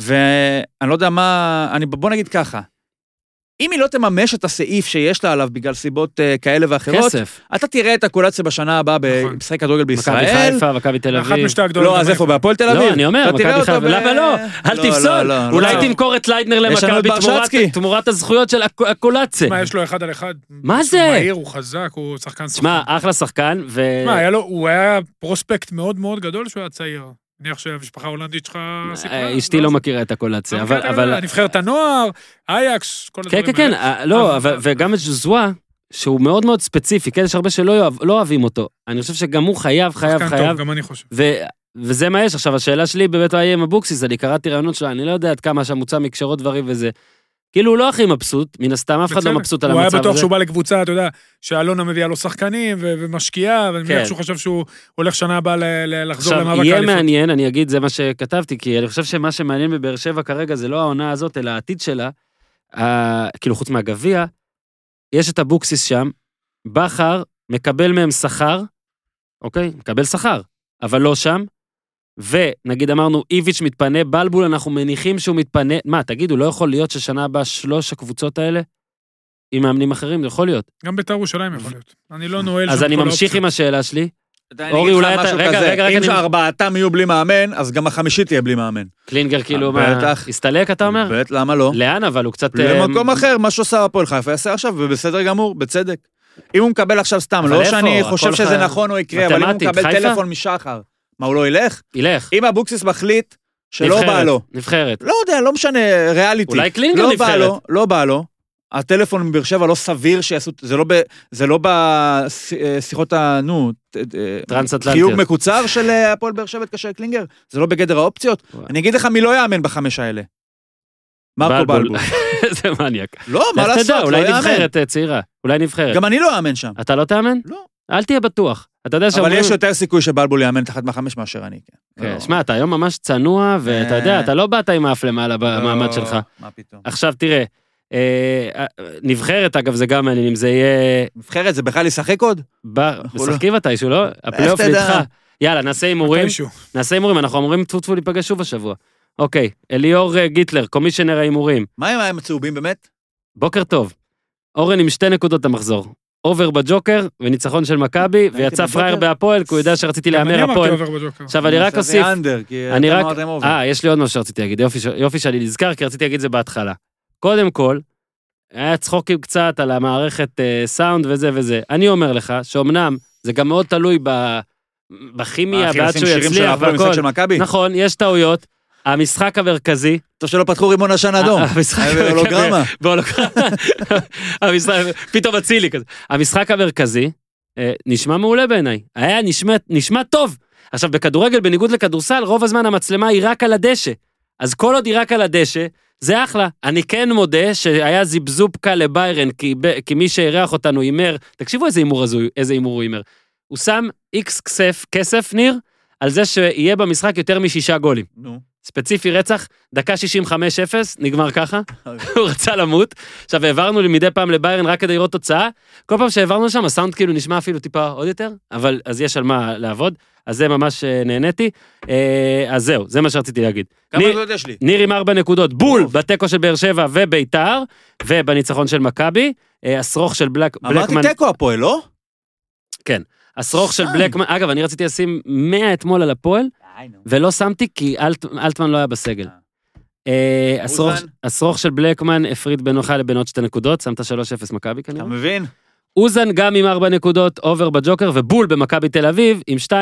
D: ואני לא יודע מה, אני, בוא נגיד ככה, אם היא לא תממש את הסעיף שיש לה עליו בגלל סיבות אה, כאלה ואחרות,
A: כסף.
D: אתה תראה את הקולציה בשנה הבאה
C: נכון.
D: במשחק כדורגל
A: מכבי
D: בישראל.
A: חיפה, מכבי תל
C: אחת
A: אביב.
C: משתי הגדולות.
D: לא, אז איפה, בהפועל תל אביב?
A: לא, אני אומר,
D: אתה תראה
A: מכבי
D: אותו
A: חיפה,
D: ב-
A: למה לא? אל
D: לא,
A: תפסול.
D: לא, לא,
A: אולי
D: לא.
A: תמכור את ליידנר
D: יש לנו את
A: למכבי תמורת-
D: ברשצקי.
A: תמורת הזכויות של הקו- הקולצה.
C: מה, יש לו אחד על אחד?
A: מה זה?
C: הוא מהיר, הוא חזק, הוא שחקן
A: שמע, אה, אחלה שחקן, ו...
C: שמע, היה לו, הוא היה פרוספקט מאוד מאוד גדול שהוא היה צעיר. מניח שהמשפחה ההולנדית שלך סיפרה.
A: אה, אשתי לא מכירה את הקולציה, אבל- אבל...
C: נבחרת הנוער, אייקס, כל הדברים
A: כן,
C: האלה.
A: כן, כן, אה, לא,
C: אז-
A: אבל- וגם את זואה, שהוא מאוד מאוד ספציפי, כן, יש הרבה שלא יאהב- לא אוהבים אותו. אני חושב שגם הוא חייב, חייב,
C: שחקן
A: חייב.
C: טוב, גם אני חושב.
A: ו- וזה מה יש. עכשיו, השאלה שלי באמת מה יהיה עם אבוקסיס, אני קראתי רעיונות שלה, אני לא יודע עד כמה שהמוצא מקשרות דברים וזה. כאילו, הוא לא הכי מבסוט, מן הסתם, אף אחד לא
C: בצדק.
A: מבסוט על
C: הוא היה
A: המצב
C: בטוח
A: הזה.
C: שהוא בא לקבוצה, אתה יודע, שאלונה מביאה לו שחקנים ו- ומשקיעה, ואני
A: כן.
C: מניח שהוא חושב שהוא הולך שנה הבאה ל- ל- לחזור למאבק
A: עכשיו, יהיה
C: האליפות.
A: מעניין, אני אגיד, זה מה שכתבתי, כי אני חושב שמה שמעניין בבאר שבע כרגע זה לא העונה הזאת, אלא העתיד שלה, אה, כאילו, חוץ מהגביע, יש את אבוקסיס שם, בכר מקבל מהם שכר, אוקיי? מקבל שכר, אבל לא שם. ונגיד אמרנו, איביץ' מתפנה, בלבול, אנחנו מניחים שהוא מתפנה. מה, תגידו, לא יכול להיות ששנה הבאה שלוש הקבוצות האלה עם מאמנים אחרים? זה יכול להיות.
C: גם בית"ר ירושלים יכול להיות. אני לא נועל
A: אז
C: שם
A: אני
C: כל
A: ממשיך עם
C: האופציות.
A: השאלה שלי.
D: אני
A: אורי,
D: אגיד לך
A: אולי אתה-
D: משהו
A: רגע,
D: כזה,
A: רגע, רגע,
D: אם
A: אני-
D: שארבעתם יהיו בלי מאמן, אז גם החמישית תהיה בלי מאמן.
A: קלינגר כאילו, מה,
D: בטח.
A: הסתלק אתה אומר?
D: באמת, למה לא?
A: לאן אבל הוא קצת... אה,
D: למקום אחר, מה שעושה הפועל חיפה יעשה עכשיו, ובסדר גמור, בצדק. אם הוא מקבל עכשיו סתם,
A: אבל
D: לא
A: איפה?
D: שאני
A: הכל
D: חושב
A: ח-
D: שזה נכון או יקרה, אבל אם הוא
A: מתמטית,
D: מקבל
A: חיפה?
D: טלפון משחר, מה, הוא לא ילך?
A: ילך.
D: אם אבוקסיס מחליט שלא
A: נבחרת,
D: בא לו,
A: נבחרת.
D: לא יודע, לא משנה, ריאליטי.
A: אולי קלינגר
D: לא בא
A: נבחרת.
D: לו, לא בא לו. הטלפון מבאר שבע לא סביר שיעשו, זה לא ב... זה לא בשיחות ה... נו... ת- אה,
A: טרנס-אטלנטיות.
D: חיוג מקוצר של אה, הפועל באר שבע התקשר קלינגר? זה לא בגדר האופציות?
A: וואי.
D: אני אגיד לך מי לא יאמן בחמש האלה. מרקו
A: בלבול. [LAUGHS]
D: בלבול.
A: זה מניאק.
D: לא, מה
A: לך
D: לעשות,
A: תדע,
D: לא
A: אולי
D: יאמן.
A: נבחרת אה, צעירה. אולי נבחרת.
D: גם אני לא אאמן שם.
A: אתה לא תאמן?
D: לא.
A: אל תהיה בטוח. אתה יודע
D: אבל
A: שאומרים...
D: יש יותר סיכוי שבלבול יאמן תחת מהחמש מאשר אני, כן.
A: כן,
D: לא.
A: שמע, אתה היום ממש צנוע, ואתה יודע, אתה לא באת עם האף למעלה במעמד
D: אה. לא,
A: שלך.
D: מה פתאום.
A: עכשיו, תראה, אה, אה, נבחרת, אגב, זה גם מעניין, אם זה יהיה...
D: נבחרת זה בכלל ישחק עוד?
A: ב-
D: אנחנו לא-
A: משחקים מתישהו, לא? הפלייאוף
D: תדע.
A: נדחה. יאללה, נעשה הימורים.
C: מתישהו.
A: נעשה הימורים, אנחנו אמורים טפו טפו להיפגש שוב השבוע. אוקיי, אליאור אה, גיטלר, קומישיונר ההימורים.
D: מה עם- מה עם הצהובים באמת?
A: בוקר טוב. אורן עם שתי נקודות המחזור. אובר בג'וקר וניצחון של מכבי, ויצא
D: בג'וקר?
A: פראייר בהפועל, כי הוא יודע שרציתי
C: גם אני
A: להמר
C: אמרתי
A: הפועל.
C: עובר בג'וקר.
A: עכשיו אני רק
D: חשבתי
A: אוסיף,
D: אנדר, כי
A: אני
D: אתם
A: רק-
D: אמרתם אובר.
A: אה, יש לי עוד משהו שרציתי להגיד, יופי ש- יופי שאני נזכר, כי רציתי להגיד את זה בהתחלה. קודם כל, היה צחוקים קצת על המערכת אה, סאונד וזה וזה. אני אומר לך, שאומנם זה גם מאוד תלוי ב- בכימיה,
D: הכי
A: ועד
D: לשים
A: שהוא
D: אה, שירים של
A: יצליח
D: הפועל במשחק של
A: והכל.
D: מכבי?
A: [LAUGHS] נכון, יש טעויות. המשחק המרכזי,
D: טוב שלא פתחו רימון עשן אדום.
A: המשחק
D: אה,
A: [LAUGHS]
D: בהולוגרמה.
A: בהולוגרמה. המשחק- פתאום אצילי כזה. המשחק המרכזי אה, נשמע מעולה בעיניי. היה נשמע- נשמע טוב. עכשיו, בכדורגל, בניגוד לכדורסל, רוב הזמן המצלמה היא רק על הדשא. אז כל עוד היא רק על הדשא, זה אחלה. אני כן מודה שהיה זיבזוב קל לביירן, כי, ב- כי מי שאירח אותנו הימר, תקשיבו איזה הימור הזוי, איזה הימור הוא הימר. הוא שם איקס כסף, כסף, ניר, על זה שיהיה במשחק יותר משישה גולים.
D: נו.
A: ספציפי רצח, דקה 65-0, נגמר ככה,
D: אוקיי.
A: [LAUGHS] הוא רצה למות. עכשיו העברנו לי מדי פעם לביירן רק כדי לראות תוצאה, כל פעם שהעברנו לשם הסאונד כאילו נשמע אפילו טיפה עוד יותר, אבל אז יש על מה לעבוד, אז זה ממש אה, נהניתי. אה, אז זהו, זה מה שרציתי להגיד.
D: כמה
A: ניר-
D: נקודות יש לי?
A: ניר עם ארבע נקודות, בול,
D: טוב.
A: בתיקו של באר שבע וביתר, ובניצחון של מכבי, אה, השרוך של בלק,
D: אמרתי
A: בלקמן,
D: תיקו אה. הפועל, לא?
A: השרוך של
D: שם.
A: בלקמן, אגב, אני רציתי לשים 100 אתמול על הפועל, ולא שמתי כי אלט, אלטמן לא היה בסגל.
D: אה.
A: אה, השרוך-
D: אוזן?
A: השרוך של בלקמן הפריד בינך לבין עוד שתי נקודות, שמת 3-0 מכבי
D: אתה
A: כנראה.
D: מבין?
A: אוזן גם עם 4 נקודות, אובר בג'וקר, ובול במכבי תל אביב עם 2-0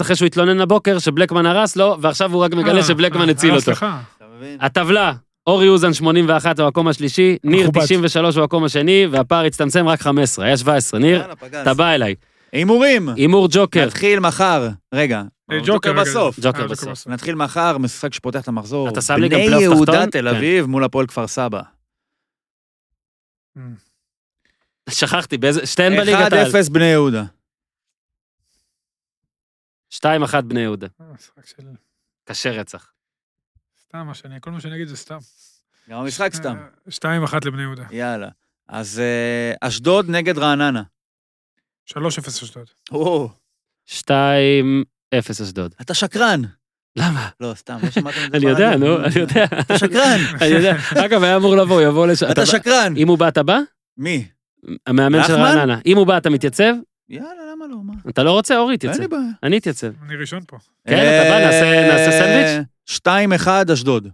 A: אחרי שהוא התלונן לבוקר שבלקמן הרס לו, ועכשיו הוא רק מגלה
C: אה,
A: שבלקמן
C: אה,
A: הציל
C: אה,
A: אותו.
C: סליחה.
D: אתה מבין?
A: הטבלה, אורי אוזן 81 במקום השלישי, ניר
C: מכובד.
A: 93 במקום השני, והפער הצטמצם רק 15, היה 17. ניר,
D: יאללה, פגז.
A: אתה בא אה, אליי.
D: הימורים.
A: הימור
D: [LAUGHS]
A: ג'וקר.
D: נתחיל מחר. רגע.
C: אה,
D: ג'וקר
C: רגע.
D: בסוף.
C: אה,
A: ג'וקר בסוף.
D: נתחיל מחר, משחק שפותח את המחזור.
A: אתה שם לי גם
D: בני
A: פלייאוף
D: יהודה
A: תחתון?
D: תל
A: כן.
D: אביב מול הפועל כפר סבא.
C: אה,
A: שכחתי, באיזה... שתיהן בליגת העל.
D: 1-0 בני יהודה.
A: 2-1 בני יהודה.
C: אה, משחק של-
A: קשה רצח.
C: סתם מה שאני, כל מה שאני אגיד זה סתם.
D: גם המשחק סתם.
C: אה, שתיים אחת לבני יהודה.
D: יאללה. אז אה, אשדוד נגד רעננה.
C: שלוש אפס אשדוד.
D: או,
A: 2-0 אשדוד.
D: אתה שקרן.
A: למה?
D: לא, סתם, לא שמעתם את זה.
A: אני
D: פעם?
A: יודע, נו, אני יודע. [LAUGHS]
D: אתה שקרן,
A: אני יודע. אגב, היה אמור לבוא, הוא יבוא לשם.
D: אתה שקרן.
A: אם הוא בא, אתה בא?
D: מי?
A: המאמן של
D: נחמן?
A: רעננה. אם הוא בא, אתה מתייצב?
D: יאללה, למה לא? מה?
A: אתה לא רוצה? אורי תתייצב.
D: אין לי בעיה.
A: אני אתייצב.
C: אני ראשון פה.
D: אה.
A: כן, אתה בא, נעשה- נעשה סנדוויץ'?
D: 2-1 אשדוד.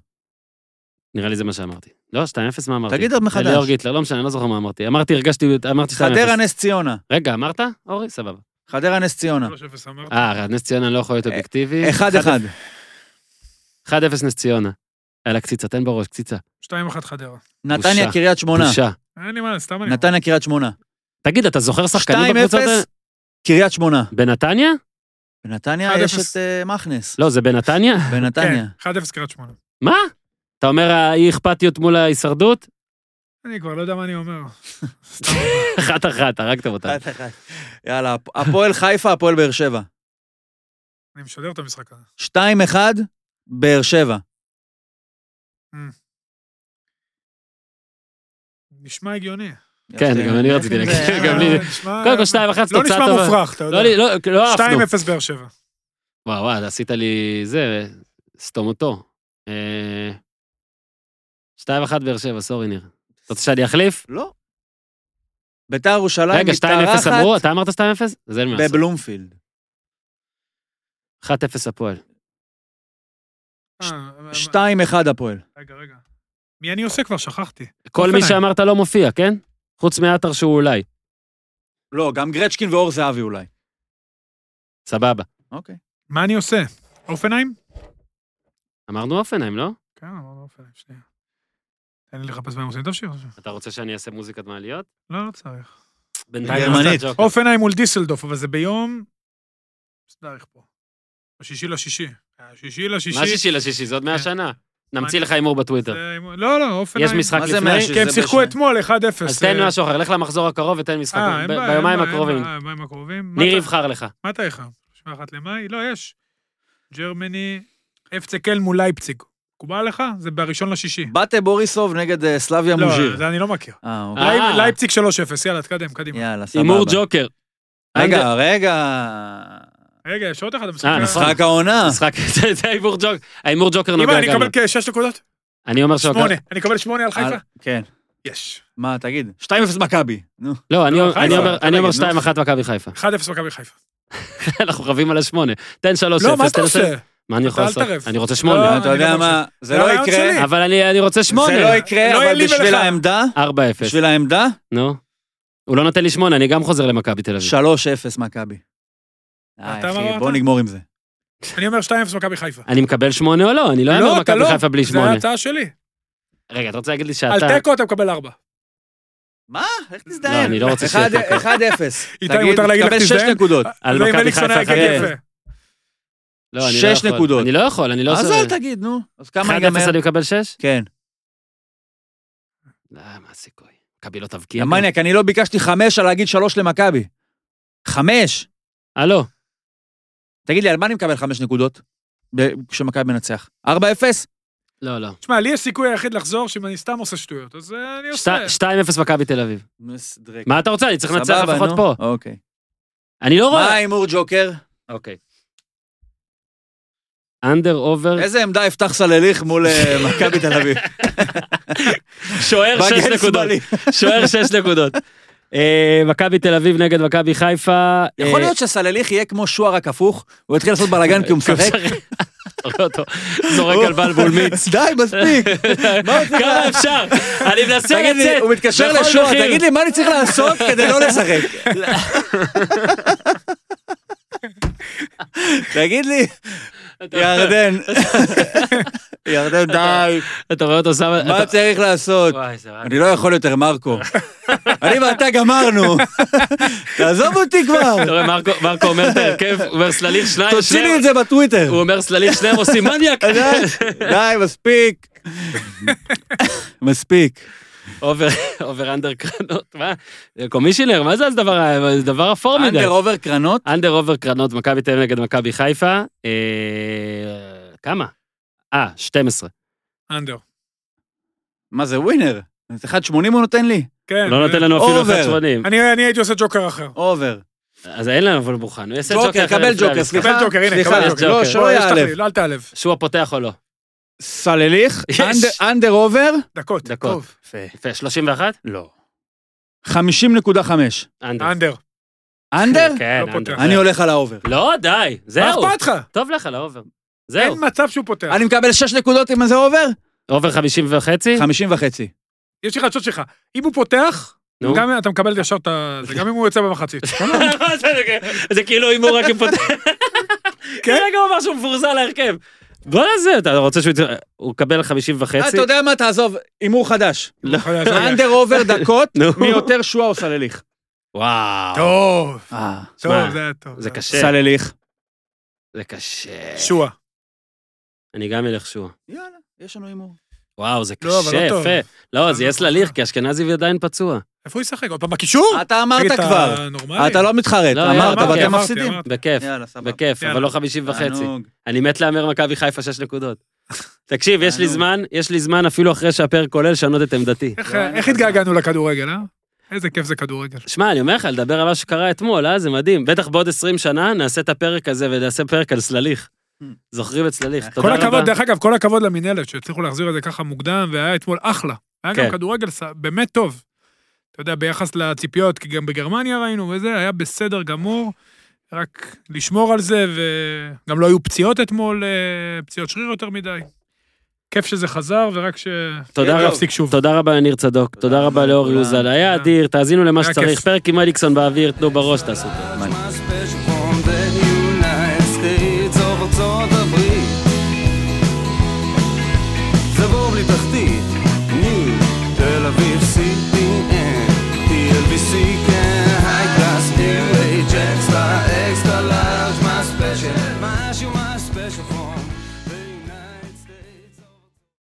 A: נראה לי זה מה שאמרתי. לא, 2-0 מה אמרתי?
D: תגיד עוד מחדש.
A: ליאור גיטלר, לא משנה, אני לא זוכר מה אמרתי. אמרתי, הרגשתי, אמרתי 2-0.
D: חדרה נס ציונה.
A: רגע, אמרת? אורי, סבבה.
D: חדרה נס ציונה.
C: 3-0 אמרת.
A: אה, נס ציונה אני לא יכול להיות
D: אה,
A: אובייקטיבי.
D: 1-1.
A: 1-0 נס ציונה. יאללה, קציצה, תן בראש, קציצה.
C: 2-1 חדרה.
D: נתניה
A: בושה.
D: קריית שמונה.
A: בושה.
C: אין לי מה, סתם אני...
D: נתניה קריית שמונה.
A: תגיד, אתה זוכר
D: 2-0
A: שחקנים בקבוצות האלה?
D: קריית שמונה.
A: בנתניה?
D: בנתניה
C: 1-0.
D: יש את אה, מכנס.
A: לא, זה בנתניה?
D: בנתניה.
C: כן, 1-0 קריית שמונה.
A: מה? אתה אומר האי אכפתיות מול ההישרדות? [LAUGHS]
C: אני כבר לא יודע מה אני אומר. סתם.
A: אחת אחת, הרגתם אותה.
C: אה,
D: 1-1. יאללה, [LAUGHS] הפ- הפועל חיפה, הפועל באר שבע.
C: אני משדר את המשחק הזה.
D: 2-1, באר שבע.
C: נשמע הגיוני. אה,
A: כן,
D: יפה.
A: גם אני רציתי להגיד,
D: זה-
A: גם לי.
C: נשמע-
A: קודם כל 2 1
C: לא
A: תוצאה
C: נשמע
A: טובה.
C: מופרך, אתה
A: לא,
C: יודע.
A: לי- לא, לא עפנו.
C: 2-0 באר שבע.
A: וואו, וואו, עשית לי זה, סתום אותו. אה, 2-1 באר שבע, סורי ניר. אתה רוצה שאני אחליף?
D: לא. ביתר ירושלים
A: רגע, 2-0 אמרו,
D: מתארחת
A: אתה אמרת 2-0? אז אין מה לעשות.
D: בבלומפילד.
A: 1-0 הפועל.
C: אה, אה,
D: 2-1 הפועל.
C: רגע, רגע. מי אני עושה כבר? שכחתי.
A: כל מי
C: אופנהיים.
A: שאמרת לא מופיע, כן? חוץ מעטר שהוא אולי.
D: לא, גם גרצ'קין ואור זהבי אולי.
A: סבבה.
D: אוקיי.
C: מה אני עושה? אופנהיים?
A: אמרנו אופנהיים, לא?
C: כן, אמרנו אופנהיים, שנייה. תן לי לחפש מה הם עושים, תמשיך.
A: אתה רוצה שאני אעשה מוזיקת מעליות?
C: לא, לא צריך.
A: בינתיים
D: גרמנית.
A: אני עושה ג'וקר.
C: אופנהיים מול דיסלדוף, אבל זה ביום... סדריך פה. בשישי לשישי. אה, השישי לשישי.
A: מה שישי לשישי? זה עוד 100
C: כן.
A: שנה. נמציא לך הימור בטוויטר.
C: זה- לא, לא, אופנהיים.
A: יש משחק
D: מה זה
A: לפני,
D: משהו?
C: כי הם
D: זה
C: שיחקו
D: בשני.
C: אתמול 1-0.
A: אז תן משהו אחר. לך למחזור הקרוב ותן משחק
C: אה, אין
A: ב-
C: בעיה,
A: ביומיים
C: אין בעיה,
A: הקרובים.
C: אין בעיה, ביומיים הקרובים. מה
A: ניר
C: אתה-
A: יבחר לך.
C: מה אתה איכה? 31 למאי? לא, יש. ג'רמני, אפצה קל מול לייפציג. מקובל לך? זה בראשון לשישי.
D: בתה בוריסוב נגד אה, סלאביה
C: לא,
D: מוז'יר.
C: זה אני לא מכיר.
D: אה, אוקיי.
A: אה.
C: לייב- לייפציג 3-0, יאללה, תקדם, קדימה.
D: יאללה, סבבה.
A: הימור ג'וקר.
D: רגע,
A: אנדר-
D: רגע.
C: רגע, יש עוד אחד המשחק.
A: אה, נכון.
D: משחק העונה.
A: משחק, [LAUGHS] זה- זה ההימור ג'וקר. ההימור ג'וקר
C: אם
A: נוגע
C: אני
A: גם. אוקיי.
C: אקבל
A: לו.
C: כשש נקודות?
A: אני אומר שוקר.
C: שמונה. אני אקבל שמונה על חיפה?
D: על- כן.
C: יש.
D: מה, תגיד. 2-0 מכבי. נו.
A: לא, אני
C: לא, חיפה,
A: אני אומר-
D: אתה
A: אני אומר
D: תגיד, נו.
A: 2-1 מכבי
C: [LAUGHS]
A: חיפה.
C: 1-0 מכבי חיפה.
A: לא, אנחנו רבים על השמונה. תן 3-0.
C: לא, מה אתה
A: תן
C: עושה?
A: עשר. מה אני יכול
C: אל
A: לעשות?
C: תערב.
A: אני רוצה שמונה.
C: לא, אני
D: אתה יודע
C: גם
D: מה, זה
C: זה
D: לא
C: הרעיון
D: יקרה.
C: שלי.
A: אבל אני אני רוצה שמונה.
D: זה לא יקרה,
C: לא יהיה
D: אבל
C: לי ולך.
D: בשביל העמדה,
A: אה, 4-0.
D: בשביל העמדה,
A: נו. הוא לא נותן לי שמונה, אני גם חוזר למכבי תל אביב.
D: 3-0 מכבי. אה,
C: אתה
D: אחי,
C: אמרת?
D: בוא נגמור עם זה.
C: אני אומר 2-0 מכבי חיפה.
A: אני מקבל שמונה או לא? אני לא
C: לא,
A: אאמר
C: אתה
A: מכבי
C: לא.
A: חיפה בלי
C: זה
A: שמונה.
C: ההצעה שלי.
A: רגע, אתה רוצה להגיד לי
C: על
A: שאתה...
C: תיקו אתה מקבל 4.
D: מה? איך תזדיין?
A: לא, אני לא רוצה שיהיה תיקו.
D: 1-0.
C: איתי, מותר להגיד לך
D: תקבל 6
C: תזדיין?
D: נקודות.
A: על
C: זה אם
A: מכבי
C: אליקסון
A: חיפה כן.
C: היה
A: אחרי
C: יגיע
A: זה.
C: יפה.
A: לא, אני לא
D: שש
A: יכול.
D: נקודות.
A: אני לא יכול, אני לא
D: אז
A: עושה...
D: אל תגיד, נו. אז כמה ייגמר?
A: 1-0 אני מקבל 6?
D: כן. לא,
A: אה, מה הסיכוי? מכבי לא תבקיע.
D: המניאק, אני לא ביקשתי 5 על להגיד 3 למכבי. 5?
A: הלו,
D: תגיד לי, על מה אני מקבל 5 נקודות? ב- כשמכבי מנצח. 4-0?
A: לא, לא.
C: תשמע, לי יש סיכוי היחיד לחזור שאם אני סתם עושה שטויות, אז אה, אני עושה.
A: 2-0 מכבי תל אביב. מה אתה רוצה? אני צריך לנצח
D: סבבה,
A: לפחות
D: נו.
A: פה.
D: אוקיי.
A: אני לא
D: מה
A: רואה...
D: ההימור ג'וקר?
A: אוקיי. אנדר אובר,
D: איזה עמדה יפתח סלליך
A: [LAUGHS]
D: מול אה, מכבי תל אביב?
A: שוער 6
D: מגן
A: נקודות.
D: שמאלי.
A: [LAUGHS] שוער 6 נקודות. אה, מכבי תל אביב נגד מכבי חיפה.
D: יכול
A: אה,
D: להיות שסלליך יהיה כמו שוער רק הפוך, הוא יתחיל לעשות בלאגן כי
A: [LAUGHS]
D: הוא משחק.
A: רואה אה, אותו, זורק על בלבול מיץ.
D: [LAUGHS] די,
A: [LAUGHS]
D: מספיק. מה הוא צריך
A: כמה
D: לה-
A: אפשר? אני מנסה
D: תגיד לי,
A: לצאת.
D: הוא מתקשר
A: בכל
D: לשוער,
A: מחיר.
D: תגיד לי, מה אני צריך לעשות כדי לא לשחק? תגיד לי,
A: אתה-
D: ירדן, ירדן, די,
A: אתה רואה אותו שם...
D: מה
A: אתה-
D: צריך לעשות?
A: וואי, זה רק-
D: אני לא יכול יותר, מרקו. אני ואתה גמרנו. תעזוב אותי כבר.
A: אתה רואה, מרקו- מרקו אומר את ההרכב, הוא אומר סלליך שניים,
D: תוציא לי
A: שניהם-
D: את זה בטוויטר.
A: הוא אומר סלליך שניהם עושים מניאק.
D: די, די, מספיק. מספיק.
A: אובר- אובר אנדר קרנות, מה? קומישיונר, מה זה הדבר ה- זה דבר אפור מדי?
D: אנדר אובר קרנות?
A: אנדר אובר קרנות, מכבי תל אביב נגד מכבי חיפה. אה, כמה? אה, 12.
C: אנדר.
D: מה זה ווינר? אז 1.80 הוא נותן לי?
C: כן.
A: לא נותן לנו אפילו
D: אובר.
A: 1.80.
C: אני אני הייתי עושה ג'וקר אחר.
D: אובר.
A: אז אין לנו אבל מוכן, הוא יעשה ג'וקר
D: ג'וקר,
A: אחר
D: קבל
A: לפני
D: ג'וקר,
A: המשחק.
D: סליחה.
C: קבל ג'וקר, הנה,
D: סליחה,
C: קבל
A: ג'וקר.
D: לא,
A: בוא,
D: שלא
C: יש
D: יעלב.
C: תחליל, לא, אל תעלב.
A: שהוא הפותח או לא.
D: סלליך,
A: יש.
D: אנדר- אנדר עובר?
C: דקות.
A: דקות.
C: טוב.
A: יפה, 31?
D: לא. 50.5.
A: אנדר.
C: אנדר.
D: אנדר?
A: כן,
C: לא
A: אנדר.
C: פותח.
D: אני הולך על האובר.
A: לא, די,
C: מה
A: זהו.
C: אכפת לך?
A: טוב לך, לאובר.
C: אין
A: זהו.
C: מצב שהוא פותח.
D: אני מקבל 6 נקודות אם זה אובר?
A: אובר 50 וחצי?
D: 50 וחצי.
C: יש לך את שלך. אם הוא פותח,
A: נו.
C: גם אתה מקבל ישר את ה... זה גם אם הוא יוצא במחצית.
A: לא, זה כאילו הימור רק אם פותח. כן? רגע הוא אמר שהוא מפורסם להרכב. בוא נעשה, אתה רוצה שהוא יצא... הוא יקבל 50
D: אה,
A: וחצי?
D: אתה יודע מה, תעזוב, הימור חדש.
A: לא.
C: יכול לעזור לי.
D: אנדר עובר דקות,
A: נו.
D: מי יותר שואה או סלליך?
A: וואו.
C: טוב.
D: אה,
C: טוב,
A: מה?
C: זה היה טוב.
A: זה קשה.
D: סלליך.
A: זה קשה.
C: שועה.
A: אני גם אלך שועה.
D: יאללה, יש לנו הימור.
A: וואו, זה
C: לא, אבל
A: קשה,
C: לא טוב.
A: יפה. לא, זה
C: לא
A: יהיה
C: טוב.
A: סלליך, כי אשכנזי עדיין פצוע.
C: איפה הוא ישחק? עוד פעם בקישור?
D: אתה
C: תגיד,
D: אמרת
C: אתה
D: כבר,
C: נורמלי? אה,
D: אתה לא מתחרט,
A: לא, יאללה,
D: אמרת,
A: אמרתי,
D: ואתם
C: אמרתי,
D: מפסידים.
C: אמרתי.
A: בכיף,
D: יאללה, סבבה. אה,
A: בכיף,
C: יאללה.
A: אבל לא 50 וחצי.
D: תענוג.
A: אני מת להמר מכבי חיפה 6 נקודות.
C: [LAUGHS]
A: תקשיב, יש לי
D: תענוג.
A: זמן, יש לי זמן אפילו אחרי שהפרק כולל לשנות את עמדתי.
C: איך- איך התגעגענו לכדורגל, אה? איזה כיף זה כדורגל.
A: שמע, אני אומר לך, לדבר על מה שקרה אתמול, אה? זה מדהים. בטח בעוד 20 שנה נעשה את הפרק הזה ונעשה פרק על סלליך.
C: Mm.
D: Hmm.
A: זוכרים את סלליך, תודה
C: כל
A: רבה.
C: הכבוד, דרך אגב, כל הכבוד למינהלת שהצליחו להחזיר את זה ככה מוקדם, והיה אתמול אחלה. היה גם
A: כן.
C: כדורגל ס- באמת טוב. אתה יודע, ביחס לציפיות, כי גם בגרמניה ראינו וזה, היה בסדר גמור. רק לשמור על זה, וגם לא היו פציעות אתמול, אה, פציעות שריר יותר מדי. כיף שזה חזר, ורק ש...
A: תודה
C: לא
A: רבה.
C: להפסיק שוב.
A: תודה רבה לניר צדוק, תודה רבה לאור
D: לכולם.
A: יוזל, היה
C: תודה.
A: אדיר, תאזינו למה
C: היה
A: שצריך,
C: כיף.
A: פרק עם אליקסון באוויר, תנו בראש, תעשו טוב.
B: Mann.